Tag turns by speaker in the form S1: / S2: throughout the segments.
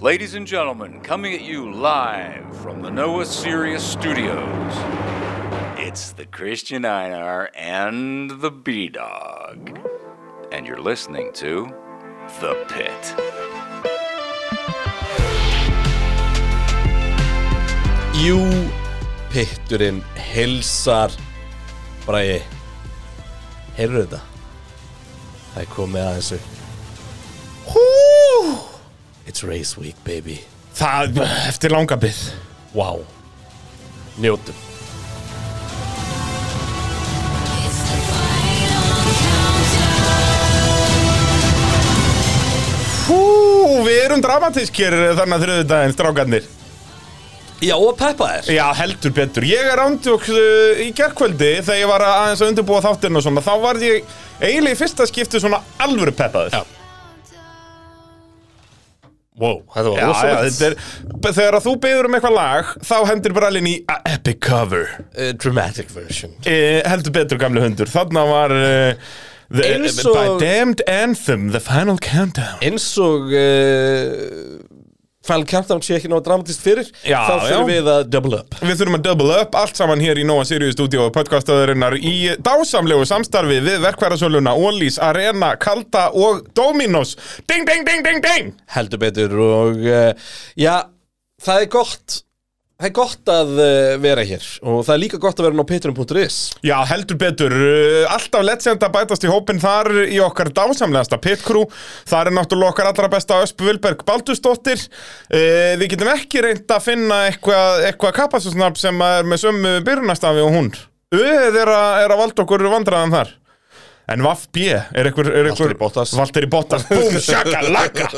S1: Ladies and gentlemen, coming at you live from the Noah Sirius Studios, it's the Christian Einar and the B Dog. And you're listening to The Pit.
S2: Jú, pitturinn hilsar Bræði Heyrðu þetta Það er komið aðeins upp Hú It's race week baby
S3: Það, eftir langa byggð
S2: Wow Njótum
S3: Hú, við erum dramatískir þannig að þriðudaginn, strákarnir
S2: Já og peppa þér
S3: Já, heldur betur Ég er ándjóks uh, í gerkvöldi þegar ég var að- aðeins að undirbúa þáttinn og svona Þá var ég eiginlega í fyrsta skipti svona alvöru peppaður
S2: Já. Wow, þetta var
S3: Já, já,
S2: rosalegt
S3: þetta er, þegar að þú beður um eitthvað lag, þá hendur brælinn í a epic cover
S2: uh, Dramatic version
S3: Eh, heldur betur gamli hundur þarna var uh, the,
S2: Eins
S3: uh,
S2: og-
S3: by damned anthem the final countdown
S2: Eins og uh, Final Countdown sé ekki náða dramatist fyrir
S3: Já,
S2: Þá fyrir
S3: já.
S2: við að double up
S3: við þurfum að double up allt saman hér í Nóa Sirius stúdíu og podcastöðurinnar í dásamlegu samstarfi við verkværasöluna Ólís, Arena, Kalda og Dominos ding ding ding ding ding
S2: heldur betur og uh, já, það er gott það er gott að uh, vera hér og það er líka gott að vera á patreon.is
S3: Já, heldur betur. Uh, Alltaf legend að bætast í hópin þar í okkar dásamlegasta pitkrú. Það er náttúrulega okkar allra besta Öspu Vilberg Baldusdóttir. Uh, við getum ekki reynd að finna eitthvað eitthva kapastusnafn sem að er með sömu byrjunastafi og hún. Uðið er, að- er að valda okkur vandræðan þar. En Vaff B er einhver... er einhver-
S2: Valtteri Bottas.
S3: Valtteri Bottas. Búm, shakalaka!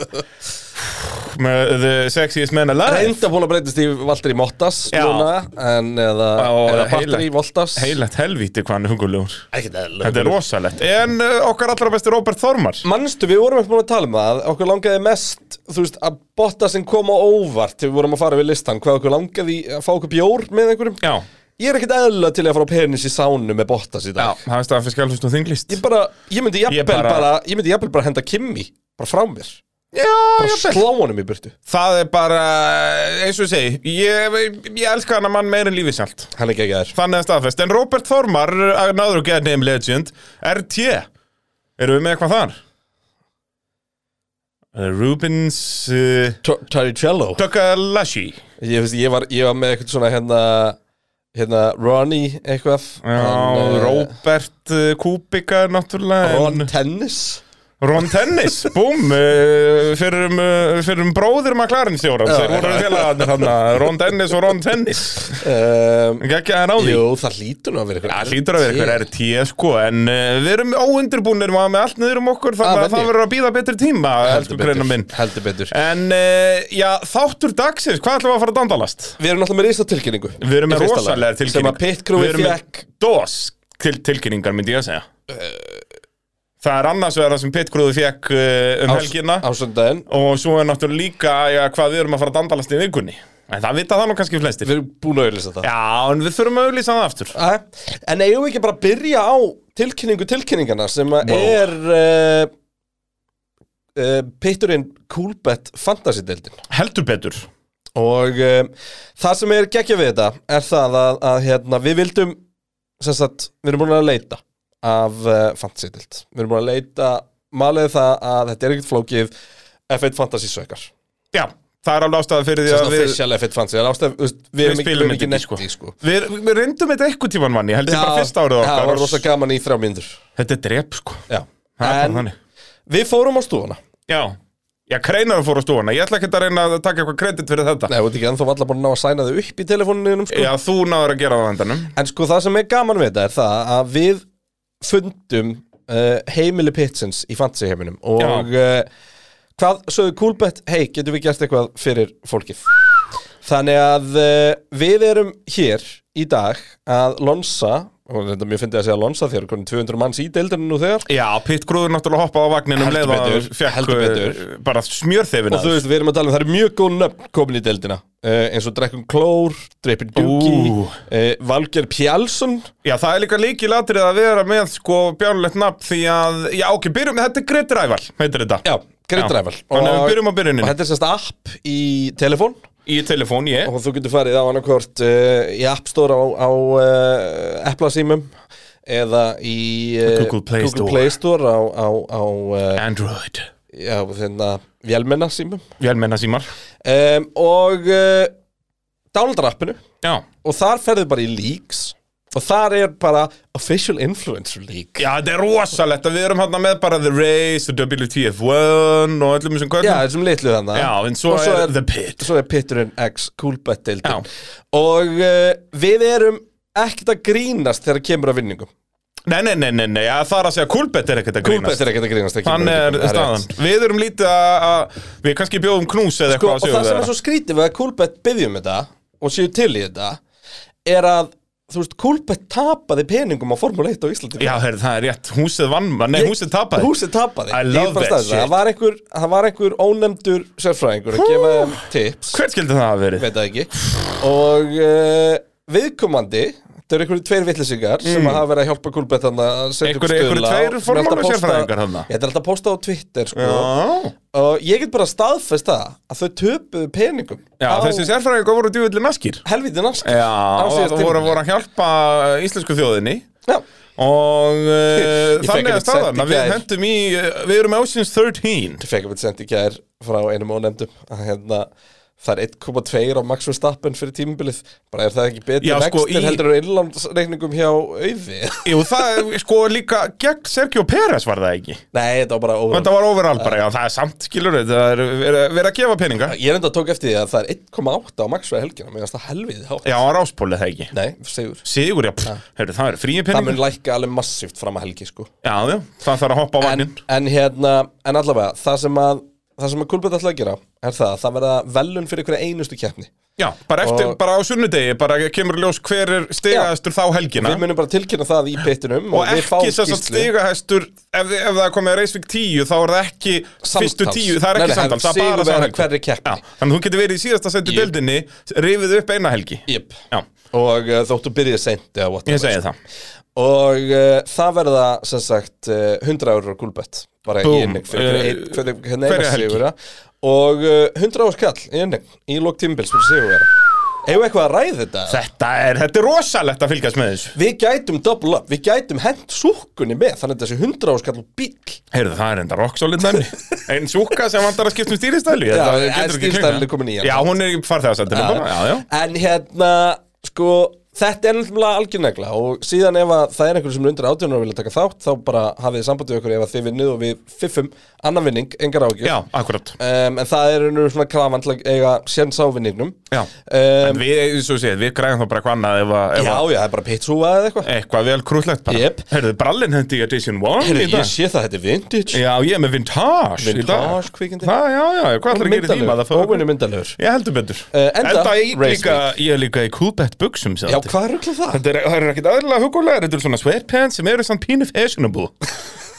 S3: með The Sexiest Man Alive.
S2: reynda búin að breytast í Valdur í Mottas
S3: Já.
S2: núna, en eða,
S3: Já,
S2: eða
S3: heila-
S2: Valdur í Voltas
S3: Heilett helvíti hvað hann er hungulegur. Þetta
S2: þetta
S3: er rosalegt. En uh, okkar allra besti Robert Þormar.
S2: Manstu, við vorum ekki búin að tala um það okkur langaði mest, þú veist, að botta sem kom á óvart þegar við vorum að fara við listan hvað okkur langaði í að fá okkur bjór með einhverjum
S3: Já.
S2: ég er ekkert eðla til að fara á penis í sánu með bottas í dag
S3: Það er staðan fyrir skjálfust og þinglist
S2: ég bara, ég myndi jafnvel
S3: Ég bara-
S2: bara, ég myndi jafnvel bara henda Kimi bara frá mér,
S3: Já,
S2: bara
S3: jafnvel
S2: slá honum í burtu
S3: Það er bara, uh, eins og ég segi Ég, ég elska hann að mann meir en lífið sjálft
S2: hann er ekki að þér
S3: Þannig að staðfest En Robert Þormar, uh, another get name legend RT Erum við með eitthvað þar? Uh, Rubens uh,
S2: Taricello
S3: Tukalashi
S2: ég, veist, ég, var, ég var með eitthvað svona hérna hérna Ronnie eitthvað
S3: Já,
S2: Hann, eh,
S3: Robert uh, Kubica náttúrulega
S2: Ron
S3: en-
S2: Tennis
S3: Ron Tennis, búm uh, Fyrir um, uh, fyrir um bróðir McLaren stjóran Þeir voru félagarnir hann Ron Tennis og Ron Tennis
S2: um,
S3: Ekki að ráði
S2: jú, það hlýtur nú að vera eitthvað
S3: Það hlýtur að vera eitthvað RT sko En uh, við erum óundirbúnir maður með allt niður um okkur Þannig
S2: Ah,
S3: að það
S2: venju.
S3: verður að býða betri tíma Heldur
S2: heldur
S3: greina minn
S2: betur, heldur betur.
S3: En uh, já, þáttur dagsins, hvað ætlum við að fara að dandalast?
S2: við erum náttúrulega með risa tilkynningu
S3: Við erum með rosalega tilkynning
S2: sem að
S3: Við
S2: pitkrúi
S3: erum með
S2: fekk
S3: DOS til, tilkynningar myndi ég að segja
S2: Eh.
S3: Það er annars vegar það sem pitgrúðu fekk uh, um helgina
S2: á sundaginn
S3: Og svo er náttúrulega líka já, hvað við erum að fara að dandalast í vikunni En það vita það nú kannski flestir
S2: við erum búin að auðvitað það
S3: Já, en við þurfum að auðlýsa það aftur
S2: Æ, En eigum við ekki bara að byrja á tilkynningu tilkynningana sem að
S3: Wow.
S2: er uh, uh, Pitturinn Coolbet Fantasy-deildin
S3: Heldur betur
S2: og uh, það sem er geggja við þetta er það að, að hérna, við vildum sem sagt, við erum búin að leita af uh, Fantasy-deild við erum búin að leita, málið er það að þetta er ekkert flókið F1 Fantasy-sökar
S3: Já, það er alveg ástæða fyrir því
S2: Þess
S3: að
S2: að
S3: við
S2: official F1 Fantasy það er ástæð- þú veist, við erum ekki, við
S3: spilum
S2: erum ekki
S3: þetta
S2: netti
S3: ekki,
S2: sko.
S3: Við, við reyndum þetta eitthvað tíman manni, held ég bara fyrsta árið
S2: það
S3: okkar
S2: var rosa gaman í þrjá mínútur
S3: Þetta er drep sko
S2: Já.
S3: Það er bara
S2: En
S3: þannig.
S2: við fórum á stúfana
S3: Já, já kreinar fór á stúana Ég ætla ekki að reyna að taka eitthvað kredit fyrir þetta
S2: Nei, þú veit ekki, ennþá varla búin að ná að sæna þau upp í telefoninum sko.
S3: Já, þú náður að gera það á endanum
S2: En sko, það sem er gaman við þetta er það að við fundum uh, heimili pitsins í fantasy heiminum og uh, hvað sögðu Coolbet, hei, getum við gert eitthvað fyrir fólkið? Þannig að uh, við erum hér í dag að lonsa og þetta mér fyndi að segja lonsa þér, hvernig 200 manns í deildinu nú þegar
S3: Já, Pitt Grúður náttúrulega hoppaði á vagninum
S2: Heldur
S3: leið og
S2: betur,
S3: fekk
S2: heldur
S3: uh,
S2: betur.
S3: bara smjörþefin
S2: Og þú veist, við erum að tala um, það eru mjög góð nöfn komin í deildina uh, eins og Drekkum Klór, Dreipin Duki
S3: Ú.
S2: uh, Valger Pjálsson
S3: Já, það er líka líkilatrið að vera með sko bjánlegt nafn því að, já ok, byrjum, þetta er Gretiræval heitir þetta
S2: Já, Great Rival
S3: Þannig að við byrjum á
S2: Og
S3: byrjuninni
S2: þetta er sérst app í telefón
S3: Í telefón, ég
S2: og þú getur farið á annarkvort uh, í App Store á, á uh, Apple símum eða í uh,
S3: Google Play Store.
S2: Store á, á, á uh,
S3: Android
S2: já, þeirna, vélmenna símum
S3: Vélmenna símar
S2: um, og uh, downloadar appinu
S3: Já
S2: og þar ferðu bara í leaks og þar er bara official influencer leak
S3: Já, þetta er rosalegt að við erum hérna með bara The Race, The WTF1 og öllum þessum
S2: Já,
S3: gögnum
S2: þessum litlu þannig
S3: Já, en svo,
S2: og svo
S3: er,
S2: er,
S3: The Pit
S2: svo er Pitturinn X Coolbet-deildin
S3: Já.
S2: og uh, við erum ekkert að grínast þegar kemur að vinningum
S3: Nei, nei, nei, nei, nei, já, það er að segja Coolbet er ekkert að
S2: Coolbet
S3: grínast
S2: er ekkert að grínast þegar kemur
S3: Þann
S2: að
S3: er
S2: vinningum, það
S3: staðan
S2: rétt.
S3: Við erum lítið að, að Við kannski bjóðum knús eða
S2: sko,
S3: eitthvað
S2: og það sem er svo skrítið við að Coolbet byggjum um þetta og séu til í þetta er að, þú veist, Coolbet tapaði peningum á Formule 1 á Íslandi
S3: Já, herr, það er rétt, húsið vann Nei, húsið tapaði
S2: húsið tapaði
S3: I
S2: Ég
S3: love
S2: er bara
S3: that
S2: staðfest.
S3: shit.
S2: það var einhver, það var einhver ónefndur sérfræðingur að gefa þeim tips
S3: Hvert skildi það að verið?
S2: veit það ekki og uh, viðkomandi þetta eru einhverju tveir vittlisingar sem hafa verið að hjálpa Kulbett hann að setja upp
S3: Mm. Einhverjir-
S2: stöðla og hún er alltaf
S3: einhverjir tveir
S2: að
S3: formálu
S2: posta-
S3: sérfræðingar þarna.
S2: Ég ætla alltaf að posta á Twitter sko.
S3: Já,
S2: og ég get bara staðfest það að þau töpuðu peningum
S3: já
S2: á
S3: þessi sérfræðingar voru djúvillig naskir
S2: helviti nask
S3: Já,
S2: Á
S3: og
S2: síðasta
S3: það voru,
S2: tímabili.
S3: voru að hjálpa eh, íslensku þjóðinni
S2: Já.
S3: Og uh,
S2: Ég fekk
S3: þannig
S2: einmitt
S3: að
S2: sent
S3: staðan
S2: í
S3: að við
S2: gær.
S3: hendum í uh, Við erum Ocean's 13
S2: Ég fekk að senda í gær frá einum ónefndum að hérna Það er 1,2 á Max Verstappen fyrir tímabilið Bara er það ekki betri
S3: Já, sko,
S2: vextir
S3: í-
S2: heldur en innlandsreikningum hjá auði
S3: Jú, það er sko líka gegn Sergio Pérez var það ekki
S2: Nei, þetta var bara óvöld
S3: Þetta var overall bara, já, það er samt, skilur við, það er verið verið að gefa peninga
S2: Ég er enda tók eftir því að það er 1,8 á maxvæði helgina Mér finnst það helvið hátt
S3: Já, á ráspólið það ekki
S2: Nei, segur
S3: Sigur, já, pff, heyrðu, það er fríi
S2: Það
S3: peninga
S2: mun lækka alveg massíft fram að helgi sko
S3: Já, já, það þarf að hoppa á
S2: En,
S3: vannin
S2: en hérna, en allavega Það sem að, það sem að Kulbett ætla að gera Er það að það verða velun fyrir einhverja einustu keppni
S3: Já, bara eftir,
S2: og-
S3: bara á sunnudegi, bara kemur í ljós hver er stigaðastur þá helgina
S2: Við munum bara tilkynna það í pittinum
S3: Og ekki þess að
S2: skýrslu.
S3: stigahæstur ef, ef það er komið að Reisvík 10 þá er það ekki fyrstu 10, það er
S2: Nei,
S3: ekki
S2: nei,
S3: samtals
S2: hann
S3: það er bara
S2: sigurvegari
S3: samhelgi.
S2: hverri keppni.
S3: Já, Þannig að þú getur verið í síðasta sendi
S2: Jú.
S3: deildinni rifið upp eina helgi
S2: Jep.
S3: Já,
S2: Og uh, þóttu byrjið seint eða whatever sko.
S3: ég segi það
S2: Og uh, það verða sem sagt uh, 100 eurur á gulbett bara í
S3: Boom.
S2: innig fyrir
S3: Eh,
S2: ein- fyrir hérna eina
S3: hverja helgi?
S2: sigura og uh, 100 eurur skall í innig í lók tímbils fyrir sigura Eigum við eitthvað að ræða þetta?
S3: Þetta er, þetta er rosalegt að fylgjast með þessu
S2: Við gætum double up, við gætum hent súkkunni með þannig að þessi 100 eurur skall og bíl
S3: Heyrðu, það er enda rocksolid dæmi Einn súka sem vantar að skipta um stýristæli
S2: Já,
S3: það
S2: en
S3: getur ekki
S2: stýristælinn
S3: klikkað.
S2: er komin í hann.
S3: Já, hún er í farþegarsendinu bara, já, já
S2: En hérna, sko, þetta er náttúrulega algjörnegla og síðan ef að það er einhverjum sem er undir 18 ára og vilja taka þátt þá bara hafið þið sambandið okkur ef að þið vinnið og við fiffum annan vinning, engar ágjör
S3: Já, akkurat
S2: um, En það er raunur svona krafan til að eiga séns á vinningnum
S3: Já, en
S2: um,
S3: við, eins og séð, við græðum þá bara eitthvað annað ef, að- ef
S2: Já,
S3: að-
S2: já, það er bara pitsúa eða eitthvað
S3: eitthvað vel krúllegt bara
S2: Jep.
S3: Heyrðu, brallin hendi í Edition 1
S2: Heyrðu,
S3: í dag
S2: Ég sé það, þetta er vintage
S3: Já, ég er með vintage, í dag.
S2: Vintage kvikindi.
S3: Það, já, já, hvað ætlar að gera í tíma það fór?
S2: óvinni myndalegur
S3: Ég heldur betur
S2: Eh, enda,
S3: ég,
S2: race
S3: líka, ég er líka í coolbet buksum
S2: Já, hvað er okkur það?
S3: Þetta er, það eru ekkit aðrilega hugulega Þetta eru svona sweatpants sem eru samt pínu fashionable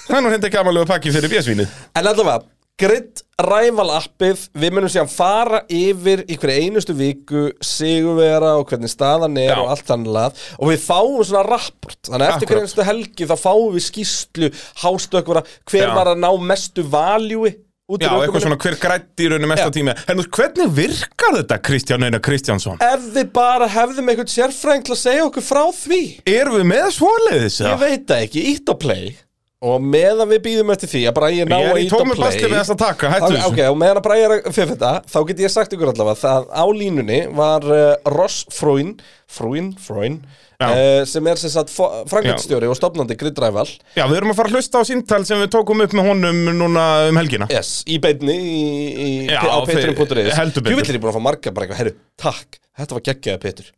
S3: Það er nú hindi gamanlega pakki fyrir bjössvínið
S2: En allavega, Grid Rival appið, við munum síðan fara yfir í hverju einustu viku, sigurvera og hvernig staðan er
S3: Já.
S2: og allt þannig lað og við fáum svona rapport, þannig að eftir
S3: Akkúrat.
S2: hverju einustu helgi þá fáum við skýslu, hástökkvara, hver
S3: Já.
S2: var að ná mestu valjúi út
S3: Já,
S2: úr
S3: eitthvað
S2: ökumunum.
S3: svona hver grætti í rauninu mesta
S2: Já.
S3: tími En nú, hvernig virkar þetta Kristján Einar Kristjánsson?
S2: Ef við bara hefðum einhvern sérfræðing til að segja okkur frá því
S3: Erum við með svoleiðis?
S2: Ég
S3: eða?
S2: veit það ekki, ít á play Og meðan við býðum eftir því að Bræði ná
S3: Ég
S2: að
S3: er í
S2: ít á
S3: tómu
S2: play
S3: basli við þess að taka, hættu
S2: Ok,
S3: þessu
S2: ok, og meðan að Bræði er að fyrir þetta Þá get ég sagt ykkur allavega Það á línunni var uh, Ross Froin Froin, Froin
S3: Já.
S2: uh, Sem er sem sagt frangöndstjóri og stopnandi griddræval
S3: Já, við erum að fara að hlusta á síntal sem við tókum upp með honum núna um helgina
S2: Yes, í beinni í, í,
S3: Já,
S2: Á
S3: fyrir-
S2: Petrin.is
S3: heldur betur.
S2: Jú villir ég búin að fá marga bara eitthvað Herru, takk, þetta var geggjaði Petur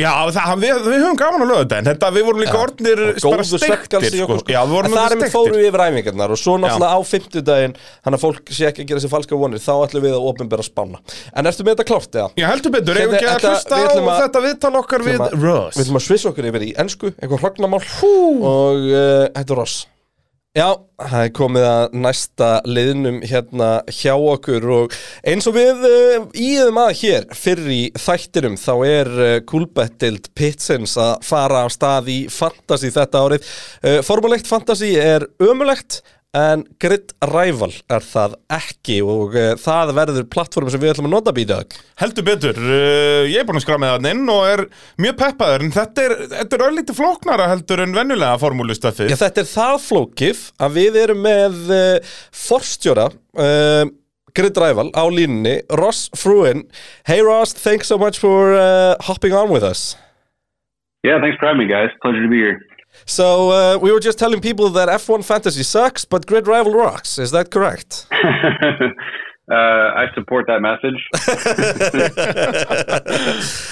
S3: Já, það, við, við höfum gaman að löga þetta En þetta, við vorum líka orðnir bara
S2: góðu
S3: steiktir
S2: svefngalsi í
S3: sko.
S2: okkur sko.
S3: Já, við vorum
S2: En þar
S3: orðnir
S2: erum við
S3: steiktir
S2: fórum við yfir æfingarnar og svo náttúrulega á fimmtudaginn þannig að fólk sé ekki að gera sér falska vonir þá ætlum við að opinbera spána en ertu með þetta klárt eða?
S3: Já, heldur betur, eigum
S2: Þetta-
S3: ekki að
S2: þetta-
S3: hlusta
S2: Hérna, við
S3: á
S2: ætlum að-
S3: þetta viðtal okkar við
S2: að- Við
S3: Ross
S2: ætlum að svissa okkur yfir í ennsku eitthvað hrognamál og uh, þetta er Ross Já, það er komið að næsta liðnum hérna hjá okkur og eins og við uh, íðum að hér fyrir í þættinum þá er uh, Kulbettild Pitsins að Eh, fara af stað í Fantasy þetta árið. Uh, Formulegt Fantasy er ömulegt En Grid Rival er það ekki og uh, það verður plattform sem við ætlum að nota býtög
S3: Heldur betur, uh, ég er búin að skra með þann inn og er mjög peppaður en þetta er, þetta er öllítið flóknara heldur en venjulega formúlustöfið
S2: Já, þetta er það flókif að við erum með uh, forstjóra uh, Grid Rival á línunni Ross Fruin Hey Ross, thanks so much for uh, hopping on with us
S4: Yeah, thanks for having me, guys. Pleasure to be here.
S2: So uh, we were just telling people that F1 Fantasy sucks, but Grid Rival rocks. Is that correct?
S4: uh, I support that message.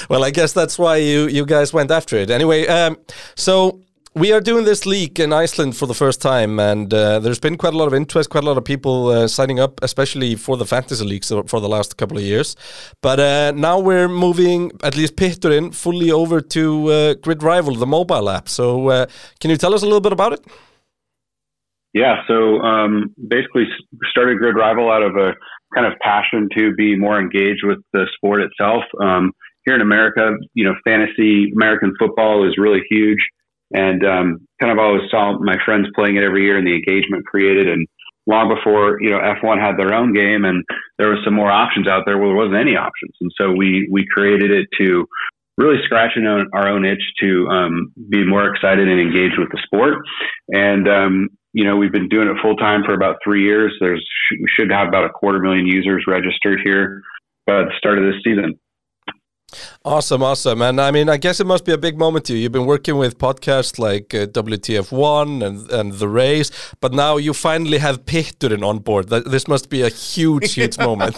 S2: well, I guess that's why you, you guys went after it. Anyway, um, so we are doing this league in Iceland for the first time, and uh, there's been quite a lot of interest, quite a lot of people uh, signing up, especially for the fantasy leagues for the last couple of years. But uh, now we're moving, at least Pihturin, fully over to uh, Grid Rival, the mobile app. So uh, can you tell us a little bit about it?
S4: Yeah, so um, basically s- started Grid Rival out of a kind of passion to be more engaged with the sport itself. Um, here in America, you know, fantasy American football is really huge, and um, kind of always saw my friends playing it every year and the engagement created. And long before you know F1 had their own game, and there was some more options out there. Well, there wasn't any options, and so we we created it to really scratch our own, our own itch to um, be more excited and engaged with the sport. And um, you know, we've been doing it full time for about three years. There's sh- we should have about a quarter million users registered here by the start of this season.
S2: Awesome, awesome. And I mean, I guess it must be a big moment to you. You've been working with podcasts like uh, WTF1 and, and The Race, but now you finally have Pihturin on board. That, this must be a huge, huge moment.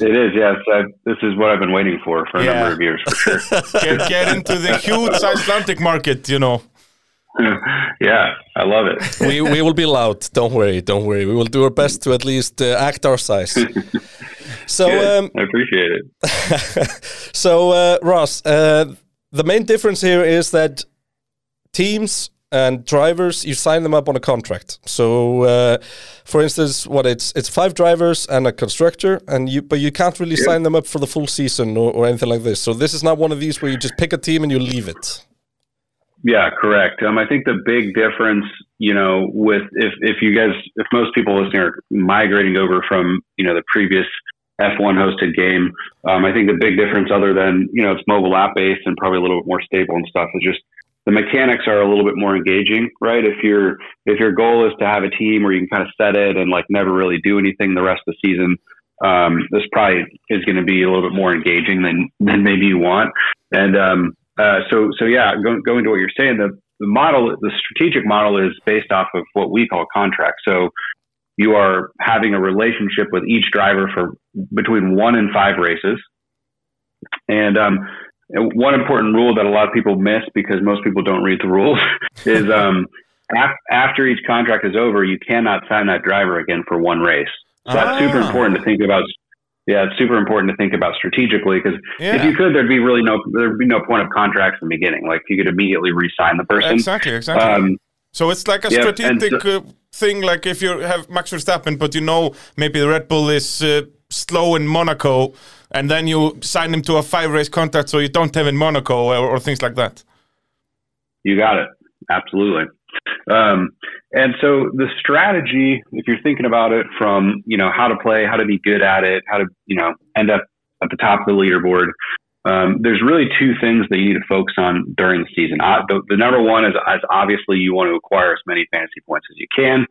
S4: It is, yes. I, this is what I've been waiting for for a
S3: Yeah.
S4: number of years, for sure.
S3: get, get into the huge Icelandic market, you know
S4: yeah, I love it.
S2: we, we will be loud. Don't worry, don't worry. We will do our best to at least uh, act our size. So,
S4: Good.
S2: um,
S4: I appreciate it.
S2: so uh, Ross, uh, the main difference here is that teams and drivers you sign them up on a contract. So, uh, for instance, what it's it's five drivers and a constructor, and you but you can't really sign them up for the full season or, or anything like this. So this is not one of these where you just pick a team and you leave it.
S4: Yeah, correct. Um, I think the big difference, you know, with if if you guys, if most people listening are migrating over from you know the previous F1 hosted game, um, I think the big difference, other than you know it's mobile app based and probably a little bit more stable and stuff, is just the mechanics are a little bit more engaging, right? If your if your goal is to have a team where you can kind of set it and like never really do anything the rest of the season, um, this probably is going to be a little bit more engaging than than maybe you want. And um, uh, so, so yeah, go- going to what you're saying, the, the model, the strategic model is based off of what we call contracts. So you are having a relationship with each driver for between one and five races. And um, one important rule that a lot of people miss because most people don't read the rules is um, af- after each contract is over, you cannot sign that driver again for one race. So that's super
S3: Ah.
S4: important to think about. Yeah, it's super important to think about strategically because if
S3: yeah,
S4: you could, there'd be really no there'd be no point of contracts in the beginning. Like you could immediately re-sign the person.
S3: Exactly, exactly
S4: Um,
S3: So it's like a
S4: Yeah, and
S3: strategic uh, thing, like if you have Max Verstappen, but you know maybe the Red Bull is uh, slow in Monaco, and then you sign him to a five race contract so you don't have in Monaco or, or things like that.
S4: you got it. Absolutely. Um, and so the strategy, if you're thinking about it from, you know, how to play, how to be good at it, how to, you know, end up at the top of the leaderboard, um, there's really two things that you need to focus on during the season. Uh, the, the number one is, is obviously you want to acquire as many fantasy points as you can.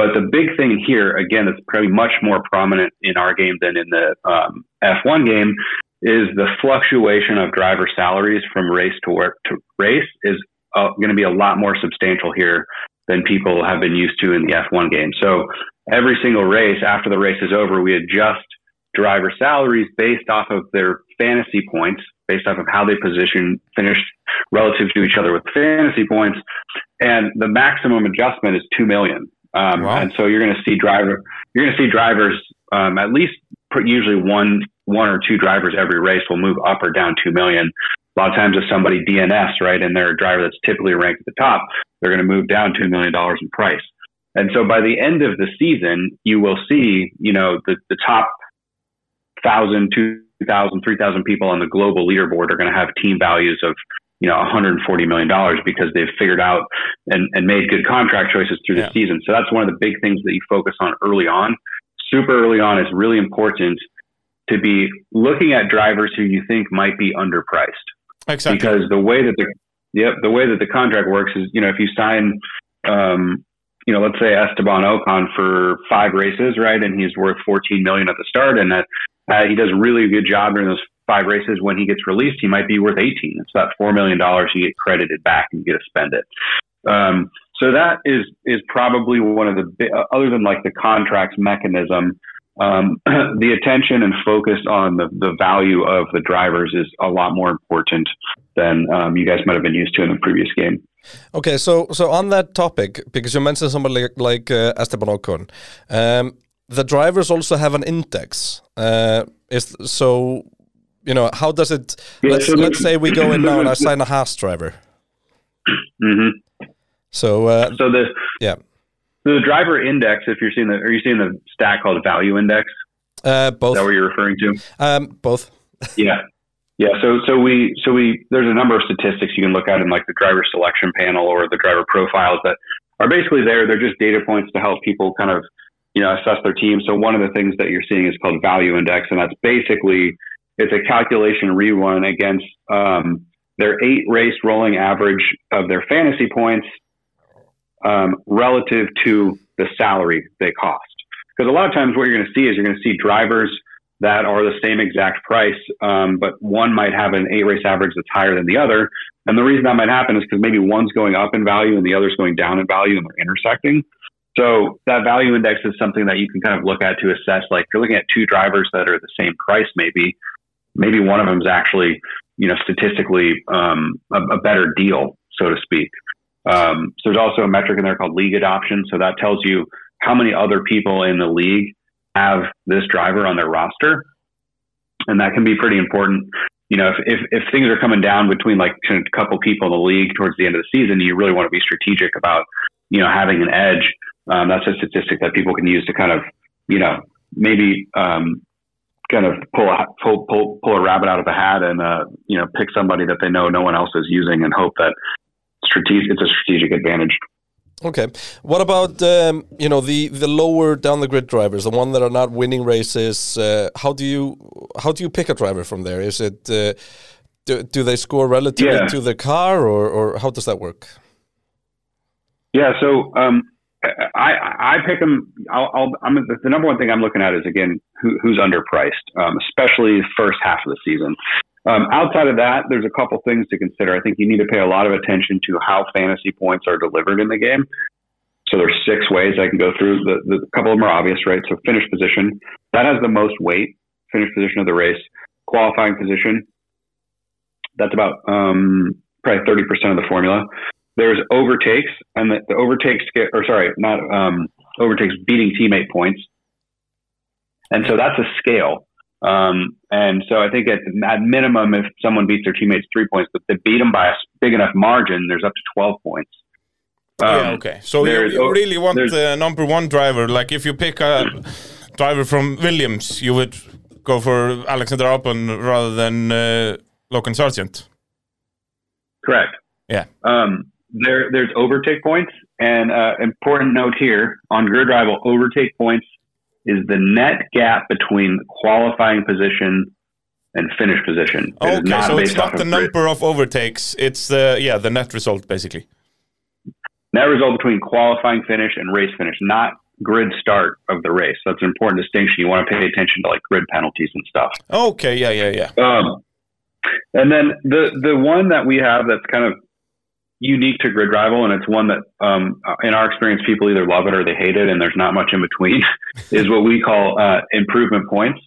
S4: But the big thing here, again, that's probably much more prominent in our game than in the um, F1 game, is the fluctuation of driver salaries from race to, wor- to race is uh, going to be a lot more substantial here than people have been used to in the F1 game. So every single race after the race is over, we adjust driver salaries based off of their fantasy points, based off of how they position finished relative to each other with fantasy points, and the maximum adjustment is two million. Um,
S3: Wow.
S4: And so you're going to see driver you're going to see drivers um, at least pr- usually one one or two drivers every race will move up or down two million. A lot of times, if somebody DNS right and they're a driver that's typically ranked at the top, they're going to move down two million dollars in price. And so by the end of the season, you will see you know the the top thousand, two thousand, three thousand people on the global leaderboard are going to have team values of you know 140 million dollars because they've figured out and, and made good contract choices through the
S3: Yeah.
S4: season. So that's one of the big things that you focus on early on. Super early on is really important to be looking at drivers who you think might be underpriced
S3: Exactly.
S4: because the way that the yep the way that the contract works is you know if you sign um, you know let's say Esteban Ocon for five races right and he's worth 14 million at the start and that uh, he does a really good job during those five races when he gets released he might be worth 18 it's that four million dollars you get credited back and you get to spend it um, so that is is probably one of the bi- uh, other than like the contracts mechanism um, the attention and focus on the, the value of the drivers is a lot more important than um, you guys might have been used to in the previous game.
S2: Okay, so so on that topic, because you mentioned somebody like, like uh, Esteban Ocon, um, the drivers also have an index. Uh, is so, you know, how does it?
S4: Yeah,
S2: let's
S4: so the-
S2: let's say we go in now and I sign a Haas driver.
S4: hmm
S2: So uh,
S4: So the
S2: yeah,
S4: the driver index, if you're seeing the are you seeing the stat called value index?
S2: uh,
S4: Is that
S2: both,
S4: what you're referring to?
S2: um, both.
S4: Yeah. Yeah, so so we so we there's a number of statistics you can look at in like the driver selection panel or the driver profiles that are basically there. They're just data points to help people kind of you know assess their team. So one of the things that you're seeing is called value index, and that's basically it's a calculation rerun against um, their eight race rolling average of their fantasy points um, relative to the salary they cost. Because a lot of times what you're going to see is you're going to see drivers that are the same exact price, um, but one might have an eight race average that's higher than the other. And the reason that might happen is because maybe one's going up in value and the other's going down in value and they're intersecting. So that value index is something that you can kind of look at to assess. Like if you're looking at two drivers that are the same price, maybe maybe one of them is actually you know statistically um, a, a better deal, so to speak. Um, so there's also a metric in there called league adoption. So that tells you how many other people in the league have this driver on their roster, and that can be pretty important. You know, if, if, if things are coming down between like a couple people in the league towards the end of the season, you really want to be strategic about you know having an edge. Um, that's a statistic that people can use to kind of you know maybe um, kind of pull a pull, pull pull a rabbit out of a hat and uh, you know pick somebody that they know no one else is using and hope that strategic it's a strategic advantage.
S2: Okay. What about um, you know the the lower down the grid drivers, the one that are not winning races? Uh, how do you how do you pick a driver from there? Is it uh, do, do they score relatively
S4: Yeah.
S2: to the car, or or how does that work?
S4: Yeah, so um, I I pick them. I'll, I'll I'm the number one thing I'm looking at is again who, who's underpriced, um, especially the first half of the season. Um, outside of that, there's a couple things to consider. I think you need to pay a lot of attention to how fantasy points are delivered in the game. So there's six ways I can go through. The, the a couple of them are obvious, right? So finish position that has the most weight. Finish position of the race, qualifying position. That's about um, probably thirty percent of the formula there's overtakes and the, the overtakes get or sorry not um, overtakes beating teammate points and so that's a scale um, and so i think at, at minimum if someone beats their teammates three points but they beat them by a s- big enough margin there's up to 12 points Um,
S3: yeah, okay. So you,
S4: there's-
S3: you really want
S4: there's-
S3: the number one driver. Like if you pick a driver from Williams, you would go for Alexander Albon rather than uh, Logan Sargent.
S4: Correct.
S3: Yeah.
S4: Um, there, there's overtake points, and uh, important note here on grid rival overtake points is the net gap between qualifying position and finish position. It is
S3: Okay, so it's
S4: based off
S3: not the
S4: of grid.
S3: number of overtakes. It's the yeah the net result basically.
S4: Net result between qualifying finish and race finish, not grid start of the race. That's an important distinction. You want to pay attention to like grid penalties and stuff.
S3: Okay, yeah, yeah, yeah.
S4: Um, and then the the one that we have that's kind of unique to Grid Rival, and it's one that, um, in our experience, people either love it or they hate it, and there's not much in between, is what we call uh, improvement points.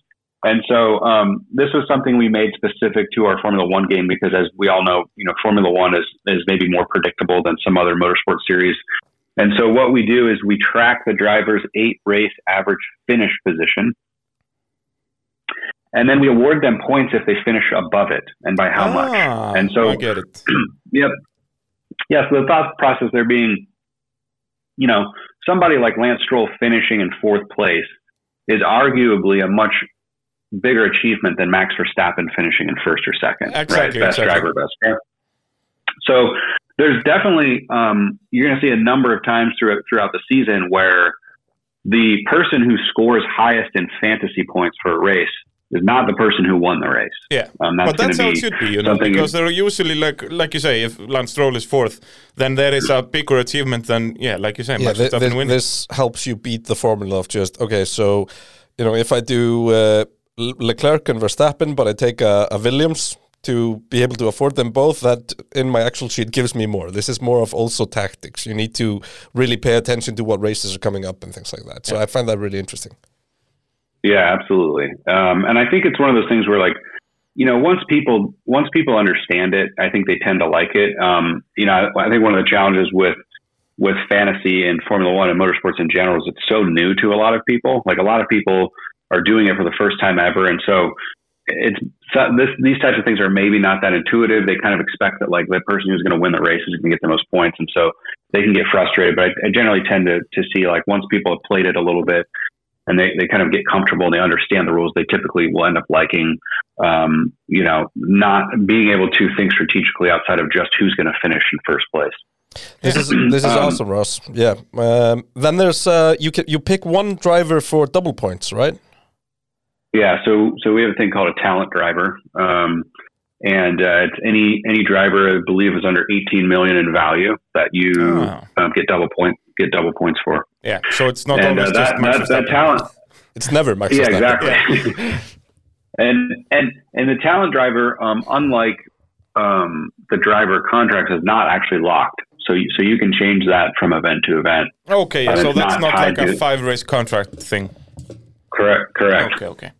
S4: And so um, this was something we made specific to our Formula One game because, as we all know, you know Formula One is is maybe more predictable than some other motorsport series. And so what we do is we track the driver's eight race average finish position, and then we award them points if they finish above it and by how much.
S3: Ah,
S4: And so-
S3: I get it.
S4: Yep. Yeah, so the thought process there being, you know, somebody like Lance Stroll finishing in fourth place is arguably a much bigger achievement than Max Verstappen finishing in first or second.
S3: Exactly,
S4: Right? Best
S3: exactly.
S4: driver, best. So there's definitely um, you're going to see a number of times throughout throughout the season where the person who scores highest in fantasy points for a race is not the person who won the race.
S3: Yeah,
S4: Um, that's
S3: but that's
S4: gonna
S3: how it
S4: be
S3: should be, you know,
S4: something-
S3: because there are usually like like you say, if Lance Stroll is fourth, then there is a bigger achievement than yeah, like you say,
S2: yeah,
S3: Max
S2: thi-
S3: Verstappen
S2: thi-
S3: winning.
S2: this helps you beat the formula of just okay. So, you know, if I do uh, Le- Leclerc and Verstappen, but I take a, a Williams to be able to afford them both, that in my Excel sheet gives me more. This is more of also tactics. You need to really pay attention to what races are coming up and things like that. So I find that really interesting.
S4: Yeah, absolutely. Um, and I think it's one of those things where like, you know, once people once people understand it, I think they tend to like it. Um, you know, I, I think one of the challenges with with fantasy and Formula One and motorsports in general is it's so new to a lot of people. Like a lot of people are doing it for the first time ever, and so it's so this, these types of things are maybe not that intuitive. They kind of expect that like the person who's going to win the race is going to get the most points, and so they can get frustrated. But I, I generally tend to to see like once people have played it a little bit, and they, they kind of get comfortable and they understand the rules, they typically will end up liking, um, you know, not being able to think strategically outside of just who's going to finish in first place.
S2: This is this is
S4: Um,
S2: awesome, Ross. Yeah. Um, then there's uh, you can you pick one driver for double points, right?
S4: Yeah, so so we have a thing called a talent driver, um, and uh, it's any any driver I believe is under 18 million in value that you
S3: Oh.
S4: um, get double point get double points for,
S3: yeah, so it's not
S4: and
S3: always
S4: uh, that,
S3: just Max
S4: that that
S3: Verstappen.
S4: talent
S2: It's never Max
S4: yeah,
S2: Verstappen.
S4: exactly. and and and the talent driver, um, unlike um, the driver contract, is not actually locked. So you, so you can change that from event to event.
S3: Okay, yeah,
S4: But
S3: so
S4: it's
S3: that's
S4: not
S3: not
S4: tied
S3: like a
S4: to-
S3: five race contract thing.
S4: Correct. Correct.
S3: Okay, okay.
S2: Oh,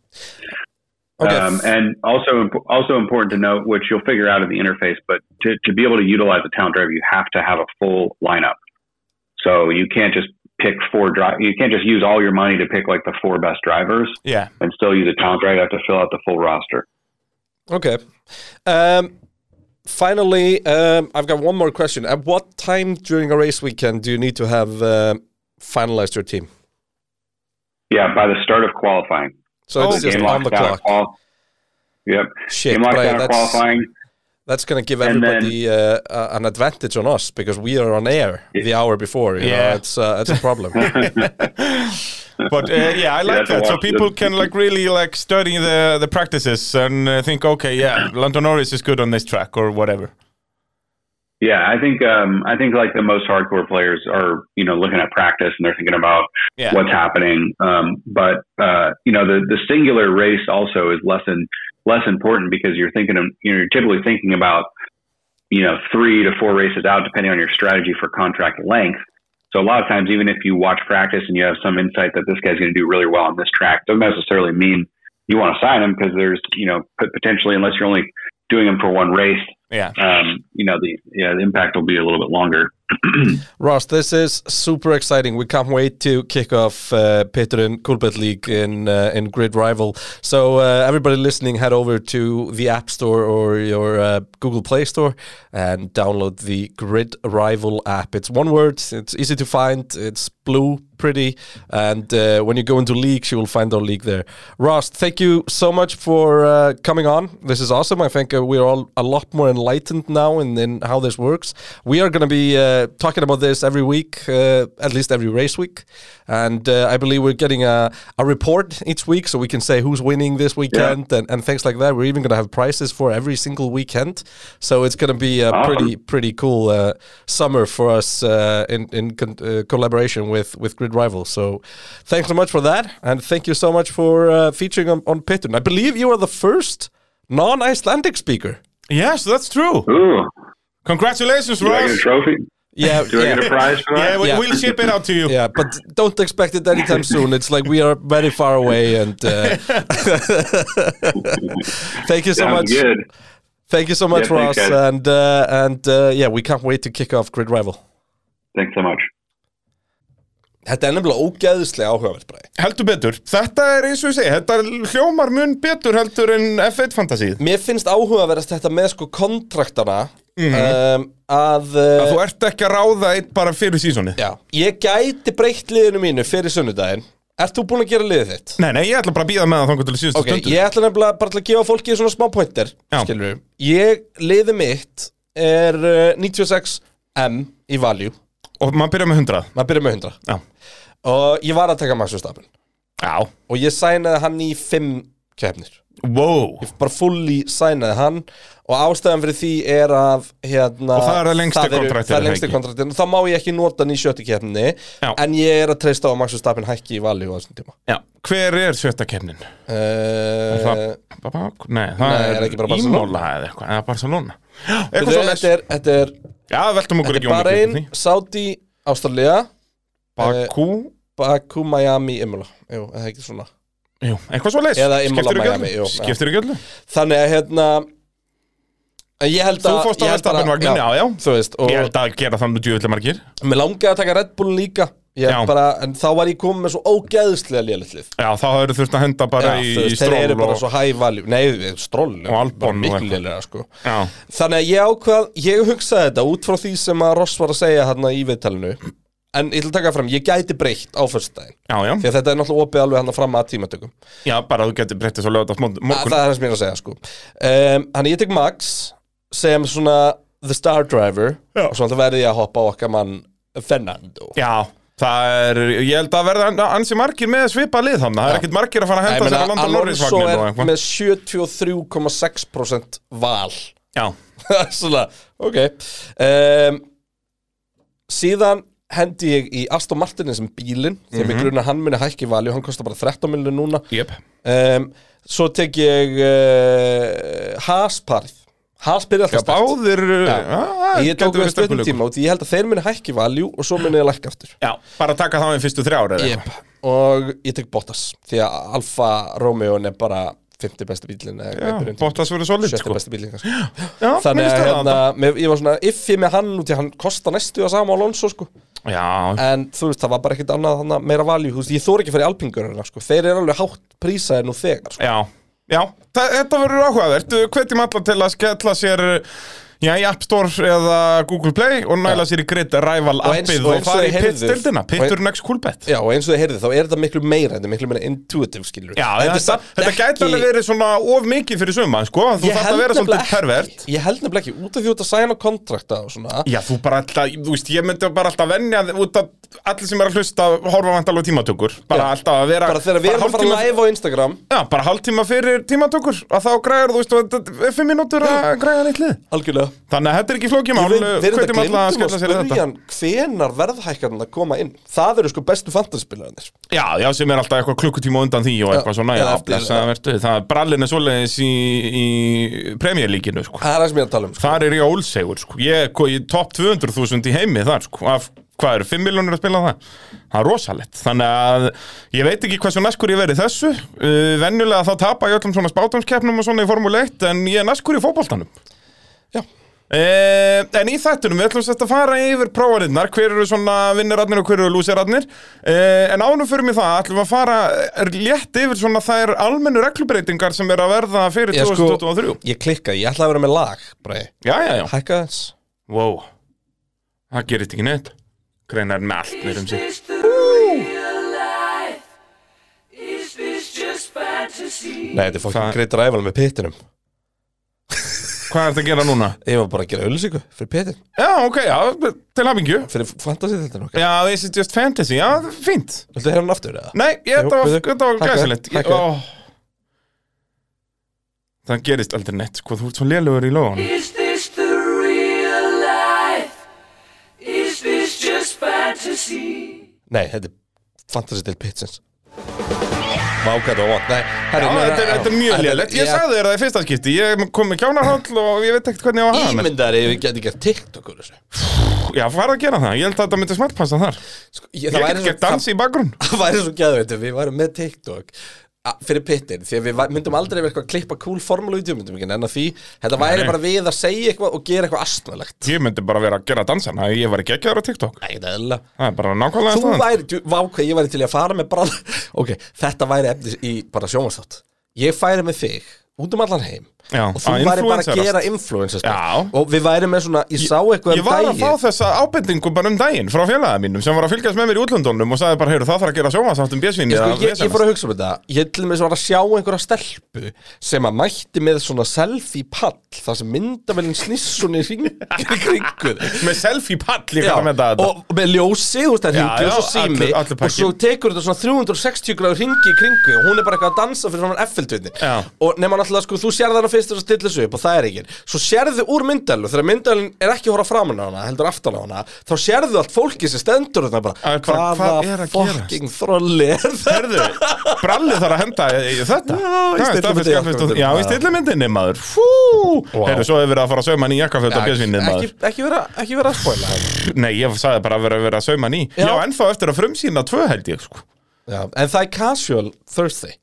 S2: Okay.
S4: Um, and also imp- also important to note, which you'll figure out in the interface, but to, to be able to utilize a talent driver, you have to have a full lineup. So you can't just pick four drive. You can't just use all your money to pick like the four best drivers
S3: Yeah,
S4: and still use a talent driver. You have to fill out the full roster.
S2: Okay. Um, finally, um, I've got one more question. At what time during a race weekend do you need to have uh, finalized your team?
S4: Yeah, by the start of qualifying.
S2: So
S3: Oh,
S2: it's just
S4: game
S2: on the
S4: locked out
S2: clock.
S4: of qual- Yep.
S2: Shit,
S4: game locked
S2: Brian,
S4: out of
S2: that's,
S4: qualifying.
S2: that's going to give
S4: And then-
S2: everybody uh, uh, an advantage on us because we are on air the hour before. You yeah,
S3: Yeah.
S2: know, it's uh, it's a problem.
S3: but uh, yeah, I like
S4: that's a
S3: that. So
S4: watch.
S3: people can like really like study the the practices and uh, think, okay, yeah, Lando Norris is good on this track or whatever.
S4: Yeah, I think um, I think like the most hardcore players are you know looking at practice and they're thinking about
S3: Yeah.
S4: what's happening. Um, but uh, you know the the singular race also is less in, less important because you're thinking of, you know you're typically thinking about you know three to four races out depending on your strategy for contract length. So a lot of times, even if you watch practice and you have some insight that this guy's going to do really well on this track, doesn't necessarily mean you want to sign him because there's you know pot- potentially unless you're only doing him for one race
S3: Yeah.
S4: um, you know, the yeah, the impact will be a little bit longer.
S2: Ross, this is super exciting. We can't wait to kick off uh, Peter and Kulbet League in uh, in Grid Rival. So uh, everybody listening, head over to the App Store or your uh, Google Play Store and download the Grid Rival app. It's one word. It's easy to find. It's blue, pretty, and uh, when you go into leagues, you will find our league there. Ross, thank you so much for uh, coming on. This is awesome. I think uh, we're all a lot more enlightened now in, in how this works. We are going to be uh, talking about this every week, uh, at least every race week. And uh, I believe we're getting a, a report each week so we can say who's winning this weekend and, and things like that. We're even going to have prizes for every single weekend. So it's going to be a
S4: Awesome.
S2: pretty, pretty cool uh, summer for us uh, in, in con- uh, collaboration with, with Grid Rival. So thanks so much for that. And thank you so much for uh, featuring on, on Pitun. I believe you are the first non Icelandic speaker.
S3: Yes, that's true.
S4: Ooh,
S3: Congratulations,
S4: do I get a
S3: Ross.
S4: trophy?
S2: Yeah,
S4: Do
S2: yeah.
S4: I get a prize for
S3: Yeah,
S4: that?
S3: we,
S2: Yeah.
S3: we'll ship it out to you.
S2: Yeah, but don't expect it anytime soon. It's like we are very far away, and uh, thank you so
S4: Sounds
S2: much.
S4: good.
S2: Thank you so much,
S4: Yeah,
S2: Ross,
S4: thanks, guys.
S2: and uh, and uh, yeah, we can't wait to kick off Grid Rival.
S4: Thanks so much.
S2: Þetta er nefnilega ógeðslega áhugavert bara.
S3: Heldur betur. Þetta er eins og ég segi, þetta hljómar mun betur heldur en F1 fantasíð.
S2: Mér finnst áhugaverðast þetta með sko kontraktana um, að, uh,
S3: Þú ert ekki að ráða eitt bara fyrir sísonið.
S2: já, ég gæti breytt liðinu mínu fyrir sunnudaginn. Ert þú búin að gera liðið þitt?
S3: Nei, nei, ég ætla bara að býða með það þangur til síðustu
S2: Ok,
S3: stundu.
S2: ég ætla nefnilega bara til að gefa fólki svona smá pointer
S3: Já.
S2: skilur Ég liði mitt er uh, 96M í value
S3: Og maður byrjar með 100
S2: maður byrjar með 100
S3: Já,
S2: og ég var að taka Max Verstappen
S3: já.
S2: og ég sænaði hann í 5 keppnir
S3: Wow
S2: Ég bara fully sænaði hann og ástæðan fyrir því er að hérna,
S3: Og það er að lengsti
S2: það eru-
S3: kontrakturinn,
S2: það er lengsti
S3: ekki?
S2: kontraktin og þá má ég ekki nota hann í sjöttu keppni
S3: Já.
S2: en ég er að treysta á að Max Verstappen hækki í value á þessum tíma
S3: já. Hver er sjötta kefnin?
S2: uh,
S3: Það, ba- ba- nei, það
S2: Nei,
S3: er,
S2: er ekki bara Barcelona?
S3: Ímola eða eitthvað Eða Barcelona Já, eitthvað
S2: þetta,
S3: svo
S2: þetta er, þetta er,
S3: Já, veltum okkur
S2: þetta er
S3: ekki um okkur
S2: Bahrein, Saudi, Ástralía eh,
S3: Bakú
S2: Baku, Miami, Imola Jú, eða ekki svona
S3: Jú, eitthvað svo leis
S2: Eða Imola, Miami, jú, já.
S3: Skiptir ekki öllu
S2: Þannig að hérna en Ég held
S3: Þú
S2: að
S3: fórst á
S2: ég held bara-
S3: Verstappenvagnin, já, já.
S2: Þú veist, og
S3: Ég held að gera þannig djúvillig margir
S2: mér langaði að taka Red Bullin líka Ég
S3: Já.
S2: bara, en þá var ég komið með svo ógeðslega lélitlið
S3: Já, þá hefur þurft að henda bara í, í
S2: Þeir
S3: stról
S2: eru bara
S3: og,
S2: svo high value Nei, stról
S3: Og Albon og
S2: Miklu
S3: eitthvað.
S2: lélega, sko
S3: Já,
S2: Þannig að ég ákvað, ég hugsaði þetta út frá því sem að Ross var að segja hérna í viðtalinu En ég ætla að taka fram, ég gæti breytt á fyrstdæðin
S3: já, já,
S2: Því að þetta er náttúrulega opið alveg hann fram að tímatökum
S3: já, bara að þú getur breyttið svo lögat á
S2: Að
S3: morgun
S2: Það er það sem ég er að segja sko um, Þannig ég tek Max sem svona the star driver
S3: Já.
S2: og svona verði ég að hoppa á okkar mann Fernando
S3: Já, það er, ég held að verða an- ansi margir með svipa lið þannig Það er
S2: Já.
S3: ekkit margir að fara að
S2: Ég
S3: henda sér
S2: meina,
S3: að landa
S2: Alonso
S3: Norrisvagnin
S2: er
S3: og eitthvað
S2: með 73,6% val
S3: Já,
S2: Svona, ok um, Síðan hendi ég í Aston Martin sem bílinn, því að
S3: Mhm.
S2: mig gruna hann muni hækki í valju, hann kostar bara 13 miljonir núna
S3: jöp
S2: um, Svo tek ég uh, Haas-parið Haas byrja alltaf sterkt.
S3: Báðir, já, það
S2: Ég tók
S3: gæti verið
S2: við
S3: stöðnuleikur.
S2: stöðum tíma út, ég held að þeir muni hækki valjú og svo muni ég lækka aftur
S3: Já, bara taka það í fyrstu þrjár eða
S2: yep. Og ég tek Bottas, því að Alfa Romeo er bara 50 besti bílinn eða hvað er
S3: eitthvað
S2: byrjun
S3: Já,
S2: til-
S3: Bottas verður solid
S2: 70
S3: sko
S2: besti bílinn kannski
S3: Já,
S2: Þannig
S3: mér
S2: að
S3: líst
S2: hérna, mér, ég var svona iffi með hann út í að hann kostar næstu að sama Alonso sko
S3: þetta. Já,
S2: En þú veist, það var bara ekkert annað þannig meira valjú, þú veist, ég þór ekki að fara í alpingurina sko Þeir eru alveg hátt prísaði nú þegar sko
S3: já, já Þa, Þetta verður áhugavert Hvetjum alla til að skella sér Já, í App Store eða Google Play og næla sér í grid rival
S2: Og eins-
S3: appið
S2: og
S3: og,
S2: eins og
S3: fara í
S2: ég heyrði-
S3: pitstildina Pittur next cool bet
S2: Já, og eins og þið heyrðu þá er þetta miklu meira, þetta er miklu meira intuitive skilur
S3: Já, þetta, þetta gæti alveg verið svona of mikið fyrir suma, sko, þú
S2: Ég
S3: þarf
S2: held
S3: að vera
S2: nefnilega
S3: svolítið pervert
S2: ekki- Ég held nefnilega ekki, út af því út að sæna kontrakta og svona
S3: Já, þú bara alltaf, þú veist, ég myndi bara alltaf venja þig út að allir sem er að hlusta horfa vantalega tímatökur, bara
S2: Já.
S3: alltaf að vera
S2: Bara þegar við erum að fara
S3: hálftíma-
S2: live á Instagram
S3: Já, bara hálftíma fyrir tímatökur að þá græður, þú veist, og þetta er fimm mínútur að græða nýtt lið
S2: Algjörlega
S3: Þannig að þetta er ekki flókið mál,
S2: Við erum þetta
S3: hvetjum alla
S2: glimtum
S3: að
S2: að
S3: skella sér í
S2: spyrja
S3: þetta
S2: hann Hvenar verðhækkarinn að koma inn Það eru sko bestu fantasyspilaðinir
S3: Já, já, sem er alltaf eitthvað klukkutíma á undan því og eitthvað svona, já,
S2: eða eftir,
S3: blessaða vertu Það brallin er svoleiðis í, í premjörlíkinu, sko
S2: Það er það sem ég er að tala um sko.
S3: Þar er ég ólsegur, sko. Ég er ko- í topp 200.000 í heimi þar, sko. Af, hvað eru, 5 miljónir að spila það? Það er rosalegt. Þannig að ég veit ekki hversu næskur ég verið þessu. Uh, venjulega þá tapa ég öllum svona spátumskeppnum og svona í Formule 1, en ég er næskur í fótboltanum.
S2: Já.
S3: Uh, en í þættunum, við ætlum sérst að fara yfir prófarinnar, hver eru svona vinnirarnir og hver eru lúsirarnir. Uh, en ánum fyrir mig það, ætlum við að fara er létt yfir svona þær almennu reglubreitingar sem er að verða fyrir
S2: Ég, sko,
S3: 2023.
S2: ég klikka, ég ætla að vera með lag bara,
S3: Já, já, já.
S2: Hækka þess
S3: Wow, það gerist ekki neitt Greinar með allt neyrum sig
S5: Is this the real life? Is this just fantasy?
S2: Nei, þetta er fokkin
S3: Það-
S2: greitt ræval með pittinum
S3: Hvað er þetta að gera núna?
S2: Ég var bara að gera auðlýsingu fyrir pittin
S3: Já, ok, já, til hafingju
S2: Fyrir fantasyspilin okkar
S3: Já, this is just fantasy, já, fínt
S2: Viltu heyra hann aftur eða?
S3: Nei, ég, þetta var,
S2: bíddu.
S3: þetta var
S2: Hækkaðu,
S3: glæsilegt Ég-
S2: hækkaðu.
S3: ó. Það gerist aldrei neitt, sko, þú ert svo lélugur í lóðan
S5: Is this the real life? Is this just fantasy?
S2: Nei, þetta er fantasystil pitsins Vákætt og vant Nei,
S3: Já,
S2: herri, nei,
S3: þetta er,
S2: já,
S3: þetta er mjög lélegt Ég sagði þér það í fyrsta skipti Ég kom með kjánarhóll og ég veit ekkert hvernig ég á að hafa með
S2: Ímyndar ef við getum gert TikTok úr þessu
S3: Já, fara að gera það, ég held að þetta myndi smartpassa þar
S2: sko, ég,
S3: Ég get gert dansi í bakgrunn
S2: Það væri svo gæðveit við værum með TikTok a- fyrir pittin því að við væ- myndum aldrei verið eitthvað að klippa cool formúlu í myndum ekki en að því þetta væri
S3: Nei.
S2: bara við að segja eitthvað og gera eitthvað astnalegt
S3: Ég myndi bara vera að gera dansana, ég var ekki ekki á TikTok
S2: Nei, þetta er eðla
S3: Það er bara nákvæmlega
S2: Þú
S3: staðan.
S2: væri, djú- vá hvað ég væri til í að fara með bara Ok, þetta væri efnis í bara sjónvarsþátt Ég færi með þig út um allan heim
S3: Já,
S2: og þú
S3: að
S2: væri bara að
S3: influencerast.
S2: gera influencer
S3: Já.
S2: og við væri með svona, ég sá eitthvað
S3: Ég
S2: um
S3: var að
S2: daginn
S3: fá þessa ábendingu bara um daginn frá félaga mínum sem var að fylgjast með mér í útlöndunum og sagði bara, heyrðu, það þarf að gera um sjómasáttum bjössvinni
S2: Sko, ég, ég fór að hugsa um þetta Ég til með var að sjá einhverja stelpu sem að mætti með svona selfie pall þar sem myndavælinn snissunni kringuð
S3: Með selfie-pall, ég
S2: Já,
S3: kallar með þetta
S2: og og með ljósi, þú veist, það
S3: Já,
S2: ringi og
S3: já,
S2: svo sími
S3: allur- allur
S2: og svo
S3: pakkinn.
S2: tekur þetta svona 360 gráður ringi í kringu og hún er bara eitthvað að dansa fyrir framann F-fjöldvinni
S3: Já.
S2: og nema náttúrulega, sko, þú sér þarna fyrst og svo stillir þessu upp og það er ekki svo sérðu úr myndalun, þegar myndalun er ekki að horfa framan á hana, heldur aftan á hana þá sérðu allt fólki sem stendur þarna bara
S3: Að bara, hvað er að
S2: fucking þrolli er það
S3: Herðu, brallið þarf að henda í í þetta
S2: Já, í stillimyndinni jakkafötum.
S3: Já, staðfest jakkaföt og- Já, í
S2: Já.
S3: stillimyndinni maður Fú
S2: Vá.
S3: Herðu, svo hefur verið að fara að sauma hann í jakkaföt og bjössvinnið
S2: ekki,
S3: maður
S2: ekki, vera, ekki vera að spoila hana.
S3: Nei, ég sagði bara að vera að vera að sauma hann í
S2: Já.
S3: Já, ennþá eftir að frumsýna tvö held ég sko
S2: Já, en það er casual Thursday,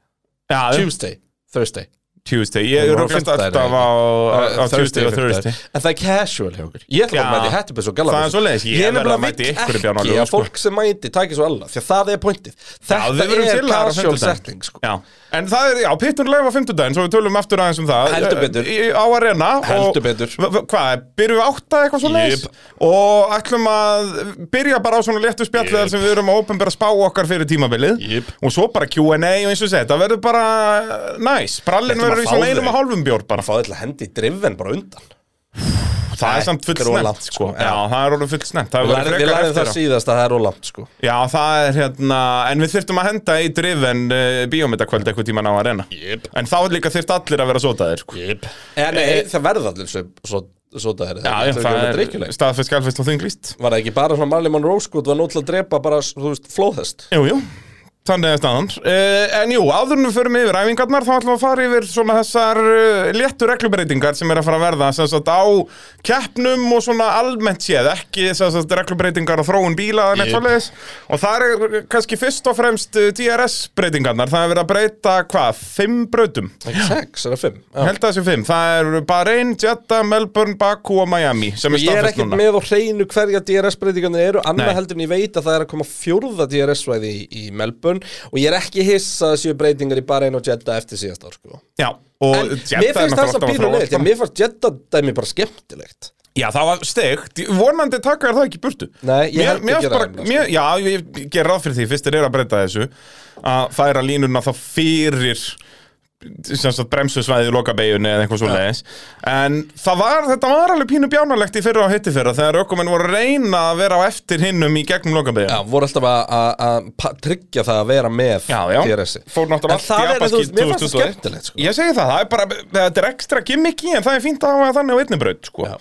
S3: Já,
S2: Tuesday Thursday
S3: Tuesday Ég
S2: Hún var á
S3: rúkast
S2: fimmtudaginn,
S3: alltaf
S2: ekki?
S3: á, á, á
S2: Thursday
S3: Tuesday og
S2: fimmtudagur.
S3: Thursday
S2: En það er casual hjá okkur Ég ætla bara
S3: Já.
S2: að mæti hættubess og galabess
S3: Það er svoleiðis, ég
S2: Ég er
S3: verð
S2: nefnilega
S3: að mæta í
S2: vill
S3: einhverju bjána
S2: ekki
S3: lögum,
S2: að
S3: sko.
S2: fólk sem mæti tækir svo alla Því að það er pointið
S3: Já, við
S2: Þetta er
S3: verðum til aðra
S2: casual
S3: fimmtudaginn.
S2: setting sko.
S3: Já, en það er, já, pittur leif á fimmtudaginn Svo við tölum aftur aðeins um það
S2: Heldur betur.
S3: Í, á arena og-
S2: Heldur betur.
S3: V- v- Hvað, byrjum við átta eitthvað svo leis
S2: Jep.
S3: Og ætlum að byrja bara á svona léttu spjall Þar sem við erum að openbæra spá okkar fyrir tímabilið
S2: Jep.
S3: Og svo bara Q&A og eins og sett Það verður bara næs Brallin
S2: Ætlum að
S3: verður í
S2: fá
S3: svona
S2: þau.
S3: einum og hálfum bjór bara
S2: Fá þetta að hendi driven bara undan
S3: Það
S2: Nei,
S3: er samt full
S2: þetta er of langt,
S3: snemmt sko.
S2: sko.
S3: Já, það er orðið full snemmt Það
S2: Við
S3: verður
S2: lærðum- Við
S3: frekar
S2: lærðum
S3: eftir
S2: það
S3: á.
S2: síðast að það er ólangt sko
S3: Já, það er hérna, en við þyrftum að henda í drifin uh, bíómyndakvöld eitthvað tíman á að reyna
S2: Jep.
S3: En þá líka þyrft allir að vera sótaðir sko.
S2: Jip En nei, það verða allir svo Svo það er
S3: Já, já, það er staðfest, galfest og þinglist
S2: Var það ekki bara svona Marley Monroe sko Það var nót til að drepa bara, þú veist, flóðhest
S3: Jú, jú, þannig er staðan uh, En jú, áður en við förum yfir æfingarnar þá ætlum við að fara yfir svona þessar uh, léttu reglubreitingar sem er að fara að verða sem sagt á keppnum og svona almennt séð, ekki sem sagt reglubreitingar og þróun bíla eða neitt svoleiðis og það er kannski fyrst og fremst eh, DRS breytingarnar, það er verið að breyta hvað, fimm brautum
S2: Ekki sex, er það fimm Já.
S3: Ég held að það sé fimm, það eru Bahrein, Jeddah, Melbourne, Baku og Miami sem er
S2: Ég er
S3: staðfest
S2: ekkert
S3: núna
S2: með á hreinu hverja DRS-breytingarnir eru annað
S3: Nei.
S2: heldur en ég veit að það er að koma fjórða DRS-svæði í, í Melbourne og ég er ekki hiss að það séu breytingar í Bahrein og Jeddah eftir síðast ár sko.
S3: Já, og
S2: En
S3: Jeddah
S2: mér
S3: er
S2: finnst það samt
S3: náttúrulega
S2: pínu
S3: alltaf að
S2: leitt, því
S3: þróast
S2: að mér fannst Jeddah dæmi bara skemmtilegt
S3: Já, það var steikt, vonandi taka þér það ekki í burtu
S2: Nei, ég held
S3: mér,
S2: að
S3: mér
S2: gera
S3: bara,
S2: það, sko.
S3: mér, Já, ég ger ráð fyrir því, fyrst er að breyta þessu að færa línuna þá fyrir sem sagt bremsusvæði í lokabeginni eða eitthvað svo leiðis en það var, þetta var alveg pínu bjánalegt í fyrra og hitti fyrra þegar ökumenn voru að reyna að vera á eftir hinnum í gegnum lokabegin
S2: Já, voru alltaf að- að að pa- tryggja það að vera með
S3: Já, já,
S2: DRS-i
S3: fór náttúrulega
S2: En það er,
S3: allt í
S2: þú veist,
S3: apaskýt
S2: mér fannst það
S3: 2021.
S2: skemmtilegt sko.
S3: Ég segi það, það er bara, þetta er ekstra gimmicky en það er fínt að hafa þannig á einni braut sko.
S2: Já.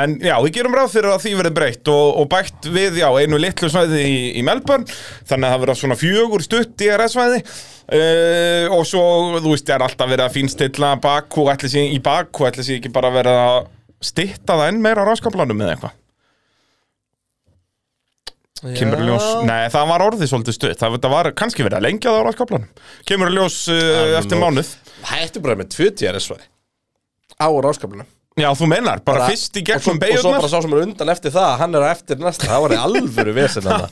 S3: En já, við gerum ráð fyrir að því verið breytt og, og bætt við, já, einu litlu svæði í, í Melbourne Þannig að það verða svona fjögur stutt DRS-svæði uh, Og svo, þú veist, er alltaf verið að fínstilla Baku, ætli sig í Baku, ætli sig ekki bara verið að stytta það enn meira á ráskaplanum eða eitthvað Kemur í ljós, nei það var orðið svolítið stutt Það þetta var kannski verið að lengja það á ráskaplanum Kemur í ljós uh, eftir
S2: nú-
S3: mánuð
S2: Hættu bara með tvö DRS-svæði á ráskapinu
S3: Já, þú mennar, bara,
S2: Bara-
S3: fyrst í gegnum
S2: Og svo bara
S3: beigjurnar
S2: sá sem er undan eftir það, hann er á eftir næsta Það var í alvöru vesinn hann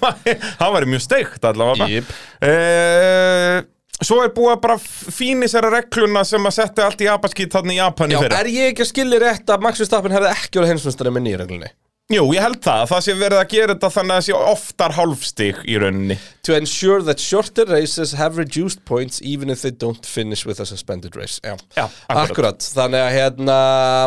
S3: Það væri mjög steikt allavega
S2: Jip.
S3: uh, Svo er búið að bara fíni sér að regluna sem að setja allt í apaskýt þarna í Japan í
S2: Já,
S3: fyrra
S2: er ég ekki að skilja rétt að Max Verstappen hefði ekki verið heimsmyndstari með nýja reglunni
S3: Jú, ég held það, það sé verið að gera þetta þannig að það sé oftar hálfstig í rauninni
S2: To ensure that shorter races have reduced points even if they don't finish with a suspended race Já,
S3: Já,
S2: akkurat.
S3: akkurat.
S2: Þannig að hérna,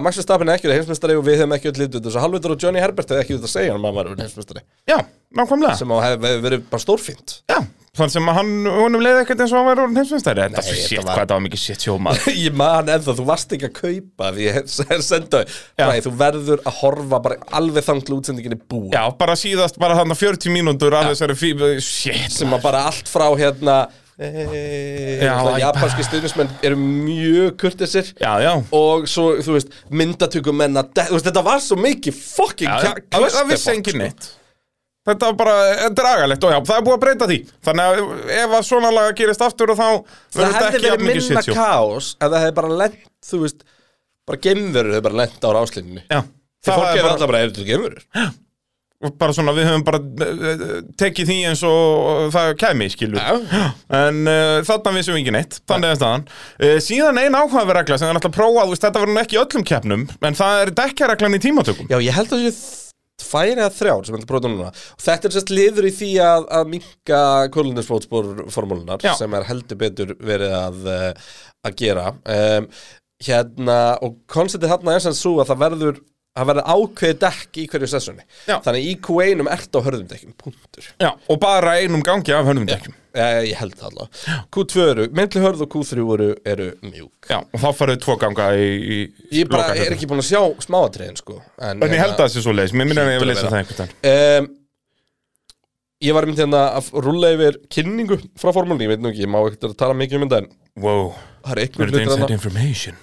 S2: Max Verstappen er ekki verið heimsmyndstari og við hefum ekki öll litið þessu Halvitur og Johnny Herbert hefði ekki út að segja hann maður verið heimsmyndstari
S3: Já, nákvæmlega
S2: sem á hefði hef verið bara stórfínt
S3: Já, þannig sem að hann, honum leiði ekkert eins og hann væri orðin heimsveistæri Þetta
S2: Nei,
S3: er
S2: þetta
S3: shit,
S2: var-
S3: hvað þetta var mikið shit sjómað
S2: Ég man ennþá, þú varst ekki að kaupa því ég senda Nei, þú verður að horfa bara alveg þanglu útsendinginni búið
S3: Já, bara síðast bara þannig 40 mínútur af þessari fíbu Shit,
S2: sem að bara allt frá hérna eh,
S3: Já,
S2: svona
S3: æ,
S2: japanski stuðnismenn eru mjög kurtisir
S3: já, já
S2: og svo, þú veist, myndatökum menna þú veist, þetta var svo mikið fucking
S3: Já,
S2: kja-
S3: það það
S2: clusterfuck,
S3: vissi
S2: sko.
S3: engin neitt Þetta var bara dragalegt og já, það er búið að breyta því Þannig að ef að svona laga gerist aftur og þá verður
S2: það
S3: þetta
S2: hefði
S3: ekki jafn
S2: verið
S3: mikið
S2: minna
S3: shit sjó
S2: kaos ef það hefði bara lent, þú veist bara geimverur hefði bara lent á ráslinni
S3: Já,
S2: því
S3: það
S2: fólk
S3: er
S2: hefði
S3: bara,
S2: alltaf bara hefði geimverur
S3: Og bara svona, við höfum bara eh, tekið því eins og það kæmi, skilur
S2: Já.
S3: en uh, þarna vissum við ekki neitt þannig er staðan uh, síðan ein áhugaverð regla sem er alltaf prófað, þú veist, þetta verður nú ekki í öllum keppnum en það er dekkjareglan í tímatökum
S2: Já, ég held að þessi tvær eða þrjár sem ég ætla að prófa núna og þetta er sérst liður í því að, að minka kólundinsprótspor formúlunar
S3: Já.
S2: sem er heldur betur verið að, eh, að gera um, hérna, og konceptið þarna er sem svo að það verður það verður ákveðið dekk í hverju sessjóni
S3: Já.
S2: þannig í Q1-um ert á hörðum dekkjum, punktur
S3: Já, og bara einum gangi af hönnum dekkjum
S2: Eh, ég held það allavega Q2 eru, myndli hörð og Q3 eru, eru mjúk
S3: Já, og þá farið tvo ganga í, í
S2: Ég bara
S3: lokakeppnum.
S2: er ekki búin að sjá smáatriðin sko En,
S3: En ég held að það sé svo leiðis, mér minna að ég
S2: Hlýtur
S3: vil
S2: að
S3: leysa
S2: vera.
S3: það einhvern veginn
S2: um, Ég var myndið hérna að rúlla yfir kynningu frá formúlinni, ég veit nú ekki, ég má ekkert að tala mikið um þetta en
S3: Wow,
S2: það er
S3: we're
S2: einhver
S3: the
S2: hlutur
S3: inside
S2: hérna,
S3: information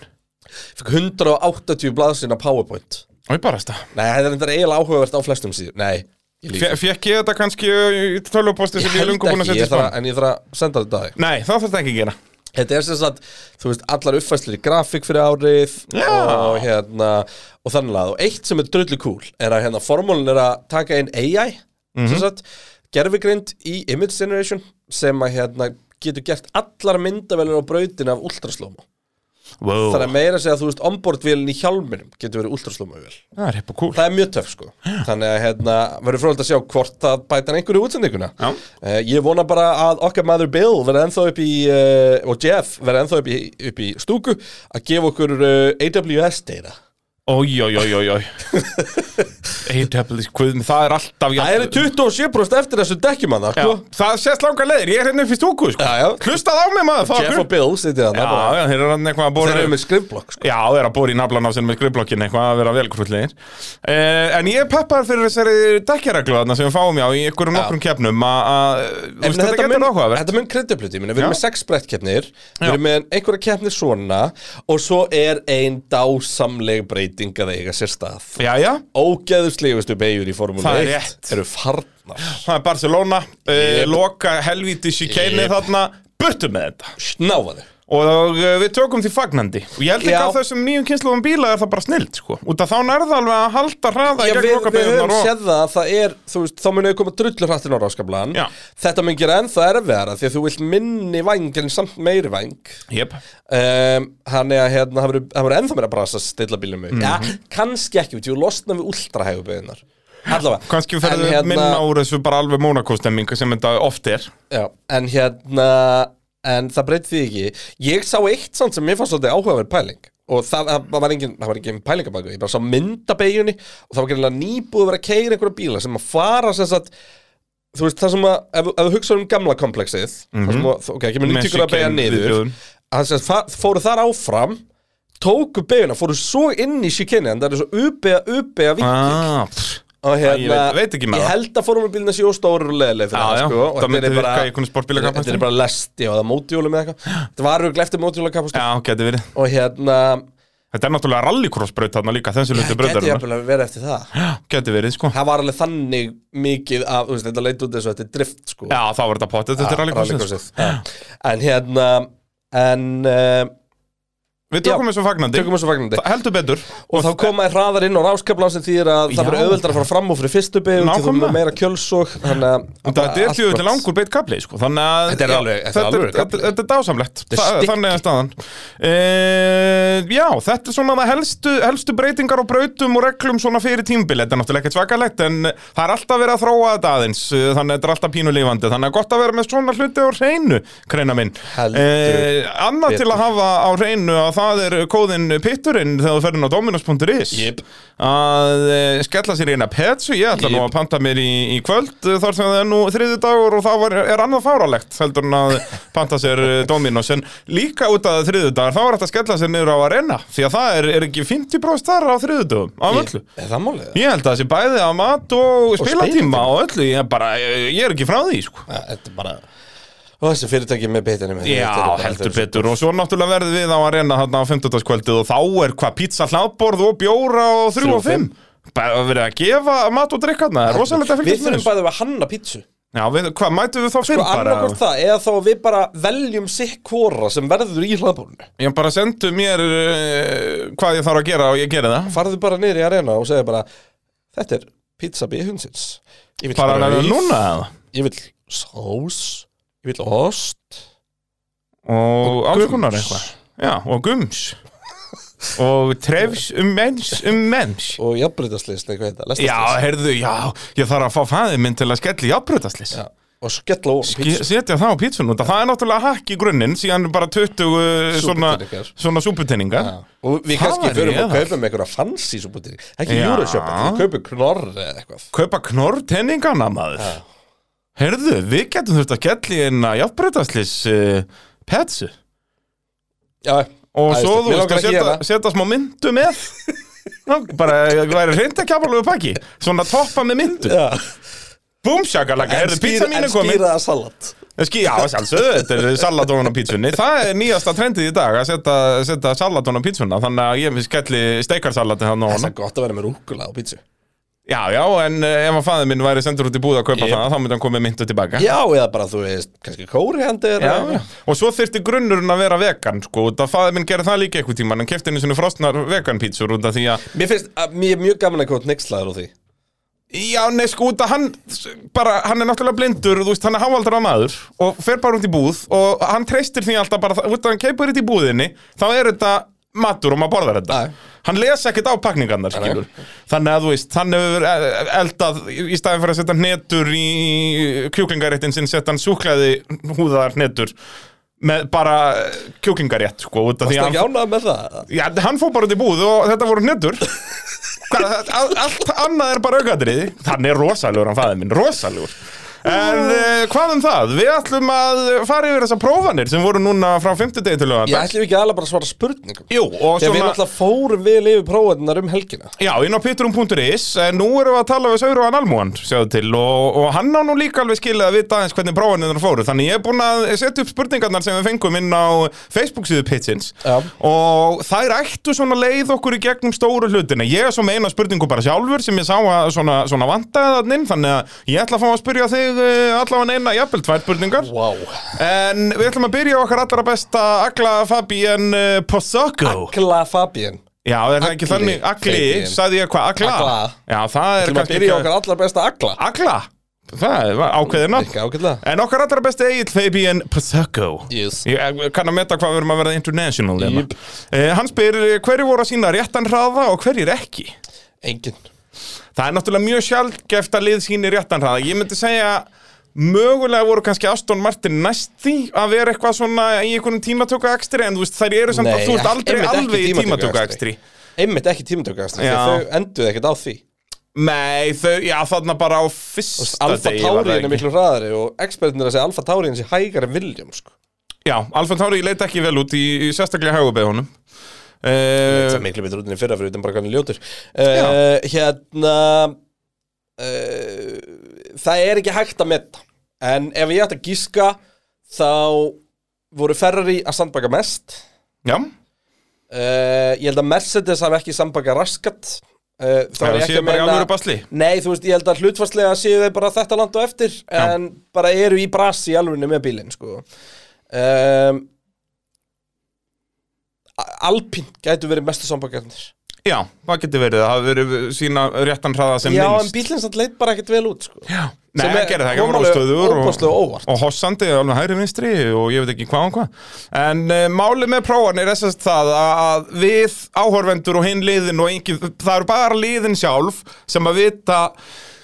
S2: fikk 180 blaðsina PowerPoint.
S3: Og ég barast það
S2: Nei, það er reyndar eiginlega áhugavert á flestum síðan, nei, ég líka.
S3: Fekk ég þetta kannski í tölvuposti
S2: Ég
S3: sem ég er
S2: held
S3: lungu búin að
S2: ekki,
S3: setja í
S2: ég þarf að,
S3: spán
S2: en ég þarf að senda þetta að þig.
S3: Nei, það þarf þetta ekki að gera
S2: Þetta er sem sagt, þú veist, allar uppfæslir í grafík fyrir árið
S3: Já.
S2: og hérna, og þannig að, og eitt sem er drullu cool er að hérna formúlin er að taka inn AI, sem sagt, gerfigrind í image generation sem að hérna getur gert allar myndavelin á brautin af ultraslóma.
S3: wow.
S2: Þannig að meira að segja að þú veist, onboardvélin í hjálminum getur verið ultraslóma vel.
S3: Það er hippa cool
S2: Það er mjög töff sko Þannig að hérna, verður frólægt að sjá hvort það bætan einhverju í útsendinguna
S3: Já.
S2: Eh, Ég vona bara að okkar maður Bill verða ennþá upp í uh, og Jeff verða ennþá upp í, upp í stúku að gefa okkur uh, AWS data
S3: Ój, ój, ój, ój, ój Eitablis, hvað, það er alltaf
S2: Það eru 27% eftir þessu dekkjumann
S3: Já,
S2: sko.
S3: það sést langar leiðir, ég er hérna upp í stúku sko.
S2: Já, já.
S3: Hlustað á mig maður, það var
S2: Jeff og
S3: kul
S2: Bill sitja
S3: Já,
S2: þannig
S3: já, þeir eru hann eitthvað að
S2: Þeir
S3: bóra
S2: eru með skrifblokk sko.
S3: Já, þeir eru að bóra í naflan af sinni með skrifblokkin eitthvað að vera velkrullegir uh, En ég er peppar fyrir þessari dekkjareglu þarna sem við fáum já í einhverjum nokkrum keppnum að- að, þú
S2: En
S3: veist, þetta getur áhugaverð
S2: þetta mun kredibliti, við erum
S3: Já.
S2: með sex brettkeppnir Við
S3: Já.
S2: erum með einhverja keppnir svona Og svo er ein dásamleg breyting að eiga sér stað
S3: Já, já,
S2: ógeðuslegustu beigur í Formúlu
S3: Það er
S2: 1
S3: rétt.
S2: eru farnar
S3: það er Barcelona uh,
S2: Jep.
S3: Loka helvíti síkeini
S2: Jep.
S3: þarna Burtu með þetta
S2: snáfaðu
S3: Og uh, við tökum því fagnandi Og ég held ekki
S2: Já.
S3: að þessum nýjum kynsluðum bíla er það bara snild sko. Út af þá nærða alveg að halda hraða
S2: Já,
S3: í gegn
S2: við, við
S3: lokabeygjarnar
S2: höfum
S3: og-
S2: séð það að það er, þú veist, þá munið koma drullur hrattin á ráskablan
S3: Já.
S2: Þetta mun gera ennþá erfiðara því að þú vilt minni væng en samt meiri væng
S3: Jep.
S2: um, Hann er að, hérna, það verður- það verður ennþá meira að brasa að stilla bílum
S3: Mhm.
S2: mm Já, kannski ekki, við þú losna við últrahægu beigunar Allavega
S3: Kanski
S2: En
S3: ferðu
S2: hérna-
S3: minna úr þessu bara alveg mónakóstemming sem þetta oft er
S2: Já, en hérna En það breytti því ekki Ég sá eitt samt sem mér fannst svolítið áhugaverð pæling Og það, það var engin, það var engin pælingabaku Ég bara sá myndabeginni Og það var greinlega nýbúið að vera að keira einhverja bíla Sem að fara sem sagt Þú veist, það sem að, ef, ef þú hugsa um gamla kompleksið mm -hmm. að, Ok, ekki með nýttíkur að beigja
S3: Mexican
S2: niður
S3: viðbjóðum.
S2: Hann sem sagt, fa- fóru þar áfram Tóku beiguna, fóru svo inn í shikinni En það er svo uppeja, uppeja vinkil
S3: ah, pff.
S2: og hérna,
S3: Æ, ég veit- veit ekki með
S2: ég
S3: það.
S2: held að formúlbílina séu stóru og leðileg fyrir
S3: Já, já.
S2: það sko og
S3: Það
S2: þetta er
S3: myndi
S2: bara-
S3: virka í einhvern sportbílakapastur.
S2: þetta er bara lesti og það mótjólum eða eitthvað þetta var auðvitað eftir mótjólakapastur
S3: Já, geti verið
S2: og hérna
S3: Þetta er náttúrulega rallycross braut þarna líka Þessu luti
S2: geti ég
S3: brautarinnar
S2: að vera eftir það
S3: Geti verið, sko
S2: það var alveg þannig mikið að þú veist, þetta leit út eins og þetta er drift sko
S3: Já, þá var þetta potið Þetta er rallycrossið sko.
S2: rallycrossið. Já. en hérna en uh,
S3: Við tökum þessu fagnandi
S2: tökum þessu fagnandi
S3: Það- Heldur betur
S2: og þá koma þær hraðar inn á ráskaplan sem þýðir að það
S3: Já.
S2: verður auðveldar að fara fram úr fyrir fyrstu bygg og
S3: Nákvæmlega.
S2: það er meira kjölsók þannig að
S3: Þetta er
S2: allt
S3: tjóðið
S2: gott.
S3: til langur beitt kapli sko. Þannig að
S2: Þetta er
S3: já,
S2: alveg- þetta er
S3: Þetta
S2: alveg
S3: þetta-
S2: kafli.
S3: þetta er
S2: er
S3: dásamlett Þa-
S2: stykki.
S3: Þannig er staðan e, Já, þetta er svona það helstu, helstu breytingar á brautum og reglum svona fyrir tímbil Þetta er náttúrulega ekkert svakalegt En það er alltaf verið að þróa þetta aðeins eh, Þannig að þetta er alltaf pínulífandi Þannig að gott að vera með svona hluti á hreinu Kreina minn Eh,
S2: Heldur
S3: Annað til
S2: betur.
S3: að hafa á hreinu að það er kóðin pitturinn þegar þú ferðin á dominos.is
S2: Jep.
S3: að eh, skella sér í eina petsu ég ætla nú
S2: Jep.
S3: að panta mér í, í kvöld eh, þar sem það er nú þriði dagur og þá var, er annað fáralegt heldur en að panta sér eh, Dominos en líka út að þriði dagar þá er þetta að skella sér niður á arena því að það er, er ekki 50% þar á þriði dagum á
S2: Ég-
S3: öllu
S2: er það málið?
S3: Ég held að það sé bæði á mat og
S2: spilatíma.
S3: spilatíma og öllu, ég er bara, ég ég er ekki frá því, sko.
S2: Ja, Þetta er bara Og þessi fyrirtæki með betinni með
S3: Já, heldur betur og svo náttúrulega verðum við á að reyna þarna á 15. kvöldið og þá er hvað pizza hlaðborð og bjóra og þrjú
S2: Þrjú
S3: og fimm Bara verið að gefa mat og drikka þarna, það er rosalega
S2: Við
S3: fylgjast með
S2: þurfum
S3: þessu
S2: bara að hanna pítsu
S3: Já, við, hvað mætum við þá
S2: Sko
S3: fyrr bara?
S2: annarkort það Eða þá að við bara veljum sikk hvora sem verður í hlaðbólinu
S3: Ég bara sendu mér uh, hvað ég þarf að gera og ég geri það
S2: Farðu bara niður í arena og segja bara Þetta er pizza bíhundsins Ég vil
S3: Fara hann að
S2: brauð,
S3: núna eða?
S2: Ég vil sós Ég vil ost
S3: Og alls
S2: gums.
S3: konar eitthvað Já, og gums Og trefs um mens um mens
S2: Og jafnbreytaslist eitthvað hérna. heita
S3: Já,
S2: lestarslist.
S3: heyrðu, já, ég þarf að fá fæðið minn til að skelli jafnbröðaslis
S2: Já, Og skella ofan
S3: Ég
S2: pizza
S3: setja það á pítsun út það er náttúrulega hakk í grunninn síðan bara 20 uh, svona,
S2: Súputenningar.
S3: svona súputenninga
S2: Já. Og við
S3: Það
S2: kannski
S3: væri
S2: förum og
S3: eðal.
S2: kaupum einhverja fancy svo bútið Ekki
S3: Já.
S2: júrasjöpun, við kaupum knorr eða eitthvað
S3: kaupa knorrtenningana maður heyrðu, við getum þurft að kelli inn að jafnbreytaslis uh, petsu
S2: Já,
S3: og svo
S2: æðislegt.
S3: þú
S2: Mig
S3: veist
S2: langar
S3: að
S2: ekki
S3: setja,
S2: hérna.
S3: setja smá myndu með Ná, bara það væri reynd að kjafalögu pakki svona toppa með myndu
S2: Já.
S3: búmsjakalaka, heyrðu, pizza mín er
S2: En
S3: komin
S2: skýraða salat
S3: Ski, já, sjálfsögðu, þetta er salatón á pítsunni Það er nýjasta trendið í dag að setja, setja salatón á pítsuna Þannig að ég skelli steikarsalati hann á
S2: Það
S3: hana
S2: er gott að vera með rúkula á pizza
S3: Já, já, en eh, ef að faðið minn væri sendur út í búð að kaupa
S2: Ég-
S3: það Þá myndi hann komið myndu tilbaka
S2: Já, eða bara þú veist, kannski kórihandir
S3: Já, já. Og svo þyrfti grunnurinn að vera vegan sko, út að faðið minn gerði það líka eitthvað tíma en kefti henni svona frostnar vegan pítsur út af því að
S2: Mér finnst, að, mér er mjög gaman að kóta nexlaður á því
S3: Já, nei, sko, út að hann bara, hann er náttúrulega blindur, þú veist, hann er hávaldra maður og fer bara út í búð og hann treystir því alltaf bara, út að hann keipur þetta í búðinni þá er þetta matur og maður borðar þetta
S2: Nei.
S3: Hann les ekkert á pakningarnar, skilur Þannig að, þú veist, hann hefur eh, eldað í staðin fyrir að setja hnetur í kjúklingaréttin sinn, setja hann súklaði húðar hnetur með bara kjúklingarétt, sko, út af því
S2: Það er
S3: að
S2: ekki
S3: hann,
S2: ánað með það
S3: já, hann fór bara út í búð og þetta voru hnetur Hvað, all- allt annað er bara aukatriði Þannig er rosalugur hann fæði minn, rosalugur En uh, hvað um það? Við ætlum að fara yfir þessar prófanir sem voru núna frá 50 degi til
S2: Ég
S3: lögandar
S2: ætlum við ekki alveg bara að svara spurningum
S3: Jú, og
S2: Þegar við
S3: svona-
S2: alltaf fórum við lifi prófaðinnar um helgina
S3: Já, inn á pitrum.is en Nú erum við að tala við Sauruan Almúan sjáðu til og, og hann á nú líka alveg skilið að vita aðeins hvernig prófanirnar fóru Þannig ég er búinn að setja upp spurningarnar sem við fengum inn á Facebook síðu pitsins
S2: Já.
S3: Og þær ættu svona leið okkur í gegnum stóru hlutina Ég er svo með eina spurningu bara sjálfur sem ég sá að svona, svona vantaði þanninn Þannig að ég ætla að fá að spyrja þig eh, allavega eina jafnvel tvær spurningar
S2: Vá
S3: En við ætlum að byrja á okkar allra besta Agla Fabian eh, Pozzocco
S2: Gla Fabian
S3: Já, er það ekki
S2: Agli.
S3: þannig? Agli,
S2: Feitin.
S3: sagði ég hvað? Agla?
S2: Agla.
S3: Já, það er
S2: Þegar maður byrja í okkar allar besta agla
S3: Agla? Það var ákveðina
S2: Ekki ágætlega
S3: En okkar allra besti Egil Fabian Pasako
S2: Yes.
S3: Ég eh, kann að meta hvað við erum að verða international hérna.
S2: Jöp.
S3: eh, Hann spyr eh, hverju voru að sína réttan hraða og hverjir ekki
S2: Engin
S3: Það er náttúrulega mjög sjálfgeft að lið síni réttan hraða Ég myndi segja Mögulega voru kannski Aston Martin næst því að vera eitthvað svona í einhvernum tímatöku ekstri en þú veist þær eru samt að
S2: Nei,
S3: þú ert aldrei
S2: einmitt ekki
S3: alveg í tímatöku
S2: tímatökuakstri.
S3: ekstri
S2: Einmitt ekki tímatökast
S3: Já.
S2: Þau enduðu ekkert á því
S3: Nei, þau, já, þarna bara á fyrsta
S2: Alfa
S3: degi var það
S2: Taurin er
S3: ekki.
S2: miklu hraðari og expertinir að segja Alfa Taurin sé hægar en William sko.
S3: Já, Alfa Tauri leit ekki vel út í, í sérstaklega hægubeðunum
S2: Það
S3: uh,
S2: er miklu betur út enn í fyrra fyrir utan bara hvernig ljótur uh, Hérna uh, Það er ekki hægt að metta En ef ég ætti að gíska Þá voru Ferrari að sandbaka mest
S3: Já,
S2: uh, Ég held að Mercedes hafi ekki sandbaka raskat uh, Þá
S3: það
S2: er ég ekki
S3: séu
S2: að
S3: bara í alvöru
S2: meina
S3: basli
S2: Nei, þú veist, ég held að hlutfarslega séu þau bara þetta land og eftir
S3: Já.
S2: En bara eru í brasi í alvegni með bílinn, sko um, Alpín gætu verið mestu sambakarnir
S3: Já, það getur verið, það hafi verið sína réttan hraða sem
S2: Já, en
S3: minnst
S2: bílinn samt leit bara ekkert vel út, sko
S3: Já, Nei, það gerði það ekki, það var óstöður
S2: og Óbáslega
S3: og,
S2: óvart
S3: og hossandi, alveg hægri vinstri og ég veit ekki hvað og hvað En uh, máli með prófan er þess að það að við áhorfendur og hinn liðin og engin, það eru bara liðin sjálf sem að vita,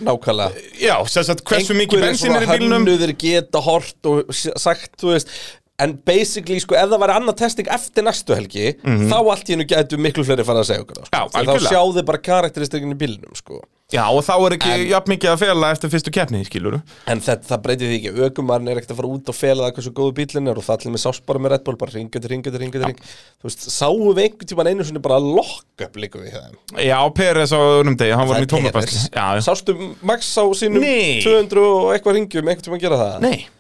S2: Nákvæmlega
S3: já, sem sagt hversu mikið
S2: Einhverjir
S3: bensin er í
S2: svona
S3: bílnum
S2: hönnuðir geta hort og s- sagt, þú veist En basically, sko, ef það væri annað testing eftir næstu helgi Þá allt í hennu gætu miklu fleiri fara að segja okkur það, sko.
S3: Já,
S2: Því Þá
S3: algjörlega.
S2: sjáðu bara karakteristikinni í bílnum, sko
S3: Já, og þá er ekki
S2: En-
S3: jafn mikið að fela eftir fyrstu keppni, skilur
S2: En það, það breytir því ekki, ökumarinn er ekkert að fara út og fela það hversu góðu bílinn er og það allir með sást bara með Red Bull, bara ringa til ringa til ringa til ringa Þú veist, sáum við einhvern tímann einu sinni bara að lokka upp líka við það
S3: Já, Peres á önum degi, hann var í tómabæsli Já, já
S2: Sástu Max á sínum
S3: Nei.
S2: 200 og eitthvað ringjum, einhvern tímann gera það
S3: Nei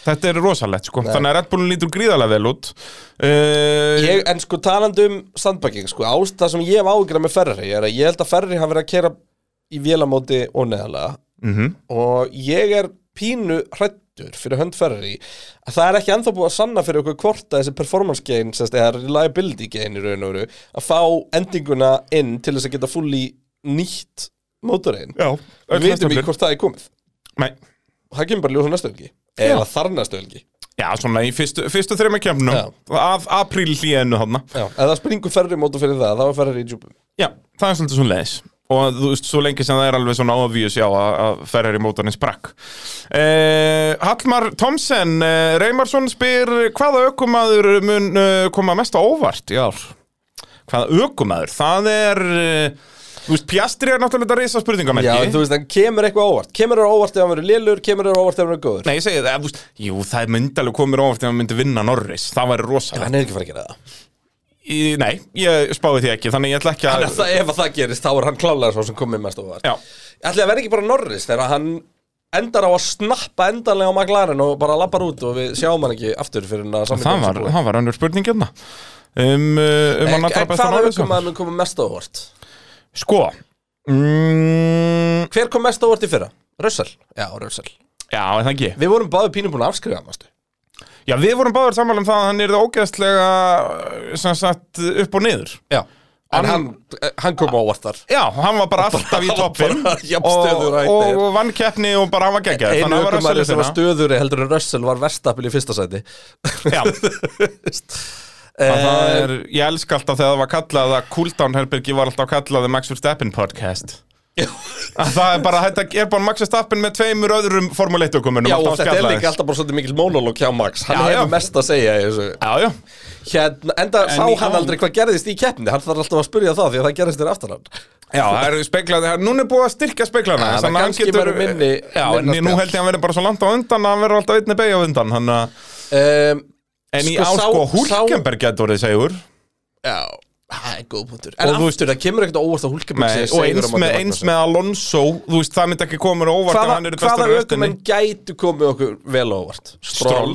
S3: Þetta er rosalegt, sko Þannig að Red Bullin lítur gríðarlega vel út uh,
S2: ég, En sko talandi um sandbakking, sko, ástæð sem ég hef ágjörða með Ferrari er að ég held að Ferrari hafi verið að kera í vélamóti og neðalega
S3: mhm.
S2: og ég er pínu hrættur fyrir hönd Ferrari að það er ekki ennþá búið að sanna fyrir okkur hvort að þessi performance gain sérst, eða reliability gain í raun og veru að fá endinguna inn til þess að geta fulli nýtt mótorinn
S3: Já, öll
S2: Við vitum
S3: næstu
S2: ekki hvort það er komið
S3: Nei.
S2: Það kemur bara ljósa næstu helgi Eða þar næstu helgi
S3: Já, svona í fyrstu, fyrstu þreima kemnum
S2: Já.
S3: Af apríl hlíðinu þarna
S2: Já, ef það springur ferri mótor fyrir það, þá er ferri í djúpum
S3: Já, það er svolítið svona leðis Og þú veist, svo lengi sem það er alveg svona obvious Já, að að Ferrari mótorinn sprakk eh, Hallmar Thomsen eh, Reimarsson spyr Hvaða ökumaður mun eh, koma mest á óvart í ár? Hvaða ökumaður? Það er eh, Þú veist, Pjastri er náttúrulega þetta
S2: Já,
S3: risa
S2: en þú
S3: spurningamerki
S2: veist, en kemur eitthvað óvart Kemur það óvart ef hann verður lélur, kemur það óvart ef hann verður góður
S3: Nei, ég segi það, eh, þú veist, jú, það er myndalega komir óvart ef hann myndi vinna Norris, það væri rosalegt
S2: Hann er ekki að fara að gera það
S3: Í- Nei, ég spáði því ekki, þannig ég ætla ekki að
S2: Þannig að það- ef að það gerist, þá er hann klálega svo sem komið mest óvart
S3: Já,
S2: Ætli að vera ekki bara Norris þegar hann endar á að snappa endanlega á McLaren og bara lappar út og við sjáum hann ekki aftur fyrir hann að
S3: það var, það var önnur spurning hérna um, uh, um hann allra besta
S2: Hvað er
S3: Norris
S2: aukum að hann komið mest óvart?
S3: Sko mm,
S2: Hver kom mest óvart í fyrra? Russell? Já, Russell
S3: Já, er það ekki
S2: Við vorum báði pínum búin að afskrifa hann, varstu
S3: Já, við vorum báður sammála um það að hann er það ógeðslega uh, sem sagt upp og niður
S2: Já En hann,
S3: Hann-
S2: hann kom óvart þar
S3: Já, hann var bara alltaf í
S2: Bara-
S3: toppin
S2: bara jafnstöður
S3: og,
S2: og hægt er.
S3: og vann keppni og bara hann var geggjað
S2: Einu
S3: Þannig að hann var
S2: aukumæri
S3: að
S2: sem var
S3: selja þetta
S2: stöðuri heldur en Russell var verstapil í fyrsta sæti
S3: Já, að það
S2: Eh.
S3: er, ég elska alltaf þegar það var kallað að Cooldown Herbergi var alltaf kallað The Max Verstappen Podcast að það er bara, þetta er bara Max Verstappen með tveimur öðrum Formule um 1 dokumentum
S2: Já, og þetta er líka alltaf bara svolítið mikil monolog hjá Max Hann
S3: Já,
S2: hefur
S3: já.
S2: mest að segja í þessu
S3: Já, já,
S2: Hérna, enda sá
S3: í-
S2: hann aldrei hvað gerðist í keppni Hann þarf alltaf að spurja það því að það gerðist þér aftan hann
S3: Já, það eru speklaði, það- núna er búið að styrkja speklana
S2: Já,
S3: ja,
S2: það kannski verður minni-
S3: Já, en
S2: minna
S3: ég- nú
S2: spjall.
S3: held ég að hann verður bara svo langt á undan að hann verður alltaf einni beig á undan hann,
S2: um,
S3: En í
S2: Sko,
S3: á
S2: sá-
S3: sko
S2: sá-
S3: Hulkenberg getur orðið segur
S2: Já, það er góð punktur En
S3: Og þú-
S2: aftur, það kemur ekkert á óvart að húlkjum
S3: Nei, Og eins með, eins með Alonso Þú veist, það myndi ekki koma mér á óvart að hann
S2: Hvaða, hvaða
S3: er bestur í
S2: aukumenn
S3: restinni.
S2: gætu komið okkur vel á óvart?
S3: Stroll.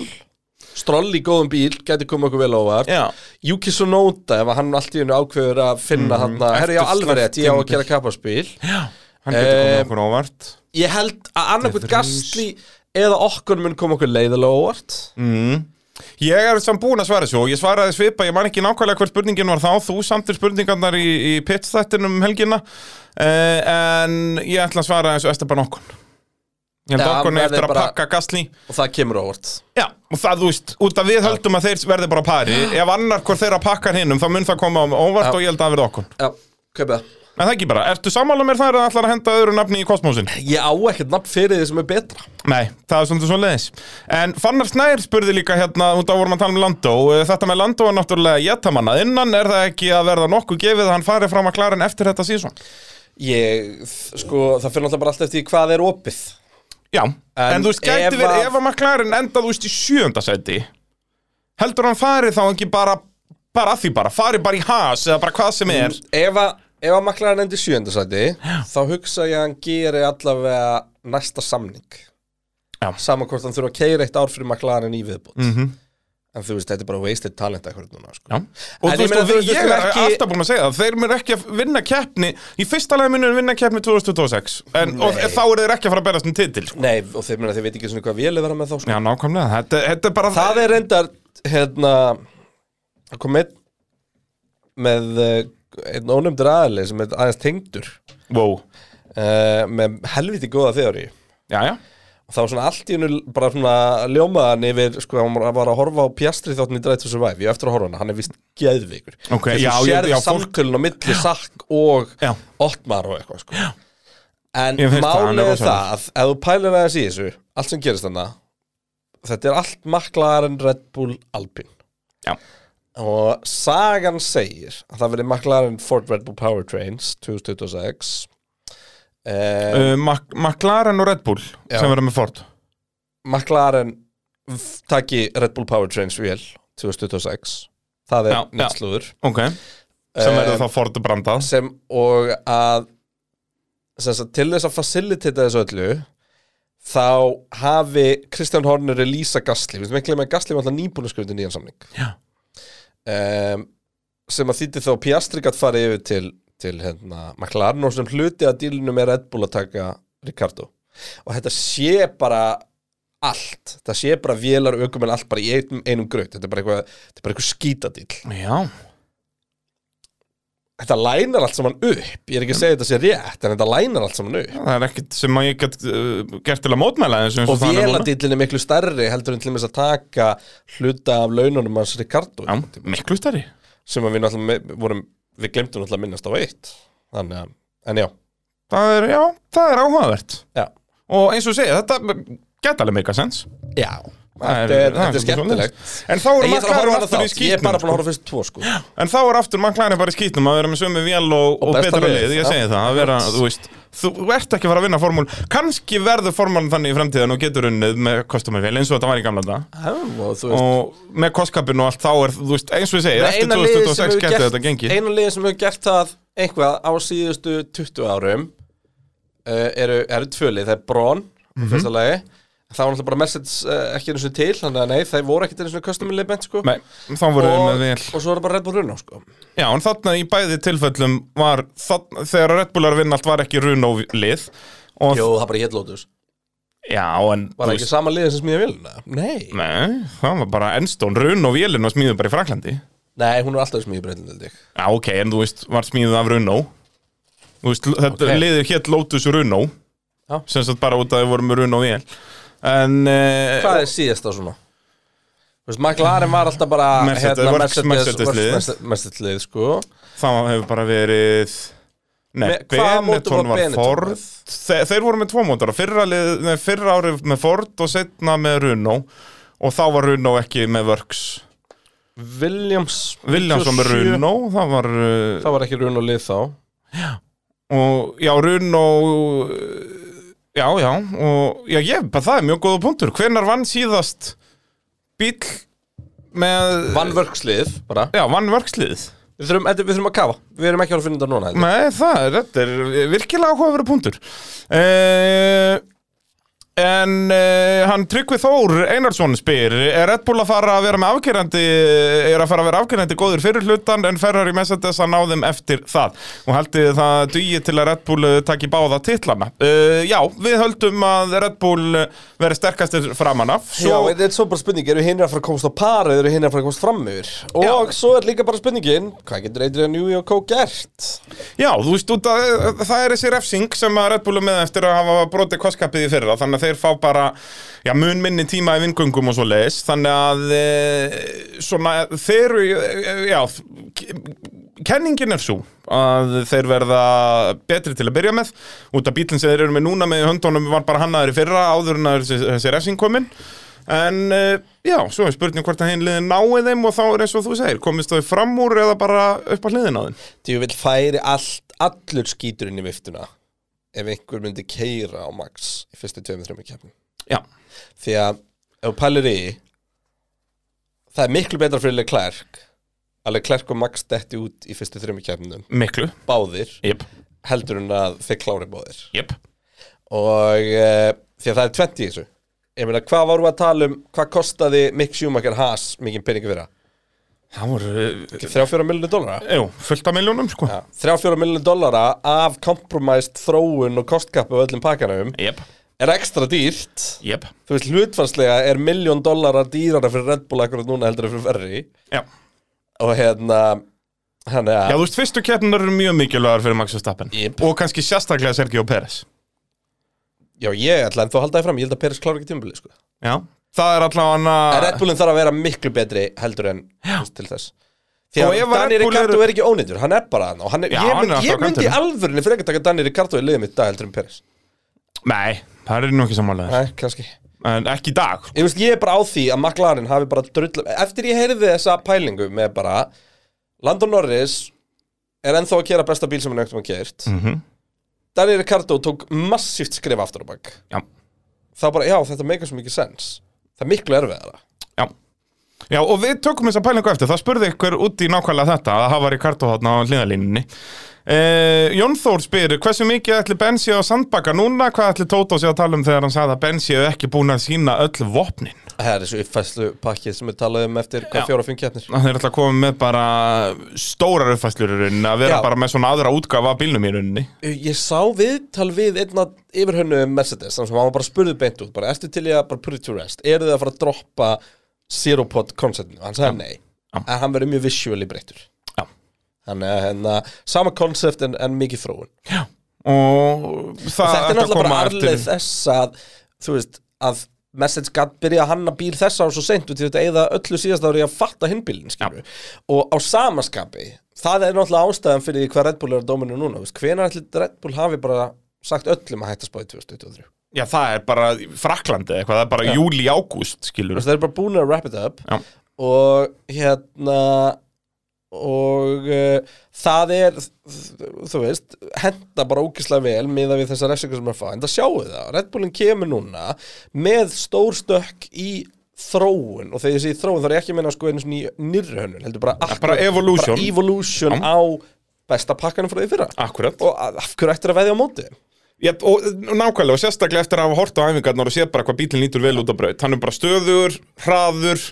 S2: Stroll í góðum bíl gætu komið okkur vel á óvart
S3: Já.
S2: Yuki Sonoda ef hann allt í hennu ákveður að finna mm, hann Herri, já,
S3: Mhm. eftir
S2: alveg rétt, ég á að
S3: tímabil.
S2: gera kapparspil
S3: Hann getur komið
S2: Eh,
S3: okkur á óvart
S2: Ég held að annarkvæmt Gastli eða okkur mun koma okkur leiðilega á óvart
S3: Mm. Ég er samt búin að svara þessu og ég svaraði svipa, ég man ekki nákvæmlega hver spurningin var þá, þú samtir spurningarnar í, í pitstættinum um helgina uh, en ég ætla að svara þessu eftir bara nokkun Ég held
S2: Já,
S3: okkur
S2: verður
S3: eftir að
S2: bara-
S3: pakka gasli
S2: og það kemur á óvart
S3: Já, og það, þú veist, út af við höldum að þeir verði bara á pari Ef annar hvort þeirra pakkar hinnum, þá mun það koma á óvart og ég held að það verði okkur
S2: Já, kaupið það
S3: En það ekki bara, ertu sammála mér þar að ætlar að henda öðru nafni í kosmósin?
S2: Ég á ekkert nafn fyrir því sem er betra
S3: Nei, það er svona svo leiðis En Fannar Snær spurði líka hérna út af vorum að tala um Landó Eh, Þetta með Landó er náttúrulega jættamanna innan Er það ekki að verða nokkuð gefið að hann fari fram að klara en eftir þetta síðan?
S2: Ég, sko, það fyrir alltaf bara alltaf eftir því hvað er opið
S3: Já, en, þú veist, gæti
S2: ef að-
S3: verið ef að McLaren enda þú veist í sjönda seti Heldur hann fari þá ekki bara bara að því bara, fari bara í has eða bara hvað sem er
S2: Ef að, ef að maklarinn endi sjöndasæti þá hugsa ég að hann geri allavega næsta samning
S3: Já. Mhm.
S2: Saman hvort hann þurfa að keira eitt ár fyrir maklarinn í viðbútt En þú veist, þetta er bara wasted talent eitthvað núna, sko
S3: Já. Og
S2: En ég
S3: þú veist,
S2: meina,
S3: og
S2: þú
S3: þeir,
S2: veist,
S3: ég
S2: við
S3: er
S2: skulum ekki-
S3: alltaf búin að segja það Þeir mér ekki að vinna keppni Í fyrsta lagi munur vinna keppni 2026 en, Og
S2: Nei.
S3: þá eru þeir ekki að fara að berast um titil sko.
S2: Nei, og þeir meina þeir veit ekki svona hvað vél er vera með þá, sko
S3: Já, nákvæmlega, þetta, þetta er bara
S2: Það er reyndar, hérna Það kom einn með eh, einn ónefndur aðli sem er aðeins tengdur
S3: wow.
S2: uh, með helviti góða þeori
S3: Já, já,
S2: og það var svona allt í hennu bara svona ljómaðan yfir, sko, hann var að horfa á Pjastri þáttin í Drive to Survive, ég á eftir að horfa á hana hann er vist geðvikur
S3: Ok,
S2: Þess
S3: já,
S2: að
S3: já,
S2: sérð
S3: já, fólk-
S2: samtölun á milli Sakk og
S3: Já.
S2: Ottmar og eitthvað, sko já. en
S3: Ég finnst það, hann er
S2: málið er
S3: rosalegur.
S2: það að ef þú pælir aðeins í þessu, allt sem gerist þarna þetta er allt maklaðar en Red Bull Alpine
S3: já.
S2: og sagan segir að það verið McLaren Ford Red Bull Powertrains 2026 eh,
S3: Uh, Mac McLaren og Red Bull
S2: Já.
S3: sem verður með Ford
S2: McLaren f- taki Red Bull Powertrains vél 2026 það er
S3: Já, já.
S2: nýtt slúður
S3: Ok, sem verður
S2: Eh,
S3: þá Ford brandað
S2: sem og að sem sagt, til þess að facilitita þessu öllu þá hafi Kristján Horner releasa Gasly, við veitum ekki með Gasly var alltaf nýbúin að skrifa undir nýjan samning
S3: Já.
S2: um, sem að þýtti þá Piastri gætt farið yfir til, til hérna, McLaren og sem hluti að dílunum er Red Bull að taka Ricardo og þetta sé bara allt, það sé bara vélar aukumenn allt bara í einum, einum gröð, þetta er bara eitthvað, þetta er bara eitthvað skítadíl
S3: Já,
S2: þetta lænar allt saman upp Ég er ekki að segja þetta sé rétt, en þetta lænar allt saman upp
S3: það er ekkert sem að ég get uh, gert til að mótmæla þessu eins
S2: Og
S3: það er núna.
S2: véladillin er miklu stærri heldur en til þess að taka hluta af laununum hans Ricardo
S3: Já, miklu stærri
S2: sem að við náttúrulega me- vorum, við glemtum náttúrulega að minnast á eitt Þannig að, en já,
S3: það er, Já, það er áhugavert
S2: já,
S3: Og eins og segja, þetta geta alveg meika sens
S2: já
S3: Það
S2: Þetta er,
S3: það
S2: þetta er
S3: svolítið
S2: skemmtilegt
S3: svoleiðis. En þá eru
S2: Ég þarf að
S3: maklarinn
S2: horfa á
S3: aftur í
S2: þátt, ég er bara búin að
S3: skýtnum
S2: horfa fyrst tvo sko
S3: En þá er aftur maklarinn bara í skýtnum að vera með sömu vél og, og,
S2: besta
S3: betra
S2: lið,
S3: lið Ég
S2: já.
S3: segi það, að vera, þú veist Þú ert ekki að fara að vinna formúl Kanski verður formúlan þannig í fremtíðan og getur unnið með kostumarvél eins og þetta var í gamla dag
S2: Og þú veist,
S3: og með kostkapin og allt þá er þú veist, eins og ég segi,
S2: Nei,
S3: eftir
S2: eina liðið sem
S3: 2026
S2: hefur
S3: getur
S2: gert-
S3: þetta gengi
S2: eina liðið sem hefur gert það eitthvað á síðustu 20 árum uh, eru, eru tvölið, það er Brón
S3: Mhm.
S2: mm fyrsta lagi, það var náttúrulega bara Mercedes uh, ekki einu sinni til, þannig að nei, það voru ekkert einu sinni custom element sko
S3: Nei, þá voru við
S2: og,
S3: með vel
S2: og svo er það bara Red Bull Runó sko
S3: Já, en þarna í bæði tilfellum var þarna, þegar Red Bull er að vinna allt var ekki Runo lið og,
S2: Jó, það bara hétt Lotus,
S3: Já, en
S2: var
S3: þú
S2: það ekki sama liðið sem smíða vilna? Nei,
S3: Nei, það var bara Enstón Runo vélinn var smíðuð bara í Fraklandi Já,
S2: nei, hún er alltaf smíða breytin held ég,
S3: ok, en þú veist, var smíðuð af Runo Þú veist, þetta
S2: Ok.
S3: liðið hétt Lotus Runo
S2: Já.
S3: sem sagt bara út að við vorum með Runo vél En eh,
S2: hvað er síðasta svona? Þú veist, McLaren var alltaf bara
S3: Mercedes-
S2: hérna,
S3: Works- Mercedes
S2: Works-
S3: liðið.
S2: Mercedes- Mercedes liðið sko
S3: það hefur bara verið Nei,
S2: Með- hvaða mótor
S3: Benetton
S2: var
S3: var
S2: Benetton
S3: Ford
S2: með?
S3: Þe, Þeir voru með tvo mótora fyrra, lið- nei, fyrra árið með Ford og setna með Runo Og þá var Runo ekki með Works
S2: Williams
S3: Williams var með
S2: 27.
S3: Runo Það var uh,
S2: Það var ekki Runó lið þá
S3: Og já, Runo uh, Já, já Og já, ég, bara það er mjög góða punktur Hvenær vann síðast bíl með
S2: Vann vörkslið bara
S3: Já, vann Workslið
S2: Við þurfum, þetta- við þurfum að kafa, við erum ekki að fara að finna þetta núna heldur.
S3: Nei, það er, þetta er virkilega áhugaveru punktur uh, En uh, hann Tryggvi Þór Einarsson spyr Er Red Bull að fara að vera með afgerandi Er að fara að vera afgerandi góður fyrir hlutan En Ferrari Mercedes að ná þeim eftir það Og haldið þið það dugi til að Red Bull eh, Taki báða titlana uh, Já, við höldum að Red Bull eh, Veri sterkastir framan af
S2: Já,
S3: Svo,
S2: þetta er svo bara spurning, eru hinir að fara að komast á par eða eru hinir að fara að komast fram yfir Og
S3: Já.
S2: svo er líka bara spurningin, hvað getur Adrian Newey og Kó gert?
S3: Já, þú veist út að eh, það er þessi refsing sem að Red Bull er með eftir að hafa brotið kostkapið í fyrra þannig að þeir fá bara já, mun minni tíma í vingungum og svo leis þannig að e, svona þeir eru, eh, já k- kenningin er svo að þeir verða betri til að byrja með út að bílinn sem þeir eru með núna með í höndunum var bara hannaður í fyrra áður en að þessi, þessi refsing kominn En uh, já, svo er spurning hvort að hinn liðin nái þeim og þá er eins og þú segir, komist þau fram úr eða bara upp á hliðin á þeim?
S2: Því vil færi allt, allur skíturinn í viftuna Ef einhver myndi keira á Max í fyrstu 2-3 keppnum
S3: Já,
S2: Því að ef þú pælir í Það er miklu betra fyrir Leclerc Að Leclerc og Max detti út í fyrstu 3 keppnum
S3: miklu
S2: Báðir
S3: Jep,
S2: heldur en að þeir klári báðir
S3: jep
S2: og uh, því að það er 20 í þessu ég meina hvað vorum við að tala um hvað kostaði Mick Schumacher Haas mikið peningi fyrir það
S3: Það voru, eh,
S2: 3-4 miljonir dollara
S3: jú, fullt af miljónum sko
S2: 3-4 miljonir dollara af compromised þróun og kostkappu og öllum pakkanum
S3: Jep,
S2: er ekstra dýrt
S3: jep
S2: þú veist hlutfarslega er miljón dollara dýrara fyrir Red Bull akkurat núna heldur en fyrir verri
S3: Já,
S2: og hérna hann er að
S3: Já þú veist, fyrstu keppnur eru mjög mikilvægar fyrir Max Verstappen
S2: Jep.
S3: Og kannski sérstaklega Sergio Perez
S2: já ég ætla en þú haldaði fram ég held að Peris klára ekki tímabili sko
S3: Já, það er allavega
S2: En
S3: hann
S2: Red Bullin þarf að vera miklu betri heldur en þú veist, til þess Því
S3: Og
S2: að
S3: ef að
S2: Daniel
S3: Red Bull
S2: Ricardo
S3: eru-
S2: er ekki ónýttur, hann er bara hann og hann er,
S3: Já,
S2: ég,
S3: hann
S2: mynd,
S3: er alltaf
S2: ég
S3: á
S2: myndi í
S3: kantinum.
S2: alvörinni fyrir ekki að taka Daniel Ricardo í liðið mitt í dag heldur en Peres
S3: Nei, það er nú ekki sammálaður
S2: Nei, kannski Ég,
S3: En ekki í dag
S2: veist, ég er bara á því að McLaren hafi bara drull Eftir ég heyrði þessa pælingu með bara Landon Norris er ennþá að kera besta bíl sem hann auktum að kert
S3: Mhm.
S2: Daniel Ricardo tók massíft skrif aftur á bak
S3: Já,
S2: Það bara, já, þetta meikar svo mikið sens Það er miklu erfiðara
S3: já Já, og við tökum þess að pælingu eftir, það spurði ykkur út í nákvæmlega þetta, að hafa Ricardo þarna á hliðalínunni. Eh, Jón Þór spyr, hversu mikið ætli Bensi á sandbaka núna, hvað ætli Tóta sé að tala um þegar hann sagði að Bensi hefur ekki búin að sína öll vopnin?
S2: Það er þessu uppfæslu pakkið sem við talaðum um eftir
S3: Já.
S2: hvað fjóra og fimm keppnir
S3: að þeir ætla að koma með bara stórar uppfæslur í rauninni, að vera
S2: Já.
S3: bara með svona aðra útgafa af bílnum í rauninni
S2: Ég sá viðtal við einn að yfirhönnu Mercedes, þannig sem hann var bara spurðið beint út bara, ertu til ég að bara put it to rest eru þið að fara að droppa zero pod conceptinu hann sagði nei,
S3: Já.
S2: en hann verið mjög visually breyttur
S3: Já.
S2: Þannig að hérna, sama konsept en, en mikið þróun
S3: og það
S2: Þetta er
S3: ætti að
S2: náttúrulega bara
S3: koma
S2: arleið þess að þú veist, að Message gat byrja að hanna bíl þess ára svo seint út í þetta eða öllu síðast ári að fatta hinn bílinn skilur og á samaskapi, það er náttúrulega ástæðan fyrir því hvað Red Bull er að dóminu núna þú veist, hvenær ætli Red Bull hafi bara sagt öllum að hætta að spá í 2023 Þú
S3: Já, það er bara Fraklandi eða eitthvað, það er bara júli, ágúst, skilur
S2: veist, það er bara búin að wrap it up
S3: Já.
S2: og hérna og uh, það er þú veist, henda bara ókislega vel miða við þessar refsingar sem er að fá en það sjáu það, Red Bullin kemur núna með stór stökk í þróun og þegar ég segi þróun þá er ég ekki að minna sko einu svona í nýrri hönnun heldur bara, akkurat,
S3: bara evolution.
S2: bara evolution á besta pakkanum frá því fyrra
S3: Akkurat
S2: og af af hverju ættir að veðja á móti þeim?
S3: Já, og nákvæmlega, og sérstaklega eftir að hafa hort á æfingarnar og séð bara hvað bílinn lítur vel út á braut Hann er bara stöður, hraður,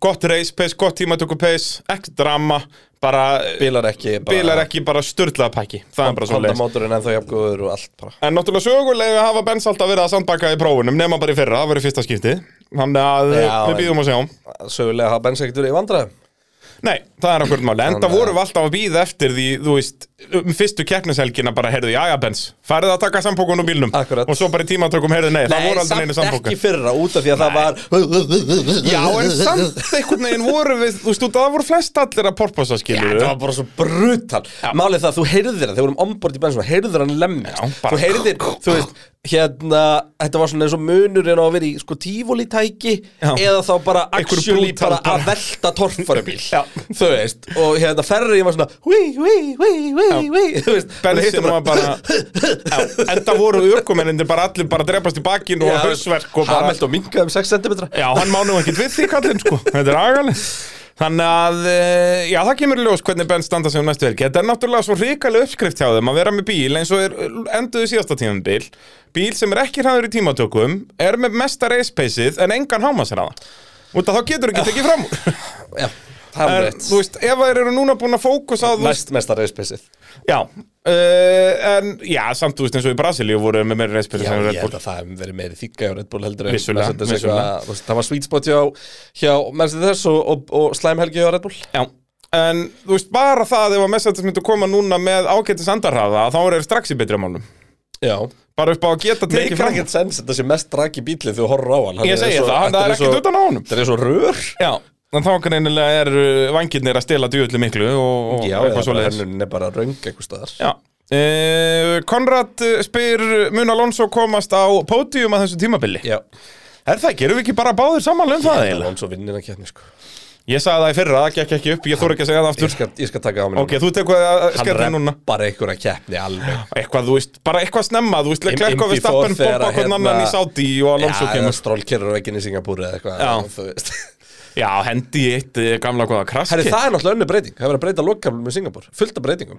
S3: gott race pace, gott tímatöku pace, ekki drama Bara,
S2: bilar ekki bara,
S3: bilar ekki bara sturlaða pakki Það er bara svo
S2: Honda mótorinn ennþá jafngóður og allt bara
S3: En náttúrulega sögulega hafa Benz alltaf verið að sandbaka í prófunum Nefna bara í fyrra, það var í fyrsta skipti Þannig að
S2: Já,
S3: við býðum að sjá
S2: sögulega hafa Benz ekkert verið í vandræðum
S3: Nei, það er okkur máli Enda
S2: Þannig að-
S3: vorum við alltaf að býða eftir því, þú veist um Fyrstu keppnishelgina bara, heyrðu, jæja Benz Færið að taka sandbókun úr bílnum
S2: Akkurat.
S3: Og svo bara í tímatökum, heyrðu, nei, það voru aldrei neina
S2: samt
S3: sandbókun
S2: ekki fyrra út af því að það var
S3: Já, en samt einhvern veginn voru við Þú veist, út, það voru flest allir að porposa skilur
S2: Það var bara svo brutal Málið það, þú heyrðir það, þegar við vorum ombord í bensinu Heyrðir hann lemmist
S3: Já, bara-
S2: Þú heyrðir, þú veist, hérna Þetta var svona eins og munurinn á að vera í sko tífólítæki
S3: Já.
S2: Eða þá bara
S3: Einhver
S2: actually
S3: brutal
S2: bara
S3: bara.
S2: að velta torfarubíl
S3: Já.
S2: Þú veist, og hérna ferri var svona Hui, hui, hui, hui, hui Þú veist,
S3: Bensin
S2: hittir
S3: var bara- Já, Enda voru ökumennindir bara allir bara að drepast í bakinn og
S2: Já,
S3: hausverk og bara
S2: Hamilton minkaði um 6 cm
S3: Já, hann má nú ekkert við því kallinn sko Þetta er agalegt Þannig að, eh, já það kemur í ljós hvernig Ben standa sig um næstu helgi Þetta er náttúrulega svo ríkalega uppskrift hjá þeim að vera með bíl eins og er eh, enduðu síðasta tímum bíl Bíl sem er ekki hraður í tímatökum er með mesta race pace-ið en engan hámasraða Út að þá getur ekki tekið fram úr
S2: Já, það
S3: En,
S2: var
S3: Þú
S2: rétt
S3: veist, ef þeir eru núna búin að fókusa á þú veist,
S2: Næst mesta rauðspesið
S3: Já, uh, en já, samt þú veist eins og í Brasilíu voru með meira race pace
S2: Já,
S3: en
S2: ég
S3: Red Bull
S2: held að það hefði verið meiri þykka hjá Red Bull heldur en
S3: Vissulega,
S2: Mercedes eitthvað-
S3: vissulega.
S2: þú veist, Það var sweet spot hjá, hjá Mercedes og, og, og slæmhelgi hjá Red Bull
S3: Já, en þú veist bara það ef að Mercedes myndi koma núna með ágættis andarhraða þá eru þeir strax í betri málum
S2: Já
S3: bara upp á að geta tekið
S2: Meikir
S3: fram
S2: ekkert sens þetta sé mest draki bílið þegar þú horfir á hann Hann
S3: Ég
S2: er
S3: segi
S2: svo-
S3: það, hann-
S2: þetta
S3: það er
S2: svo-
S3: ekkert utan á honum.
S2: Þetta er svo rör
S3: Já, en þá kannilega er uh, vangirnir að stela djúvillu miklu og, og
S2: Já,
S3: eitthvað svo leiðis
S2: hennin er bara röng eitthvað staðar
S3: Já Uh, Konrad eh, spyr mun Alonso komast á pódium að þessu tímabili
S2: Já,
S3: Er það ekki, eru við ekki bara báðir samanlega um það eiginlega?
S2: hann svo vinnir að kjæfni sko
S3: Ég sagði það í fyrra, það gekk ekki upp, ég þór ekki að segja það
S2: Ég
S3: aftur
S2: skal, ég skal taka á mig
S3: Ok, þú tekur það að
S2: Hann
S3: skerði núna
S2: reppar einhverja keppni alveg
S3: Eitthvað, þú veist, bara eitthvað snemma, þú veist,
S2: Im-
S3: klerk á
S2: Imbi
S3: við stappen,
S2: Þór þegar
S3: bomba
S2: að,
S3: hvern
S2: hérna-
S3: annan í Saudi og Alonso
S2: Já,
S3: kemur
S2: strólkerur og ekki í Singapúri eða eitthvað
S3: Já.
S2: þú veist.
S3: Já, hendi í eitt eh, gamla góða kraski
S2: Herri, það er náttúrulega önnu breyting Það er verið að breyta lokkablum í Singapúr Fullt af breytingum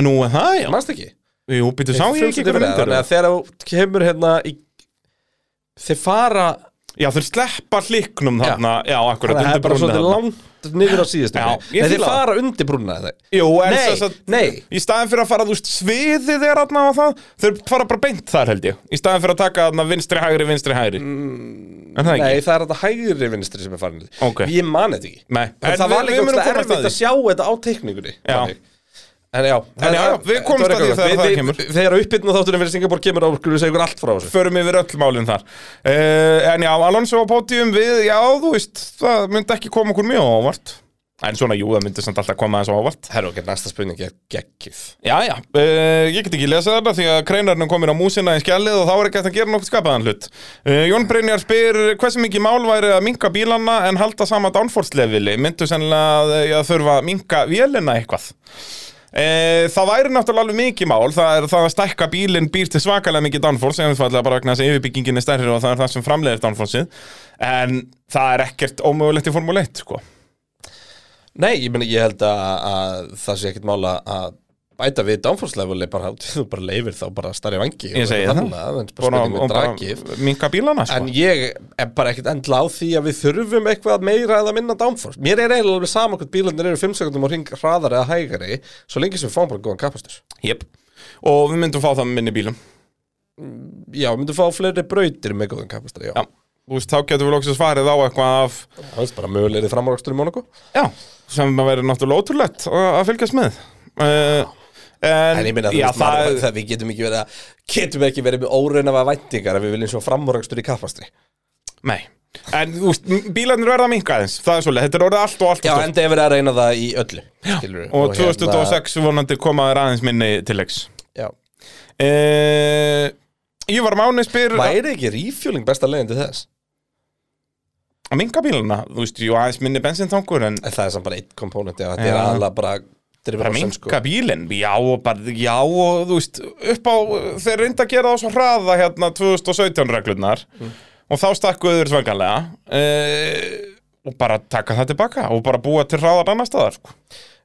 S3: Nú, er það, já
S2: Manst ekki?
S3: Jú, býttu, sá ég ekki
S2: Frumstætti fyrir
S3: hverja
S2: það,
S3: myndir
S2: Þannig að
S3: eru?
S2: þegar þú kemur hérna í... Þeir fara
S3: Já, þeir sleppa hliknum þarna Já, akkurat,
S2: Það er bara
S3: undir brúnni
S2: svolítið
S3: þarna.
S2: langt niður á síðustu
S3: Já, ég
S2: Nei, þeir
S3: fíla það.
S2: fara undir brúna
S3: Jú, en
S2: Nei,
S3: þess að
S2: nei.
S3: Í staðin fyrir að fara, þú veist, sviðið er þarna og það Þeir fara bara beint þar, held ég Í staðin fyrir að taka þarna vinstri, hægri, vinstri, hægri mm, En það
S2: Nei,
S3: ekki?
S2: það er þetta hægri vinstri sem er farin
S3: Ok.
S2: Ég man þetta ekki
S3: Nei.
S2: En
S3: En
S2: það
S3: við-
S2: var
S3: við
S2: líka
S3: munum
S2: ógeðslega
S3: komast að
S2: erfitt
S3: því.
S2: að sjá þetta á teikningunni
S3: Já.
S2: þannig. En já,
S3: En já, já, við
S2: þetta
S3: komumst
S2: var
S3: að því
S2: eitthvað.
S3: þegar
S2: Við-
S3: það
S2: við-
S3: kemur.
S2: Þegar uppbyrna þátturinn fyrir Singapur kemur á okkur, við segjum allt frá þessu
S3: Förum yfir öll málin þar uh, En já, Alonso á pódium við Já, þú veist, það myndi ekki koma okkur mjög á óvart En svona, jú, það myndi samt alltaf koma þess á óvart
S2: Herra, ok, næsta spurning er geggið
S3: Já, já, uh, ég get ekki lesað þetta því að kreinarinn er komin á músina í skjallið og þá er ekki hægt að gera nokkuð skapaðan hlut. Uh, Jón Brynjar spyr hversu mikið mál væri að minka bílana en halda sama downforce-levili, myndu sennilega að, eh, að þurfa að minka vélina eitthvað. Uh, það væri náttúrulega alveg mikið mál, það er það að stækka bílinn býr til svakalega mikið downforce, einfallega bara vegna þess að yfirbyggingin er stærri og það er það sem framleiðir downforceið, en það er ekkert ómögulegt í Formule 1, sko.
S2: Nei, ég, meni, ég held að, að það sé ekkert mála að bæta við downforce-leveli bara át, þú bara leifir þá bara starri vangi
S3: Ég segi það.
S2: það en,
S3: Bara,
S2: bara
S3: og
S2: og, drakif,
S3: bara minka bílana, sko.
S2: en ég er bara ekkert endla á því að við þurfum eitthvað meira eða minna downforce mér er eiginlega alveg sama hvort bílarnir eru 5 sekundum og hring hraðar eða hægari svo lengi sem við fáum bara góðan kapastur
S3: Jep. Og við myndum fá það með minni bílum.
S2: já, við myndum fá fleiri brautir með góðan kapastur já,
S3: Já, þú veist, þá getum við loksins farið á eitthvað af,
S2: það er bara mögulegri framrakstur í Monaco
S3: já, sem að vera náttúrulega ótrúlegt að að fylgjast með. uh, En,
S2: En ég minna
S3: já,
S2: að það, það við getum ekki verið að getum ekki verið með óreinnava væntingar að við viljum svo framúrækstur í kappastri
S3: Nei En þú veist, bílarnir verða að minka aðeins Það er svolítið, þetta er orðið allt og allt
S2: Já,
S3: og
S2: enda er verið að reyna það í öllu skilurðu,
S3: stórt Og
S2: hérna-
S3: 2026 vonandi koma þér aðeins minni til leiks
S2: Já.
S3: uh, Ívar Máni spyr
S2: Væri ekki refueling besta leiðin til þess?
S3: að minka bílana Þú veist, jú aðeins minni bensintankur En
S2: En það er samt bara einn komponenti og þetta
S3: Já.
S2: er alveg bara
S3: bara
S2: drifur sem sko
S3: minka bílinn Já, og bara, já, og þú veist Upp á, þeir reynda að gera það á svo hraða Hérna 2017 reglurnar Og þá stakkuðu þeir svanganlega uh, Og bara taka það tilbaka Og bara búa til hraðar annar staðar sko.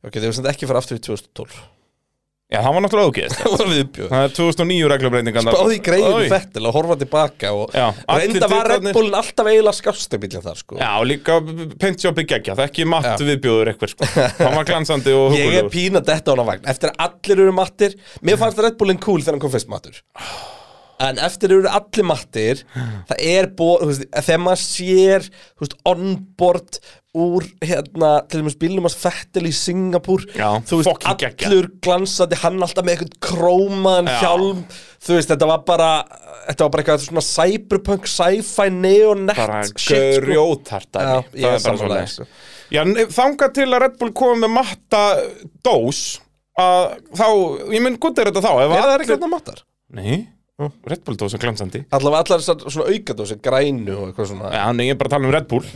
S2: Ok, þeir finnst ekki fara aftur í 2012
S3: Já, það var náttúrulega auðgeðist
S2: Það var viðbjöð
S3: Það er 2009 reglubreitingan
S2: Báði greiðinu fettil að horfa tilbaka og
S3: Já, allir
S2: reynda var Red
S3: titlarnir-
S2: Bullin alltaf eiginlega skástebílinn þar sko
S3: Já, og líka pentjópi geggja, það er ekki matt
S2: Já.
S3: viðbjóður eitthvað sko. Hann var glansandi og
S2: Ég er
S3: hugulegur
S2: pína detta á hana vagn Eftir að allir eru mattir Mér fannst Red Bullin cool þegar hann kom fyrst mattur En eftir eru allir mattir Það er bó, þú veist, Þegar maður sér þú veist, onboard Úr hérna Til þess bílum að fettil í Singapúr
S3: Já,
S2: Þú veist,
S3: fucking geggjað.
S2: allur glansandi Hann alltaf með eitthvað krómaðan
S3: Já.
S2: hjálm Þú veist, þetta var bara Þetta var bara eitthvað svona cyberpunk Sci-fi, neonet
S3: bara
S2: shit, sko.
S3: grjótart
S2: Já, ég er
S3: dæmi. Það er bara
S2: sammála
S3: svoleiðis.
S2: þessu.
S3: Já, en þangað til að Red Bull komið með matta dós að þá, ég mun guttir þetta þá ef
S2: Já, það er
S3: allir-
S2: ekki hérna mattar
S3: Nei, Red Bull dós er glansandi
S2: Allavega allar þessar svona aukadósi, grænu og eitthvað svona
S3: Já, nei, ég er bara að tala um Red Bull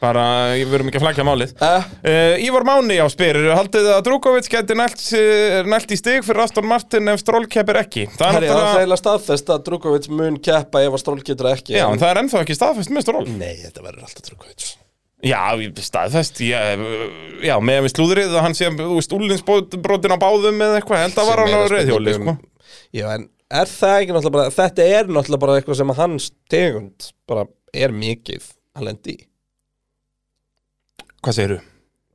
S3: bara, ég verum ekki að flagja málið
S2: Eh.
S3: Uh, Ívar Máni á spyr, haldið þið að Drúkovits geti nælt, eh, nælt í stig fyrir Aston Martin ef Stroll keppir ekki? Það
S2: Herri, það er
S3: náttúrulega-
S2: eiginlega staðfest að Drukovic mun keppa ef að Stról getur ekki
S3: Já, en það er ennþá ekki staðfest með Stroll
S2: Nei, þetta verður alltaf Drukovic
S3: Já, ég- staðfest, ég, uh, já, með við slúðrið að hann sé, þú veist, úlinsbrotin á báðum eða eitthvað, en það var hann á reyðhjóli, sko
S2: Já, en er það ekki náttúrulega bara Þetta er náttúrulega bara eitthvað sem að hans tegund bara er mikið að lendi í um,
S3: Hvað segirðu?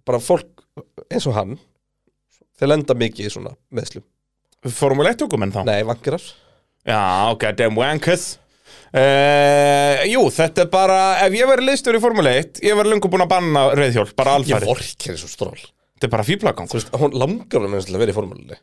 S2: Bara fólk eins og hann þeir lenda mikið í svona meðslum
S3: Formule 1 tökum þá?
S2: Nei, vangirar
S3: Já, ok, damn wankers Uh, jú, þetta er bara ef ég verið liðstjóri í Formule 1 ég verið lungu búin að banna reyðhjól, bara
S2: Ég
S3: alfæri
S2: vorkir eins og Stról
S3: þetta er bara fýblagang,
S2: Þú veist, hún langar hann eins og að vera í formúlunni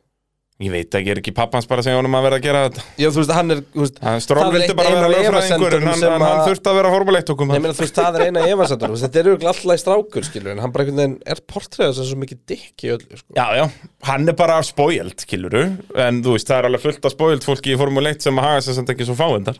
S3: ég veit ekki, er ekki pappans bara að segja honum að vera að gera þetta
S2: Já, þú veist, hann er þú veist,
S3: Hann- Stroll
S2: það er
S3: vildi
S2: eitt-
S3: bara
S2: ein
S3: vera
S2: af
S3: lögfræðingur en hann,
S2: efasemdunum
S3: hann,
S2: sem
S3: hann
S2: að-
S3: þurfti að vera Formule 1 okkur
S2: Nei, meina, þú veist, það er eina efasendur Þetta er auðvitað alltaf strákur, skilur En hann bara einhvern veginn er portræðast sem svo mikið dikk í öllu sko.
S3: Já, já, hann er bara spóild, killuru En þú veist, það er alveg fullt af spóild fólki í Formule 1 sem að haga sér samt ekki svo fáendar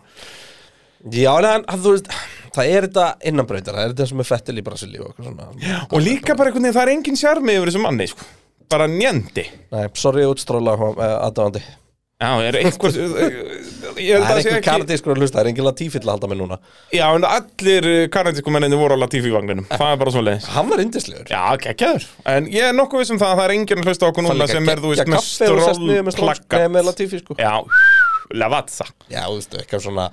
S2: Já, en hann, hann, þú veist Það er þetta innanbrautar, það er þetta sem er fettil í Brasilíu og eitthvað svona
S3: Og líka bara einhvern veginn, það er engin sjarmi yfir þessum manni, sko Bara njandi
S2: Nei, sorry, útstrála uh, aðdáðandi
S3: Já, er einhver Ég held
S2: Það
S3: að
S2: er
S3: sé
S2: einhver
S3: ekki
S2: kanadískur að hlusta, það er engin latífill að halda með núna
S3: Já, en allir kanadísku menninni voru á Latifi vagninum Það er bara svo leiðis
S2: Hann var indislegur
S3: Já, geggjaður En ég er nokkuð viss um það að það er enginn að hlusta á okkur núna sem er, þú veist, með
S2: með stról Nei, með
S3: stról
S2: latífi, sko
S3: Já, Lavazza
S2: Já, þú veist, eitthvað svona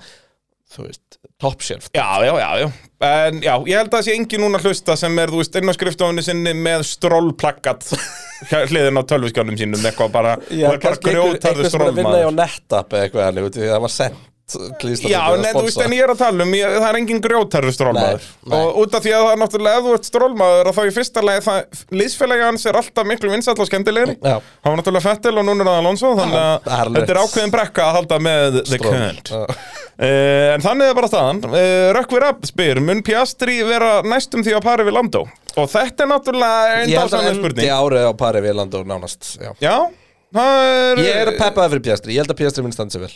S2: Þú veist, top shelf
S3: Já, já, já, já En já, ég held að það sé engin núna að hlusta sem er, þú veist, inn á skrifstofunni sinni með strólplakkat hliðin á tölviskjánum sínum, eitthvað bara
S2: Já,
S3: og er bara
S2: kannski einhver,
S3: grjótarður
S2: einhver sem er að vinna í á
S3: strólmaður
S2: NetApp eða eitthvað, alveg, því það var sent klístrað
S3: Já,
S2: til að
S3: en þú veist,
S2: sponsa.
S3: en ég er að tala um ég, það er engin grjótarður strólmaður
S2: Nei, nei.
S3: og út af því að það er náttúrulega, ef þú ert strólmaður og þá í fyrsta lagi, það, liðsfélagi hans er alltaf miklu vinsall og skemmtilegri
S2: Já.
S3: hann var náttúrulega Fettil og núna er það Alonso þannig
S2: Já, það er
S3: að
S2: alveg
S3: þetta er
S2: rétt.
S3: ákveðin brekka að halda með The
S2: Stról.
S3: Current
S2: Já.
S3: Uh, en þannig er bara staðan uh, Rökkvir Rapp spyr, mun Piastri vera næstum því á pari við Landó? Og þetta er náttúrulega einn
S2: Ég held að
S3: dásanlega
S2: endi
S3: spurning
S2: árið á pari við land og nánast já.
S3: Já, það er
S2: Ég er að peppaði fyrir Pjastri, ég held að Pjastri minn standi sér vel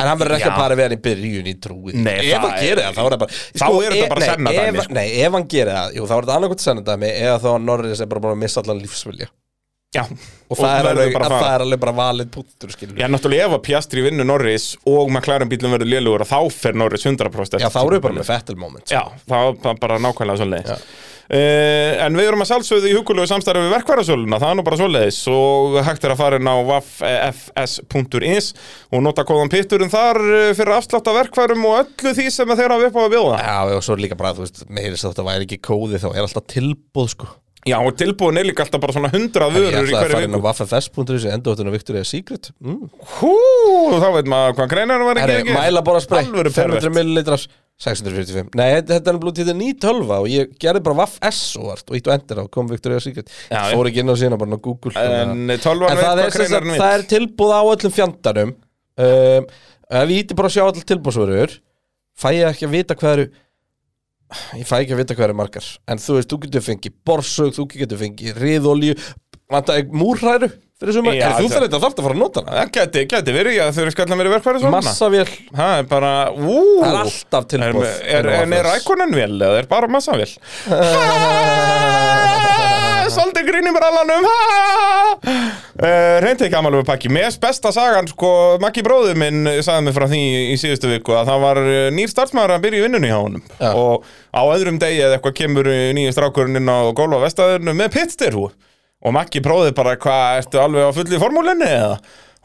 S2: En hann verður ekki
S3: Já.
S2: að pari við hann í byrjun í trúið
S3: Nei,
S2: Ef
S3: það
S2: hann
S3: er-
S2: gerir það, þá er það bara
S3: Þá er þetta
S2: e-
S3: bara
S2: nei,
S3: sennadæmi,
S2: ef-
S3: sko.
S2: Nei, ef hann gerir það, jú, þá er þetta annarkvæmt sennadæmi Eða þá að Norris er bara búin að missa allan lífsvilja
S3: Já,
S2: Og, það, er
S3: verður
S2: alveg, að
S3: bara að
S2: það
S3: fara.
S2: er alveg bara valið púttur skilur
S3: Já, náttúrulega ef að Piastri vinnur Norris og McLaren bílum verður lélugur og þá fer Norris 100%
S2: Já, þá eru bara með Fettel moment sko.
S3: Já, það var bara nákvæmlega svoleiðis uh, En við erum að sjálfsögðu í hugulegu samstarfi við verkværasöluna, það er nú bara svoleiðis og hægt er að fara inn á www.fs.is og nota kóðan pitturinn þar eh, fyrir afslátt af verkværum og öllu því sem þeir hafa upp á að bjóða
S2: Já, og svo er líka bara, þú veist, meiri sem þetta væri ekki kóði Þá er alltaf tilbúð, sko
S3: Já, og tilbúin er líka alltaf bara svona 100
S2: Ég ætlaði
S3: vörur í
S2: að
S3: hverju
S2: fara inn á
S3: viku
S2: waffafest.is Endóttun og Victoria's Secret mm.
S3: Hú, þá veit maður hvað greinar var ekki
S2: Herri, mæla bara spray
S3: Alvöru
S2: 500
S3: pervert
S2: millilitrar 645 Nei, þetta þetta er blúið til þetta ný tölva og ég gerði bara vaff S og vart og ítt og endur á kom Victoria Secret
S3: Já, já.
S2: Fór ekki inn á sína bara inn á Google
S3: En
S2: þannig
S3: eh,
S2: að-
S3: tölvan
S2: En
S3: veit
S2: það
S3: hvað
S2: er, sem sagt,
S3: greinarinn vill.
S2: það er tilbúð á öllum fjandanum um, Ef ég ítti bara að sjá all tilbúðsverður Fæ ég ekki að vita hvað eru Ég fæ ekki að vita hvað eru margar En þú veist, þú getur fengið borsug, þú getur fengið riðolíu Vanta ekki múrhæru fyrir sumar
S3: Já,
S2: En þú
S3: þetta-
S2: þarf þetta þarf að fara að nota hana
S3: Það geti, geti Eh, verið, já, þau eru skallan verið verkfæri svona
S2: Massavél,
S3: Það er bara, ú
S2: það er alltaf
S3: Er,
S2: tilbúð
S3: er,
S2: inn á
S3: en er
S2: Waffles.
S3: Iconin vel eða er bara massavél? Ha, Svolítið grín í brallanum uh, Reyndi ekki amalum pakki Mér er besta sagan, sko, Maggi bróður minn sagði mig frá því í síðustu viku að það var eh, nýr starfsmæður að byrja í vinnunni hjá honum
S2: Já.
S3: og á öðrum degi eða eitthvað kemur nýju strákurinn inn á gólfa vestaðurinn með pitstyrhú og Maggi bróði bara hvað, ertu alveg á fulli formúlinni eða?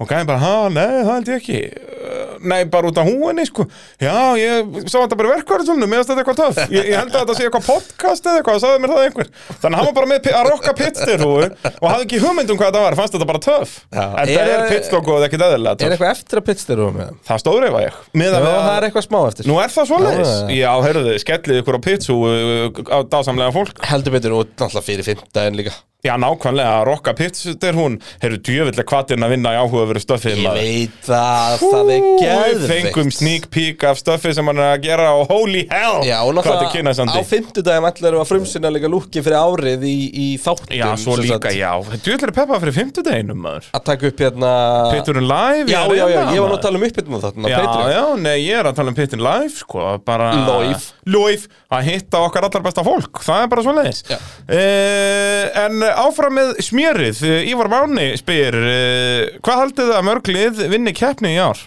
S3: Og gæði bara, ha, nei, það held ég ekki Eh, Nei, bara út af húinni, sko Já, ég sá þetta bara í verkvarðartölunum Mér finnst þetta eitthvað töff ég, ég held að þetta sé eitthvað podcast eða eitthvað Sæði mér það einhver Þannig að hann var bara með pi- að rokka pitstyrhúi Og hafði ekki hugmynd um hvað þetta var Fannst þetta bara töff
S2: Já.
S3: En það er
S2: Er-
S3: pitstokkuð ekki dæðilega
S2: Er
S3: töff
S2: eitthvað eftir að pitstyrfum með það?
S3: Það stóðreifa ég
S2: Já,
S3: Miðað við að-
S2: það er eitthvað smá eftir
S3: Nú er það svoleiðis?
S2: Já, já,
S3: Já, heyrðu, skellið ykkur á pitsu uh, á dásamlega fólk.
S2: Heldur betur og náttúrulega fyrir fimmtæðin líka
S3: Já, nákvæmlega, að rokka pitsu þegar hún, heyrðu, djöfilega kvatirn að vinna í áhuga verið stöfið
S2: Ég veit að það er
S3: Við fengum
S2: geðveikt
S3: sneak peek af stöfið sem hann er að gera og holy hell,
S2: Já, og
S3: hvað þetta
S2: náttúrulega á
S3: kynasandi.
S2: fimmtudagum ætlar að frumsynna líka lúki fyrir árið í, í þáttum
S3: Já, svo
S2: sem sagt,
S3: líka, já. Djöfilega peppa fyrir fimmtudeginum, maður.
S2: Að taka upp hérna
S3: Pitturinn live
S2: Já, já, já, ég var nú að
S3: tala
S2: tala um uppbytnum þarna
S3: Já,
S2: Patreon.
S3: já, nei, ég er að tala um pittin live, sko, bara
S2: Live.
S3: Live, að hitta okkar allar besta fólk Það er bara svo leiðis
S2: Já.
S3: En áfram með smjörið Eh, Ívar Máni spyr eh, Hvað haldið það að mörglið vinni keppni í ár?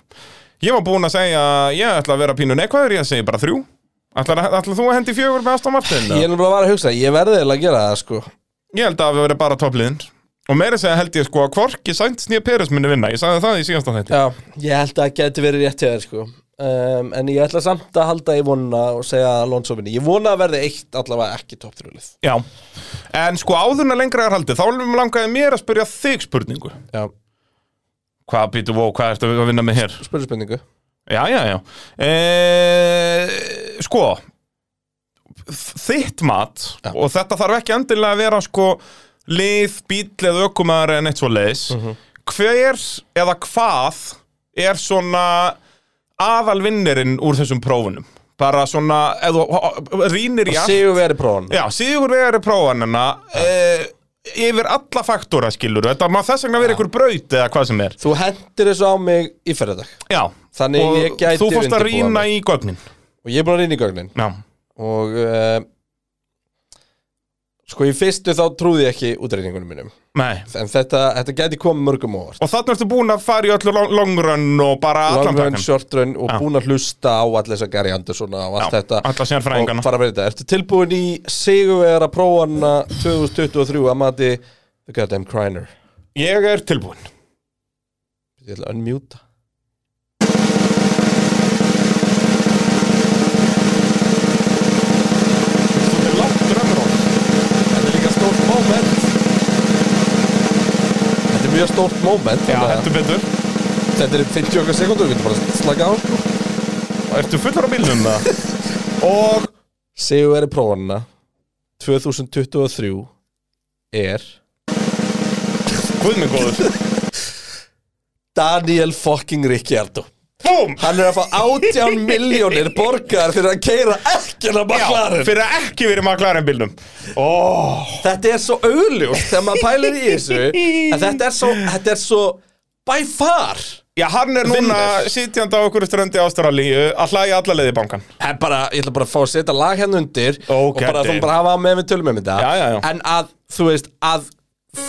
S3: Ég var búinn að segja Ég ætla að vera pínu neikvæður, ég segi bara þrjú Ætlar, ætlar þú að hendi fjögur með Aston Martin?
S2: Ég er nú bara að vara að hugsa, ég verði eiginlega að gera það sko
S3: Ég held að við verið bara toppliðin Og meira segja held ég sko að Kvorki Sainz nýja Peres minni vinna Ég sagði það í síðasta þætti
S2: Já, ég held að það geti verið rétt hjá þér sko um, En ég ætla samt að halda í vonuna og segja Alonso minni Ég vona að verði eitt allavega ekki top 3 lið
S3: Já, en sko áðurna lengra er haldið, þá langaði mér að spyrja þig spurningu.
S2: Já,
S3: Hvað býtu og hvað ertu að vinna með hér?
S2: spurðu spurningu
S3: Já, já, já. E, sko, þitt mat,
S2: Já.
S3: og þetta þarf ekki endilega að vera sko lið, bíl eða ökumar en eitt svo leiðis. Hver eða hvað er svona aðalvinnerinn úr þessum prófunum? Bara svona, eða rínir í allt.
S2: Sigur verið prófan
S3: Já, síður vegari prófanina uh, yfir alla faktúra skilur þetta má þess vegna vera ykkur braut eða hvað sem er
S2: Þú hendir þessu á mig í ferðardag
S3: Já,
S2: Þannig
S3: og
S2: ég gæti
S3: þú fórst að
S2: undirbúa
S3: rýna
S2: mig.
S3: í gögnin
S2: Og ég er búin að rýna í gögnin
S3: Já,
S2: Og uh, Sko í fyrstu þá trúði ég ekki útreyningunum mínum
S3: nei
S2: En þetta, þetta gæti komið mörgum á óvart
S3: Og þannig ertu búin að fara í öllu long- long run og bara allan
S2: Long run,
S3: takkan
S2: short run og
S3: Já.
S2: búin að hlusta á allir þess að Gary Anderson og allt
S3: Já,
S2: þetta
S3: alla sérfræðingana.
S2: Og fara að breyta Ertu tilbúin í sigurvera prófana 2023 að mati The Goddamn Criner
S3: Ég er tilbúin
S2: Ég ætla að unmjúta
S3: Þetta er langt drömmur
S2: Þetta er líka stórt moment Þetta er mjög stórt moment
S3: Já,
S2: þannig að-
S3: heldur betur
S2: Þetta er 50 okkar sekundur, við getum bara að slaka á sko.
S3: Ertu fullur á bílnum það? Og
S2: Sigur er prófanna 2023 er
S3: Guð mig góður
S2: Daniel fucking Ricciardo
S3: Búm!
S2: Hann er að fá 18 miljónir borgar fyrir að keira ekki að
S3: Já,
S2: maklarin
S3: fyrir að ekki verið maklarinn bílnum Ó,
S2: Þetta er svo augljóst þegar maður pælir í þessu að þetta er svo, þetta er svo by far
S3: Já, hann er núna sitjandi á okkur ströndi ástralíu að hlæja alla leið í bankan
S2: En bara, ég ætla bara að fá að setja lag hérna undir
S3: Ó,
S2: og bara
S3: Gaddi.
S2: þú bara hafa með við tölum um þetta
S3: Já, já, já.
S2: en að, þú veist, að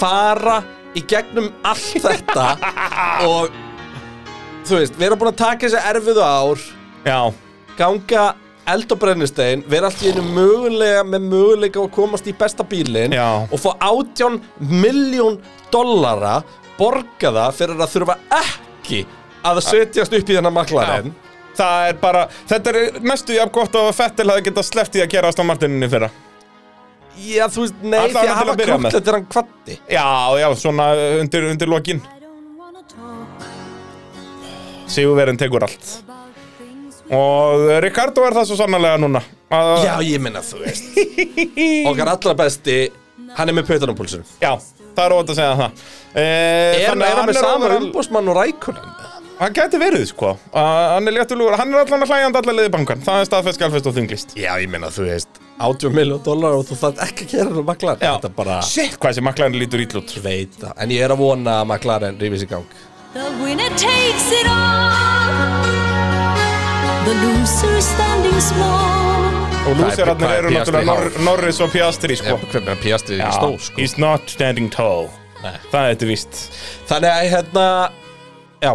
S2: fara í gegnum allt þetta og þú veist, vera búin að taka þessi erfiðu ár
S3: Já,
S2: ganga eld og brennistein vera allt í einu mögulega með mögulega að komast í besta bílinn
S3: Já.
S2: og fá 18 miljón dollara borgaða fyrir að þurfa ekki að setjast upp í þennan maklarinn
S3: það er bara, þetta er mestu jafn gott og að Fettil hafði getað sleppt í að gera Aston Martininni fyrra
S2: Já, þú veist, nei,
S3: Allavega
S2: því að
S3: til
S2: hafa
S3: að byrja með.
S2: króklet er hann kvatti
S3: Já, já, svona undir, undir lokin Sigurverðin tekur allt
S6: about things
S3: Og eh, Ricardo er það svo sannarlega núna að,
S2: Já, ég minna þú veist Okkar allra besti, hann er með pötan á pulsunum
S3: já, það er óvænt að segja það e,
S2: Er hann er hann með sama
S3: overall-
S2: umbósmann og rækunan?
S3: Hann gæti verið, sko uh, Hann er léttulugur, hann er allan að hlægjandi allar leiði bankan Það er staðfest, galfest og þunglist
S2: Já, ég minna þú veist 80 miljón dólar og þú þarf ekki að gera það maklar
S3: Já.
S2: Þetta bara
S3: Shit, hvað þessi maklaðin lítur ítlút
S2: Ég veit það En ég er að vona að McLaren rífis í gang
S6: The winner takes it all. The loser standing small.
S3: Og lúserarnir
S2: hvað er
S3: eru
S2: Piastri
S3: náttúrulega
S2: hár?
S3: Nor Norris og Piastri, sko
S2: Hvernig að pjastið
S3: Já,
S2: ekki stóð sko
S3: He's not standing tall
S2: Nei.
S3: Það er þetta víst
S2: Þannig að hérna Já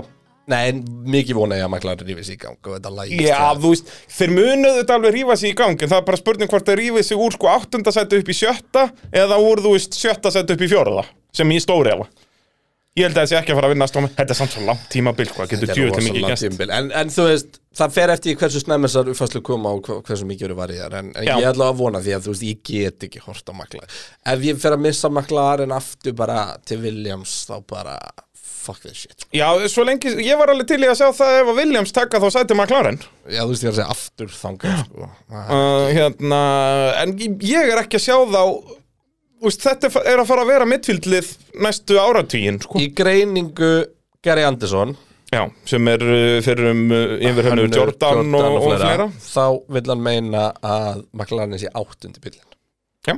S2: Nei, en mikið vona ég að McLaren rífis í gang og þetta hérna. lægist
S3: Já, þú veist, þeir munuðu þetta alveg rífa sig í gang En það er bara spurning hvort þeir rífið sig úr sko áttunda sæti upp í sjötta Eða úr, þú veist, sjötta sæti upp í fjórða Sem ég stóri alveg Ég held að þessi ekki að fara að vinna að stóma Þetta er samt svo langt tímabil, hvað getur djöðum mikið
S2: rosalega
S3: gæst
S2: tímabil en, en þú veist, það fer eftir í hversu snemma þessar uppfæslu koma og hva- hversu mikið eru varðiðar en, en
S3: Já.
S2: ég ætla að vona því að þú veist, ég get ekki hort á makla ef ég fer að missa maklaren aftur bara til Williams þá bara fuck this shit sko.
S3: Já, svo lengi, ég var alveg til í að sjá það ef að Williams taka þá sæti McLaren
S2: já, þú veist, ég er að segja aftur þangað sko. Það-
S3: uh, hérna, En ég er ekki að sjá þá úst, Þetta er- er að fara að vera mittfíldlið næstu áratvíin sko.
S2: í greiningu Gary Anderson
S3: Já, sem er uh, fyrir um uh, yfir hennu
S2: Hönnu,
S3: Jordan, og, og fleira
S2: þá vil hann meina að maklaren sé áttundi bílinn
S3: Já.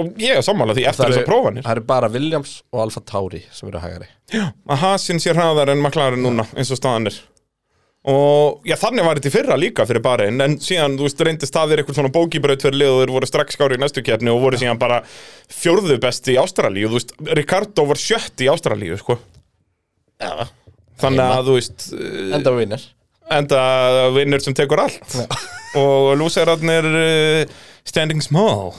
S3: Og ég er sammála því eftir þess að prófanir
S2: það eru bara Williams og Alfa Tauri sem eru hægari
S3: að Hasin sé hraðar en McLaren núna eins og staðan er og já, þannig var þetta í fyrra líka fyrir bara en, en síðan, þú veist, reyndist það er eitthvað svona bókibraut fyrir lið og þeir voru strax skári í næstu kjarni og voru síðan bara fjórðu besti í Ástralíu, þú veist, Ricardo var sjött í Ástralíu, sko
S2: já,
S3: þannig að, þú veist, eh,
S2: enda vinnir
S3: enda vinnur sem tekur allt og lúserarnir eh, standing small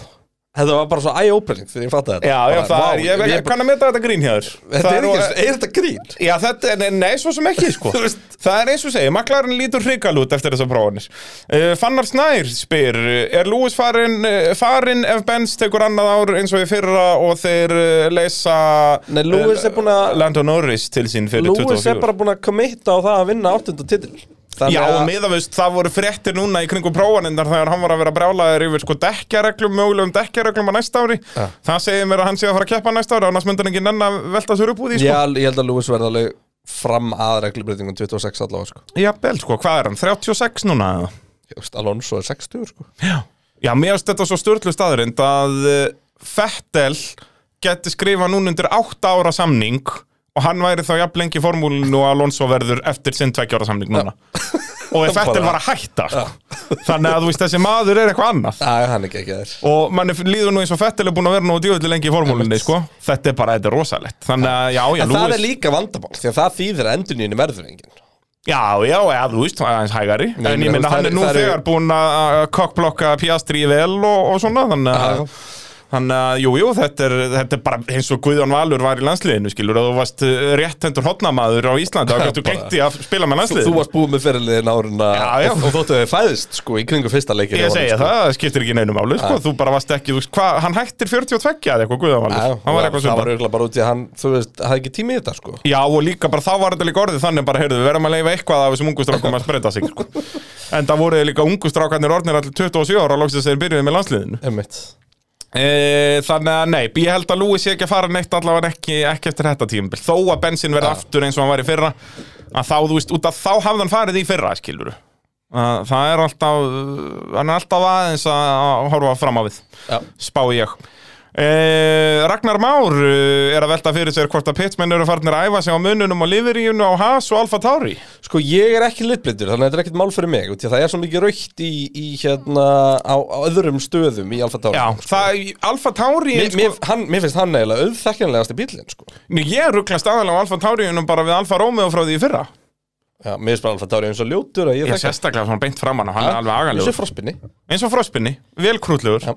S2: Þetta var bara svo eye-opening þegar ég fatt þetta
S3: Já, já,
S2: bara,
S3: það er,
S2: vá,
S3: ég, ég,
S2: ég-
S3: kann að meta þetta grín hér
S2: Þetta er ekki, er þetta grín?
S3: Já, þetta er, nei, nei, svo sem ekki, sko
S2: Þú veist.
S3: Það er eins og segja, maklarinn lítur hrikal út eftir þessar prófanir uh, Fannar Snær spyr uh, Er Lewis farin, uh, farin ef Benz tekur annað ár eins og í fyrra og þeir uh, leysa eh,
S2: Nei, Lewis er búin að-
S3: Lando Norris til sín fyrir
S2: Lewis
S3: 24
S2: er bara búin að committa á það að vinna áttunda titil
S3: Já, og miðaveist, það voru fréttir núna í kringum prófanindar þegar hann var að vera brjálaður yfir sko dekkjareglum, mögulegum dekkjareglum á næsta ári Það segir mér að hann sé að fara að keppa næsta ári annars myndi hann ekki nenn að velta sér upp úr því sko.
S2: Já, ég held að Lewis verði alveg fram að reglubreitingum 26 allavega sko.
S3: Jafnvel, sko, hvað er hann? 36 núna eða?
S2: Ég veist, Alonso er 60 sko.
S3: Já, mér finnst þetta svo störtlu staðurind að eh, Fettel geti skrifað núna undir 8 ára samning og hann væri þá jafn lengi í formúlinu og Alonso verður eftir sinn 2 ára samning núna og ef Fettel var að hætta sko. þannig að þú veist þessi maður er eitthvað annað
S2: Það er hann ekki ekki þér
S3: og mann líður nú eins og Fettel er búin að vera nú djúvillig lengi í formúlinni sko. þetta er bara, þetta er rosalegt þannig að já,
S2: En
S3: já,
S2: það
S3: Lewis
S2: er líka vandamál því að það þýðir að endurnýjunum verður engin
S3: já, já, já, þú veist, það er aðeins hægari
S2: Nei,
S3: en
S2: meina,
S3: ég minna,
S2: þú veist,
S3: hann
S2: það
S3: er
S2: er- það
S3: nú
S2: er-
S3: þegar búin að að kokkblokka Piastri í vel og, og svona þannig að Þannig að, jú, jú, þetta er, þetta er bara eins og Guðjón Valur var í landsliðinu, skilur, að þú varst rétt hendur hotnamaður á Íslandi, þá gættu
S2: bara-
S3: glemt í að spila með
S2: Þú,
S3: landsliðinu.
S2: þú varst búið með fyrirliðin árin að
S3: Já, já.
S2: og, og þóttu þau fæðist sko, í kringu fyrsta sko. leikir
S3: Ég segja það, það skiptir ekki neinu máli, sko, þú bara varst ekki, þú veist, hvað, hann hættir 42 eða eitthvað
S2: Já,
S3: Guðjón Valur, hann
S2: og
S3: var eitthvað
S2: það
S3: svipað.
S2: var auðvitað bara út í að hann, þú veist, hafði ekki tími í þetta sko
S3: Já, og líka bara þá var þetta líka orðið þannig bara, heyrðu, við verðum að leifa eitthvað af þessum ungustrákum að spreita sig, sko. En það voru líka ungustrákarnir orðnir allir 27 ára, loksins þeir byrjuði með landsliðinu.
S2: Einmitt.
S3: E, þannig að nei, ég held að Lewis sé ekki að fara neitt allavega ekki, ekki eftir þetta tímabil þó að bensin verði aftur eins og hann var í fyrra að þá, þú veist, út að þá hafði hann farið í fyrra skilur það er alltaf, hann er alltaf aðeins að að horfa fram á við
S2: Já.
S3: spá ég e, Ragnar Már eh, er að velta fyrir sér hvort að pitmenn eru farinir að æfa sig á mununum og liveríunu á Haas og Alfa Tauri
S2: Sko ég er ekki litblindur þannig að þetta er ekkert mál fyrir mig út í að það er svo mikið raukt í, í hérna á, á öðrum stöðum í Alfa Tauri
S3: Já, sko-
S2: sko.
S3: það, Alfa Tauri
S2: mér, mér, hann, mér finnst hann eiginlega auðþekkjanlegast í bílinn sko.
S3: Nú, ég rugglast aðalega á Alfa Tauriunum bara við Alfa Romeo frá því í fyrra
S2: Já, mér finnst bara Alfa Tauri eins og ljótur að ég
S3: Ég er
S2: þekki hann.
S3: sérstaklega svona beint framann og hann er alveg
S2: Eins og
S3: agalegur
S2: frospinni
S3: eins og frospinni, vel krútlegur
S2: Já.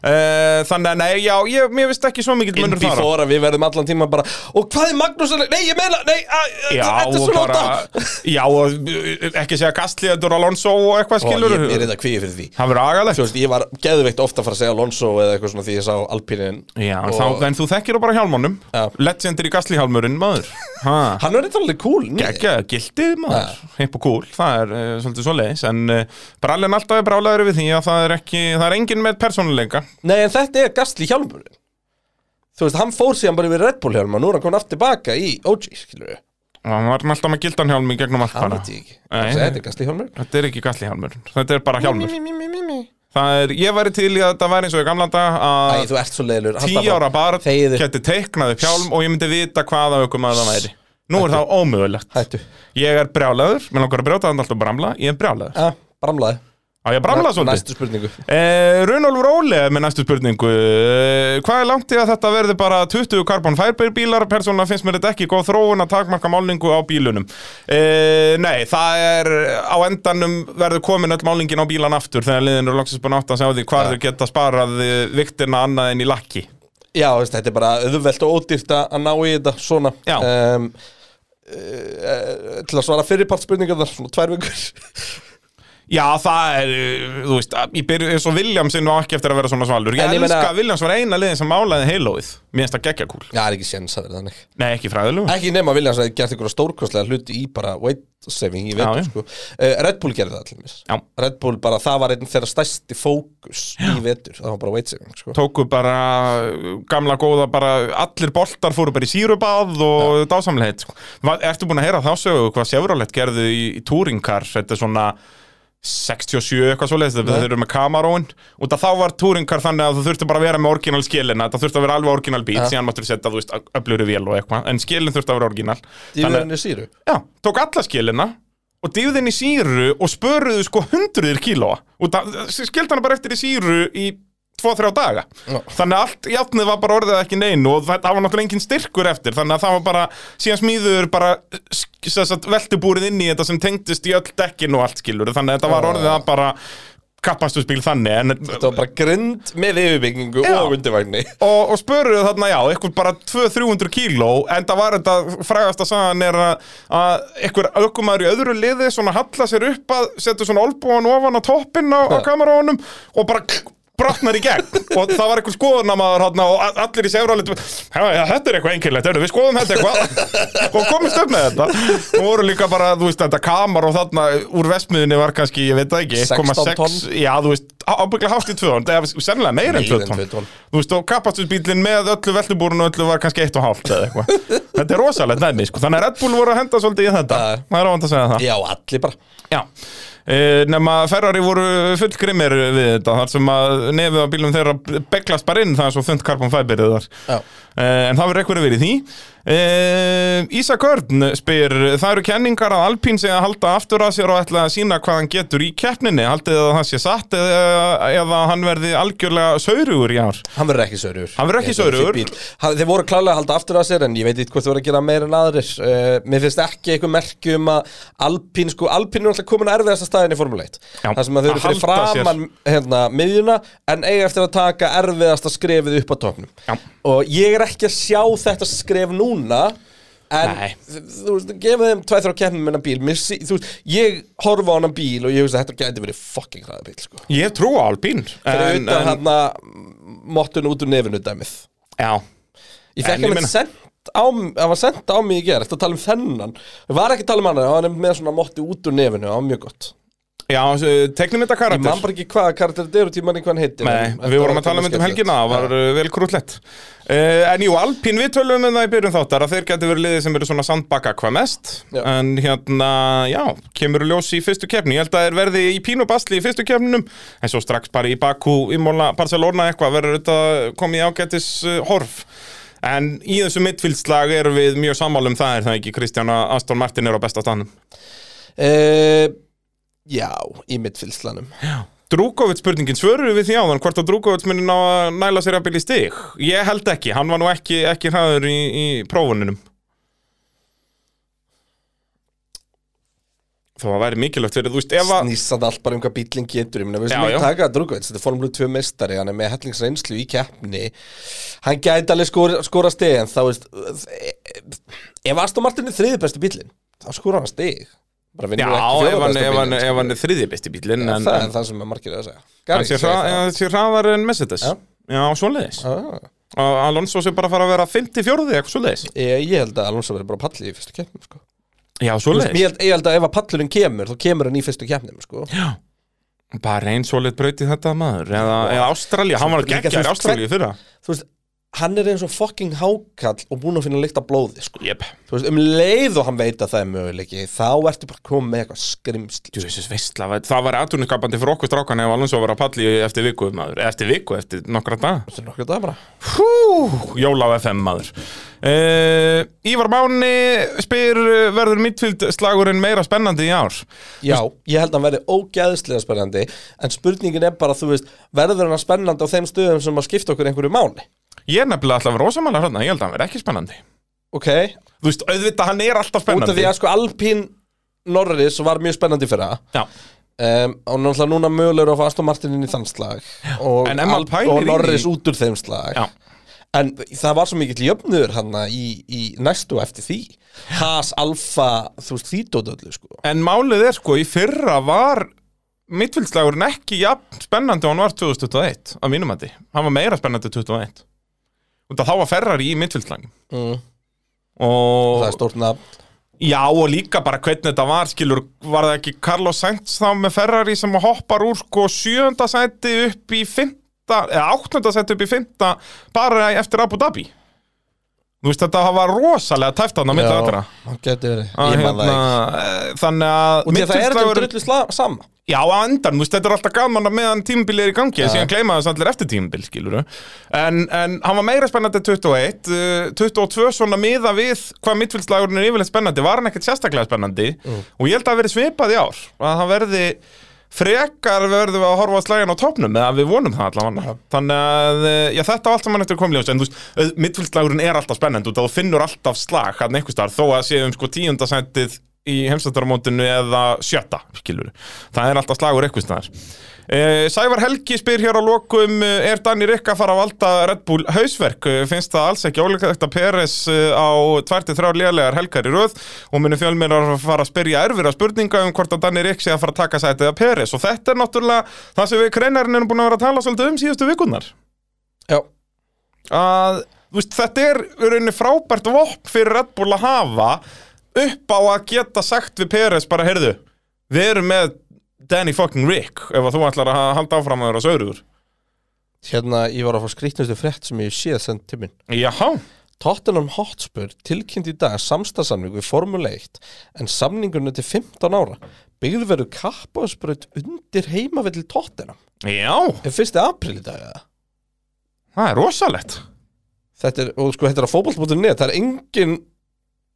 S3: Eh, þannig að nei, já, ég, mér veist ekki svo mikill
S2: In
S3: munur þar á.
S2: before að við verðum allan tíma bara og hvað er Magnús að nei ég meina nei að, að-
S3: já,
S2: þetta er
S3: og
S2: svona
S3: bara,
S2: bara...
S3: já, og eh, ekki segja gastliðadur Alonso og eitthvað
S2: og
S3: skilur
S2: ég ég er þetta kvíði fyrir því
S3: það verður
S2: Þú
S3: agalegt
S2: veist, ég var geðveikt ofta að fara að segja Alonso eða eitthvað svona því ég sá Alpinin
S3: já, og... þá, en þú þekkir þú bara hjálmónum
S2: Já.
S3: legendir í gastlihjálmurinn, maður Ha.
S2: Hann er eitthvað alveg cool niður.
S3: Gekja, gildið maður, hipp og cool, það er uh, svolítið svo leiðis En uh, brallin alltaf er brálaður við því að það er ekki, það er enginn með persónuleika
S2: Nei, en þetta er gasli hjálmurinn Þú veist, hann fór síðan bara yfir Red Bull hjálma Nú er hann komin aftur tilbaka í OG, skilur við
S3: Og hann var alltaf með gildan hjálm í gegnum allt
S2: Hann
S3: bara
S2: veit ég ekki
S3: Nei.
S2: Þessi, Þetta er gasli hjálmurinn
S3: Þetta er ekki galli hjálmur, þetta er bara hjálmur
S2: Mí, mí, mí, mí, mí.
S3: Það er, ég væri til í að það væri eins og í gamla dag
S2: Æ,
S3: að
S2: þú ert svo leiðilur
S3: tíu ára barn
S2: Þegiðu.
S3: geti teiknað upp hjálm og ég myndi vita hvaða aukum að það væri Nú er það ómögulegt
S2: Hættu
S3: Ég er brjálaður, mér langar að brjóta þannig alltaf bramla, ég er brjálaður
S2: Já, Ah, bramlaði
S3: Á ég að bramla svolítið?
S2: Næstu spurningu
S3: Eh, Runolfur Óli er með næstu spurningu eh, Hvað er langt í að þetta verði bara 20 carbon fiber bílar? Persónulega finnst mér þetta ekki góð þróun að takmarka málningu á bílunum eh, Nei, það er á endanum verður komin öll málningin á bílan aftur þegar liðin eru loksins búin átt að sjá því hvar þau geta sparað eh, viktina annað en í lakki
S2: Já, veist, þetta er bara auðvelt og ódýrt að að ná í þetta svona
S3: Já.
S2: um, uh, Til að svara fyrirpart spurningar þar Svona tvær vikur
S3: Já, það er, eh, þú veist, að- ég byrju eins og Williamsinn á ekki eftir að vera svona svalur Ég
S2: En ég meina-
S3: elska að Williams var eina liðin sem málaði heilóið Mér finnst það geggja kúl
S2: Já, það er ekki séns að vera þannig
S3: Nei, ekki fræðilegu
S2: Ekki nema Viljans að gert einhverja stórkostlega hluti í bara weight saving, ég veit já,
S3: Já, já.
S2: sko uh, Red Bull gerði það til mér
S3: Já.
S2: Red Bull bara, það var einn þeirra stærsti fókus í vetur, það var bara weight saving sko.
S3: tóku bara uh, gamla góða bara allir boltar fóru bara í sírubáð og ja. dásamlegheit sko. Va- Ertu búin að heyra þá sögu hvað Chevrolet gerðu í, í touringkar þetta er svona 67 eitthvað svoleiðis þegar þeir eru með Camaroin út að þá var touringkar þannig að þú þurfti bara að vera með orginal skilina þetta þurfti að vera alveg orginal bít síðan máttur setja þú veist öflöru vél og eitthvað en skilin þurfti að vera orginal
S2: Í verðinni síru
S3: Já, tók alla skilina og dýfðin í síru og spöruðu sko hundruðir kílóa og skildi hana bara eftir í síru í 2-3 daga þannig að allt játnið var bara orðið ekki neinu og það, það var náttúrulega engin styrkur eftir þannig að það var bara, síðan smíður bara sk- sem sagt, veltubúrið inn í þetta sem tengdist í öll dekkin og allt skilur þannig að þetta var orðið að bara kappastusbíl þannig en
S2: Það var bara grind með yfirbyggingu
S3: Já.
S2: og undirvagni
S3: og, og spöruðu þarna, já, eitthvað bara 200-300 kíló, en það var þetta frægast að sagan er að, að eitthvað aukumæður í öðru liði svona halla sér upp að setja svona olbúan ofan á toppinn á, á kamerónum og bara kl- brotnar í gegn og það var eitthvað skoðunamaður hérna og a- allir í sefrálit þetta er eitthvað einkennilegt, heyrðu, við skoðum þetta eitthvað og komist upp með þetta og voru líka bara, þú veist, þetta kamar og þarna úr vestmiðinni var kannski, ég veit það ekki
S2: 16 tonn.
S3: 1,6 já, þú veist, á- ábygglega hátt í 2 tonn sennilega meira en
S2: Meira
S3: 2
S2: en tvö
S3: tonn
S2: tonn.
S3: þú veist, og kapastusbílinn með öllu vellubúrun og öllu var kannski 1,5 eða eitthvað þetta er rosalegt næmi, sko, þannig að Red Bull voru að henda svolítið í þetta,
S2: Já.
S3: það er ávand að segja það
S2: Já, allir bara
S3: Já, e, nema Ferrari voru fullgrimmir við þetta þar sem að nefið á bílum þeirra beglast bara inn það er svo þund carbon fiberið þar
S2: Já.
S3: e, en það verður eitthvað verið í því e, Ísak Örn spyr það eru kenningar að Alpín segja að halda aftur að sér og ætla að sína hvað hann getur í keppninni haldið þið að það sé satt eða, eða hann verði algjörlega saurugur í ár
S2: Hann verður ekki saurugur
S3: Hann verður ekki
S2: Ég held að
S3: saurugur.
S2: sé bíll. Hann- Þeir voru klálega að halda aftur að sér En ég veit eitthvað hvort þeir voru að gera meira en aðrir uh, Mér finnst ekki eitthvað merki um að Alpín, sko, Alpín er alltaf komin að erfiðasta staðin í Formule 1
S3: Já,
S2: Það sem að þau eru
S3: að
S2: fyrir
S3: halda sér.
S2: framan hérna, miðjuna En eiga eftir að taka erfiðasta skrefið upp á topnum
S3: Já.
S2: Og ég er ekki að sjá þetta skref núna En,
S3: Nei.
S2: þú veist, gefið þeim tveið þrjá keppnum með hennar bíl Mér, sí- þú veist, Ég horfa á hennar bíl og ég veist að þetta gæti verið fucking hraða bíl, sko
S3: Ég hef trú á Alpín
S2: Fyrir
S3: en,
S2: utan
S3: en,
S2: hérna mottun út úr nefinu dæmið
S3: já
S2: Ég
S3: En ég
S2: fekk hann
S3: meina-
S2: sent á, hann var sent á mig í gerð Þetta tala um þennan Ég var ekki að tala um hann, hann var nefnilega með svona motti út úr nefinu Það var mjög gott
S3: Já, tegnum þetta
S2: Ég man
S3: karakter
S2: bara ekki hvaða karakter þetta er og tímann hvað hann heitir
S3: Nei,
S2: en þetta
S3: við vorum
S2: var
S3: að tala um
S2: alveg
S3: þetta um helgina, það var
S2: skemmtilegt.
S3: uh, vel krúllett uh, En jú, Alpín, við tölum um það í byrjun þáttar að þeir geti verið liðið sem eru svona sandbakka hvað mest
S2: Já.
S3: En hérna, já, kemur ljós í fyrstu keppni Ég held að þeir verði í pínu basli í fyrstu keppninum En svo strax bara í Bakú, Imola, Barcelona eitthvað verður þetta komið í ágætis uh, horf En í þessu midfíldslag erum við mjög sammálum það er það ekki Kristján að Aston Martin er á besta stanum
S2: Eh, Já, í mittfylslanum
S3: Drúkovits spurningin, svöruðu við því áðan hvort að Drúkovits muni ná að næla sér að byrja í stig? Ég held ekki, hann var nú ekki, ekki hraður í, í prófununum. Þó að væri mikilvægt fyrir, þú veist, ef að...
S2: Snýst þetta allt bara um hvað bílinn getur Ég meina, við
S3: Já,
S2: sem
S3: já.
S2: ekki taka að drúka Þetta er formúlu 2 meistari, hann er með hellingsreynslu í keppni Hann gæti alveg skora, skora stig En þá veist eh, Ef Aston Martin er þriði besti bílinn Þá skora hann stig Bara
S3: Já,
S2: vinnur ekki
S3: ef
S2: fjórða
S3: hann,
S2: besta
S3: ef, hann,
S2: bílinn,
S3: ef
S2: sko.
S3: hann er þriðji besti bílinn,
S2: Já,
S3: en,
S2: það
S3: en,
S2: er það sem er margir að segja
S3: hann
S2: Gary
S3: sé
S2: segir
S3: hra-
S2: það.
S3: hann sé hraðar en Mercedes.
S2: Já.
S3: Já, svoleiðis.
S2: Ah.
S3: að Alonso sé bara að fara að vera 54 eitthvað svo leiðis
S2: Eh, Ég, ég held að Alonso verður bara palli í fyrstu keppnum sko.
S3: Já, svo
S2: Ég, held, ég held að ef að pallurinn kemur þá kemur hann í fyrstu keppnum sko.
S3: Bara einn svolít braut í þetta maður Eða, eða Ástralja, hann var
S2: Líka, þú
S3: geggjær
S2: veist,
S3: Ástralja í fyrra
S2: Þú veist, hann er eins og fucking hákall og búin að finna lykt af blóði sko.
S3: Jep
S2: Þú veist, um leið og hann veit að það er möguleiki þá ertu bara komið með eitthvað skrimsl
S3: Jesus, veistla, væ- það var aðtunningskapandi fyrir okkur strákan ef Alonso var að palli eftir viku maður, eftir viku, eftir nokkra dag
S2: Þetta er nokkuð það bara
S3: Hú, Jóla á FM maður uh, Ívar Máni spyr eh, verður midfield slagurinn meira spennandi í ár
S2: Já, ég held að hann verði ógæðslega spennandi en spurningin er bara, þú veist, verður hann spennandi á þeim stöðum sem að skipta okkur einhverju máli
S3: Ég er nefnilega alltaf rosamanna hérna, ég held að hann verði ekki spennandi
S2: Ok,
S3: Þú veist, auðvitað hann er
S2: út
S3: alltaf
S2: af
S3: spennandi
S2: því að sko Alpín Norris var mjög spennandi fyrir það
S3: Já,
S2: um, og náttúrulega núna mögulegur að fá Aston Martin inn í þann slag og,
S3: En Emma
S2: Alp-
S3: Pine er
S2: og
S3: inn í-
S2: Norris út úr þeim slag
S3: já,
S2: en það var svo mikill jöfnur hann í, í næstu eftir því Haas, Alfa, þú veist því dótöldu sko.
S3: en málið er sko í fyrra var midfield slagurinn ekki jafn spennandi og hann var 2021 að mínum að hann var meira spennandi 2021 Út að þá var Ferrari í midfield slagum
S2: mm,
S3: og
S2: það er stórt nafn
S3: já og líka bara hvernig þetta var skilur, var það ekki Carlos Sainz þá með Ferrari sem hoppar úr sko sjönda sæti upp í fymta eða áttunda sæti upp í fymta bara eftir Abu Dhabi þú veist þetta var rosalega tæft þarna milli aðra
S2: hann getur verið,
S3: Að
S2: ég man það ekki
S3: eh, þannig að
S2: og því að það er um þetta
S3: midfieldslagurinn-
S2: drullu sla- sama
S3: Já, á endan, þú veist, þetta er alltaf gaman að meðan tímbil er í gangi, en síðan gleyma þess allir eftir tímbil, skilur En, en hann var meira spennandi 21, eh, 22 svona miða við hvað mittfélslagurinn er yfirleitt spennandi, var hann ekkert sérstaklega spennandi og ég held að það hafi verið svipað í ár, að það verði frekar verðum við að horfa á slægin á topnum eða við vonum það allavega þannig að, eh, já þetta á allt saman eftir að koma í ljós en þú veist, mittfélslagurinn er alltaf spennandi og þú finnur alltaf slag hann einhvers staðar þó að séum sko tíundasættið í heimstættaramótinu eða sjötta skilur, það er alltaf slagur einhvers staðar Eh, Sævar Helgi spyr hér á lokum eh, er Danny Rick að fara að valda Red Bull hausverk, Eh, finnst það alls ekki óleiklegt að Peres eh, á 23 lélegar helgar í röð og munu fjölmeirar að fara að spyrja erfira spurninga um hvort að Danny Rick sé að fara að taka sætið að Peres og þetta er náttúrulega það sem við kreinarinn erum búin að vera að tala svolítið um síðustu vikunnar
S2: já,
S3: að þú veist, þetta er í rauninni frábært vopn fyrir Red Bull að hafa upp á að geta sagt við Peres bara, heyrðu, við erum með Danny fucking Rick ef að þú ætlar að halda áfram að vera saurugur
S2: hérna ég var að fá skrýtnustu frétt sem ég séð send til minn
S3: Jaha,
S2: Tottenham Hotspur tilkynnt í dag samstasamning við Formule 1 en samningurinn er til 15 ára byggður verður kappaðsbraut undir heimavill Tottenham
S3: já,
S2: er 1. april í dag eða?
S3: það er rosalegt
S2: þetta er, og sko þetta er á fótboll.net það er engin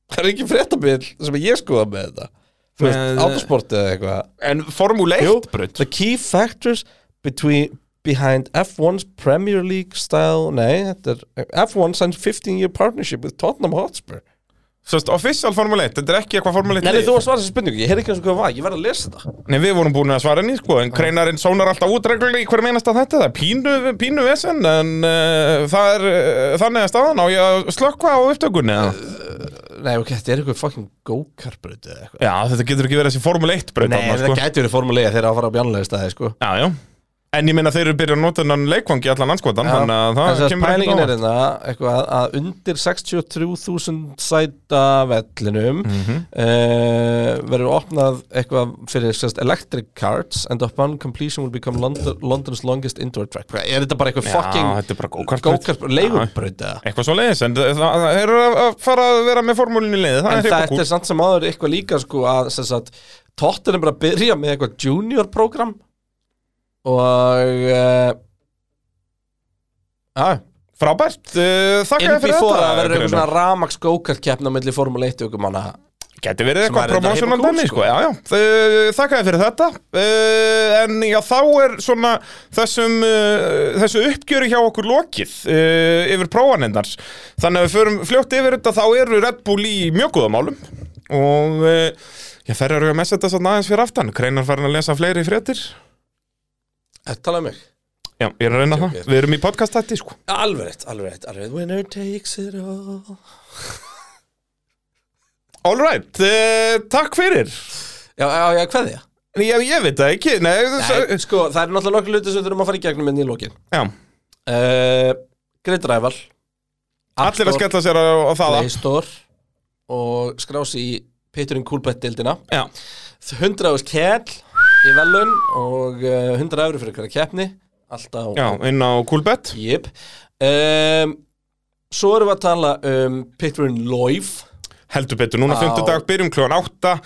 S2: það er engin fréttabill sem ég skoða með þetta þú
S3: Með-
S2: veist, autosport eða eitthvað
S3: En Formule 1 brut
S2: The key factors between, behind F1's Premier League style Nei, þetta er F1 signed 15-year partnership with Tottenham Hotspur
S3: Sjöst, official Formule 1, þetta er ekki eitthvað Formule 1
S2: Nei, nei, þú var að svara þessi spurningu, ég heyrði ekki eins og hvað það var, ég verð að lesa þetta
S3: Nei, við vorum búin að svara henni, sko, en kreinarinn sónar alltaf út reglulega í hverjum einasta þetta, það er pínu, pínu vesen, en uh, það er, uh, þannig að staðan á ég að slökka á upptökunni, eða?
S2: Nei, ok, þetta er eitthvað fucking go-karbröð eða eitthvað
S3: Já, þetta getur ekki verið þessi Formule 1 braut
S2: Nei,
S3: þarna, sko.
S2: það gæti verið formulega þegar að fara á bjánlega staði, sko
S3: Já, já. En ég minna þeir eru byrjað að nota hennan leikvangi allan anskotan, þannig að það
S2: Þess að
S3: kemur ekkert
S2: pælingin er
S3: á.
S2: þetta eitthvað að undir 63.000 sæta vellinum mm
S3: Mhm.
S2: verður opnað eitthvað fyrir sérst, electric carts and upon completion will become London, London's longest indoor track er þetta bara eitthvað
S3: Já, þetta er bara
S2: fucking
S3: go-kart-
S2: go-kart leigurbraut eða?
S3: Eitthvað svo leiðis, en það, það, það eru að- að fara að vera með formúlinni leiði, það
S2: en
S3: er eitthvað
S2: þetta er
S3: kúl.
S2: samt sem áður eitthvað líka sko að sérst, að Tottenham er bara að byrja með eitthvað junior program og uh, að
S3: Frábært, uh, þakka
S2: inn
S3: þér fyrir
S2: before að
S3: þetta.
S2: verður eitthvað
S3: Greinar.
S2: svona ramax go-kart keppna milli Formule 1 ökum manna
S3: Gæti
S2: Sem
S3: verið eitthvað
S2: var reyndar
S3: promósjónan
S2: hippokúl, sko.
S3: dæmi, sko, já, já, Þau- þakka þér fyrir þetta, uh, en já, þá er svona þessum, uh, þessu uppgjöru hjá okkur lokið uh, yfir prófanendar, þannig að við förum fljótt yfir þetta, þá eru Red Bull í mjög góðamálum og uh, já, þær eru að messa þetta svona aðeins fyrir aftan, Kreinar farin að lesa fleiri fréttir,
S2: Þetta talaði um mig
S3: já, ég er að reyna það, við erum í podcast-hætti, sko.
S2: Alveg rétt, alveg rétt, alveg rétt Winner takes it all
S3: All right, uh, takk fyrir,
S2: Já, já, já, hvað þið?
S3: já, ég veit það ekki, nei,
S2: Nei,
S3: nei.
S2: hérna sko, það er náttúrulega nokkuð hluti sem við þurfum að fara í gegnum inn í lókin
S3: já,
S2: uh, Great Rival App
S3: Allir að
S2: Store,
S3: skella sér á, á það
S2: Play Store og skrási í Peturinn Kúlbett-dildina
S3: Já,
S2: 100 árs kell í velun og eh, 100 ári fyrir hverja keppni alltaf
S3: já, inn á Coolbet
S2: Jip um, Svo erum við að tala um Peturinn Loif
S3: Heldur betur, núna
S2: Á.
S3: fymtudag, byrjum kljóðan átta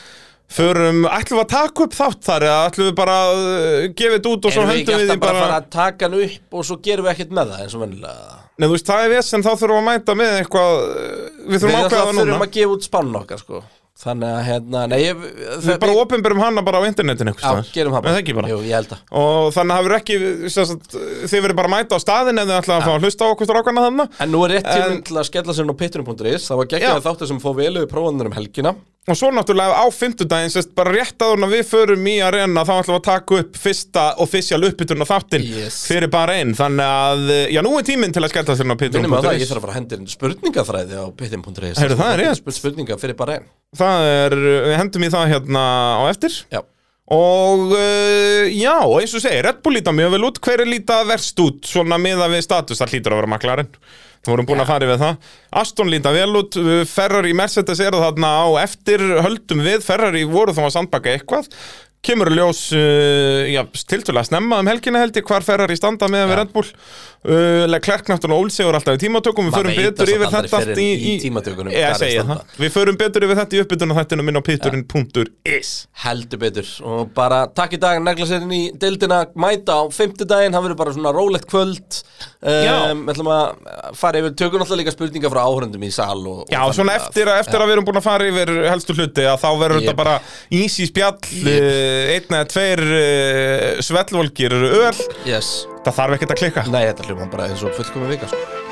S3: Förum, ætlum við að taka upp þátt þar eða ætlum við bara að uh, gefa þetta út og svo
S2: Erum við ekki
S3: höndum við því
S2: alltaf bara að
S3: bara,
S2: fara að taka hann upp og svo gerum við ekkert með það eins og vennilega
S3: Nei, þú veist, það er vesen, þá þurfum við að mæta með eitthvað uh, Við
S2: Við
S3: þurfum að
S2: alltaf
S3: ákveða það
S2: þurfum
S3: núna
S2: að gefa út spánun okkar sko Þannig að hérna, nei ég,
S3: Við bara opinberum hana bara á internetinu
S2: Já, gerum það
S3: bara Það ekki bara
S2: Jú, ég held að
S3: Og þannig hafur ekki, sem sagt, þið verður bara að mæta á staðin ef þið ætlaði að fá að hlusta á okkur strákana þannig
S2: En nú er rétt tíminn
S3: En-
S2: til að skella sér inn á pitturinn.is Það var geggjað
S3: Já.
S2: þáttur sem fór vel yfir prófanir um helgina
S3: Og svo náttúrulega á fimmtudaginn, sérst, bara rétt áður en að við förum í arena þá ætlum við að taka upp fyrsta official uppbytun á þáttinn
S2: Yes.
S3: fyrir bara einn Þannig að, eh, já, nú er tíminn til að skella sér inn á
S2: Minnum að það, ég
S3: pitturinn.is
S2: þarf að fara að hendur inn spurningafræði á pitturinn.is
S3: Heyrðu, það er rétt.
S2: Spurninga fyrir bara einn
S3: Það er, eh, við hendum í það hérna á eftir
S2: Já
S3: Og uh, já, eins og segir, Red Bull líta mjög vel út Hver er líta verst út, svona miða við status Það hlýtur að vera maklarinn Við vorum búin að fara yfir það Aston líta vel út, uh, Ferrari Mercedes er þarna á eftir Höldum við, Ferrari voru þá að sandbaka eitthvað Kemur í ljós, uh, já, tiltölulega snemma um helgina held ég Hvar Ferrari standa meðan við Red Bull uh, Leclerc náttúrulega ólsegur alltaf í tímatökum Við
S2: Maður
S3: förum
S2: veit
S3: betur
S2: það
S3: yfir
S2: samt aldrei
S3: þetta
S2: fyrr
S3: allt í,
S2: en í tímatökunum,
S3: Ég
S2: hvar er
S3: segi
S2: standa.
S3: það, við förum betur yfir þetta í uppbytuna þættinum minn á píturinn.is
S2: Heldur betur og bara takk í dag negla sér inn í deildina, mæta á fimmtudaginn, það verður bara svona rólegt kvöld
S3: Já.
S2: um, ætlum að fara yfir, tökum alltaf líka spurningar frá áhörendum í sal og,
S3: Já,
S2: og
S3: svona eftir, að, eftir að við erum búin að fara yfir helstu hluti að þá verður
S2: Jep.
S3: þetta bara easy spjall, yep. einn eða tveir eh, svellvolgir öl,
S2: yes.
S3: það þarf ekkert að klikka.
S2: Nei, þetta hljóma bara eins og fullkomi vika sko.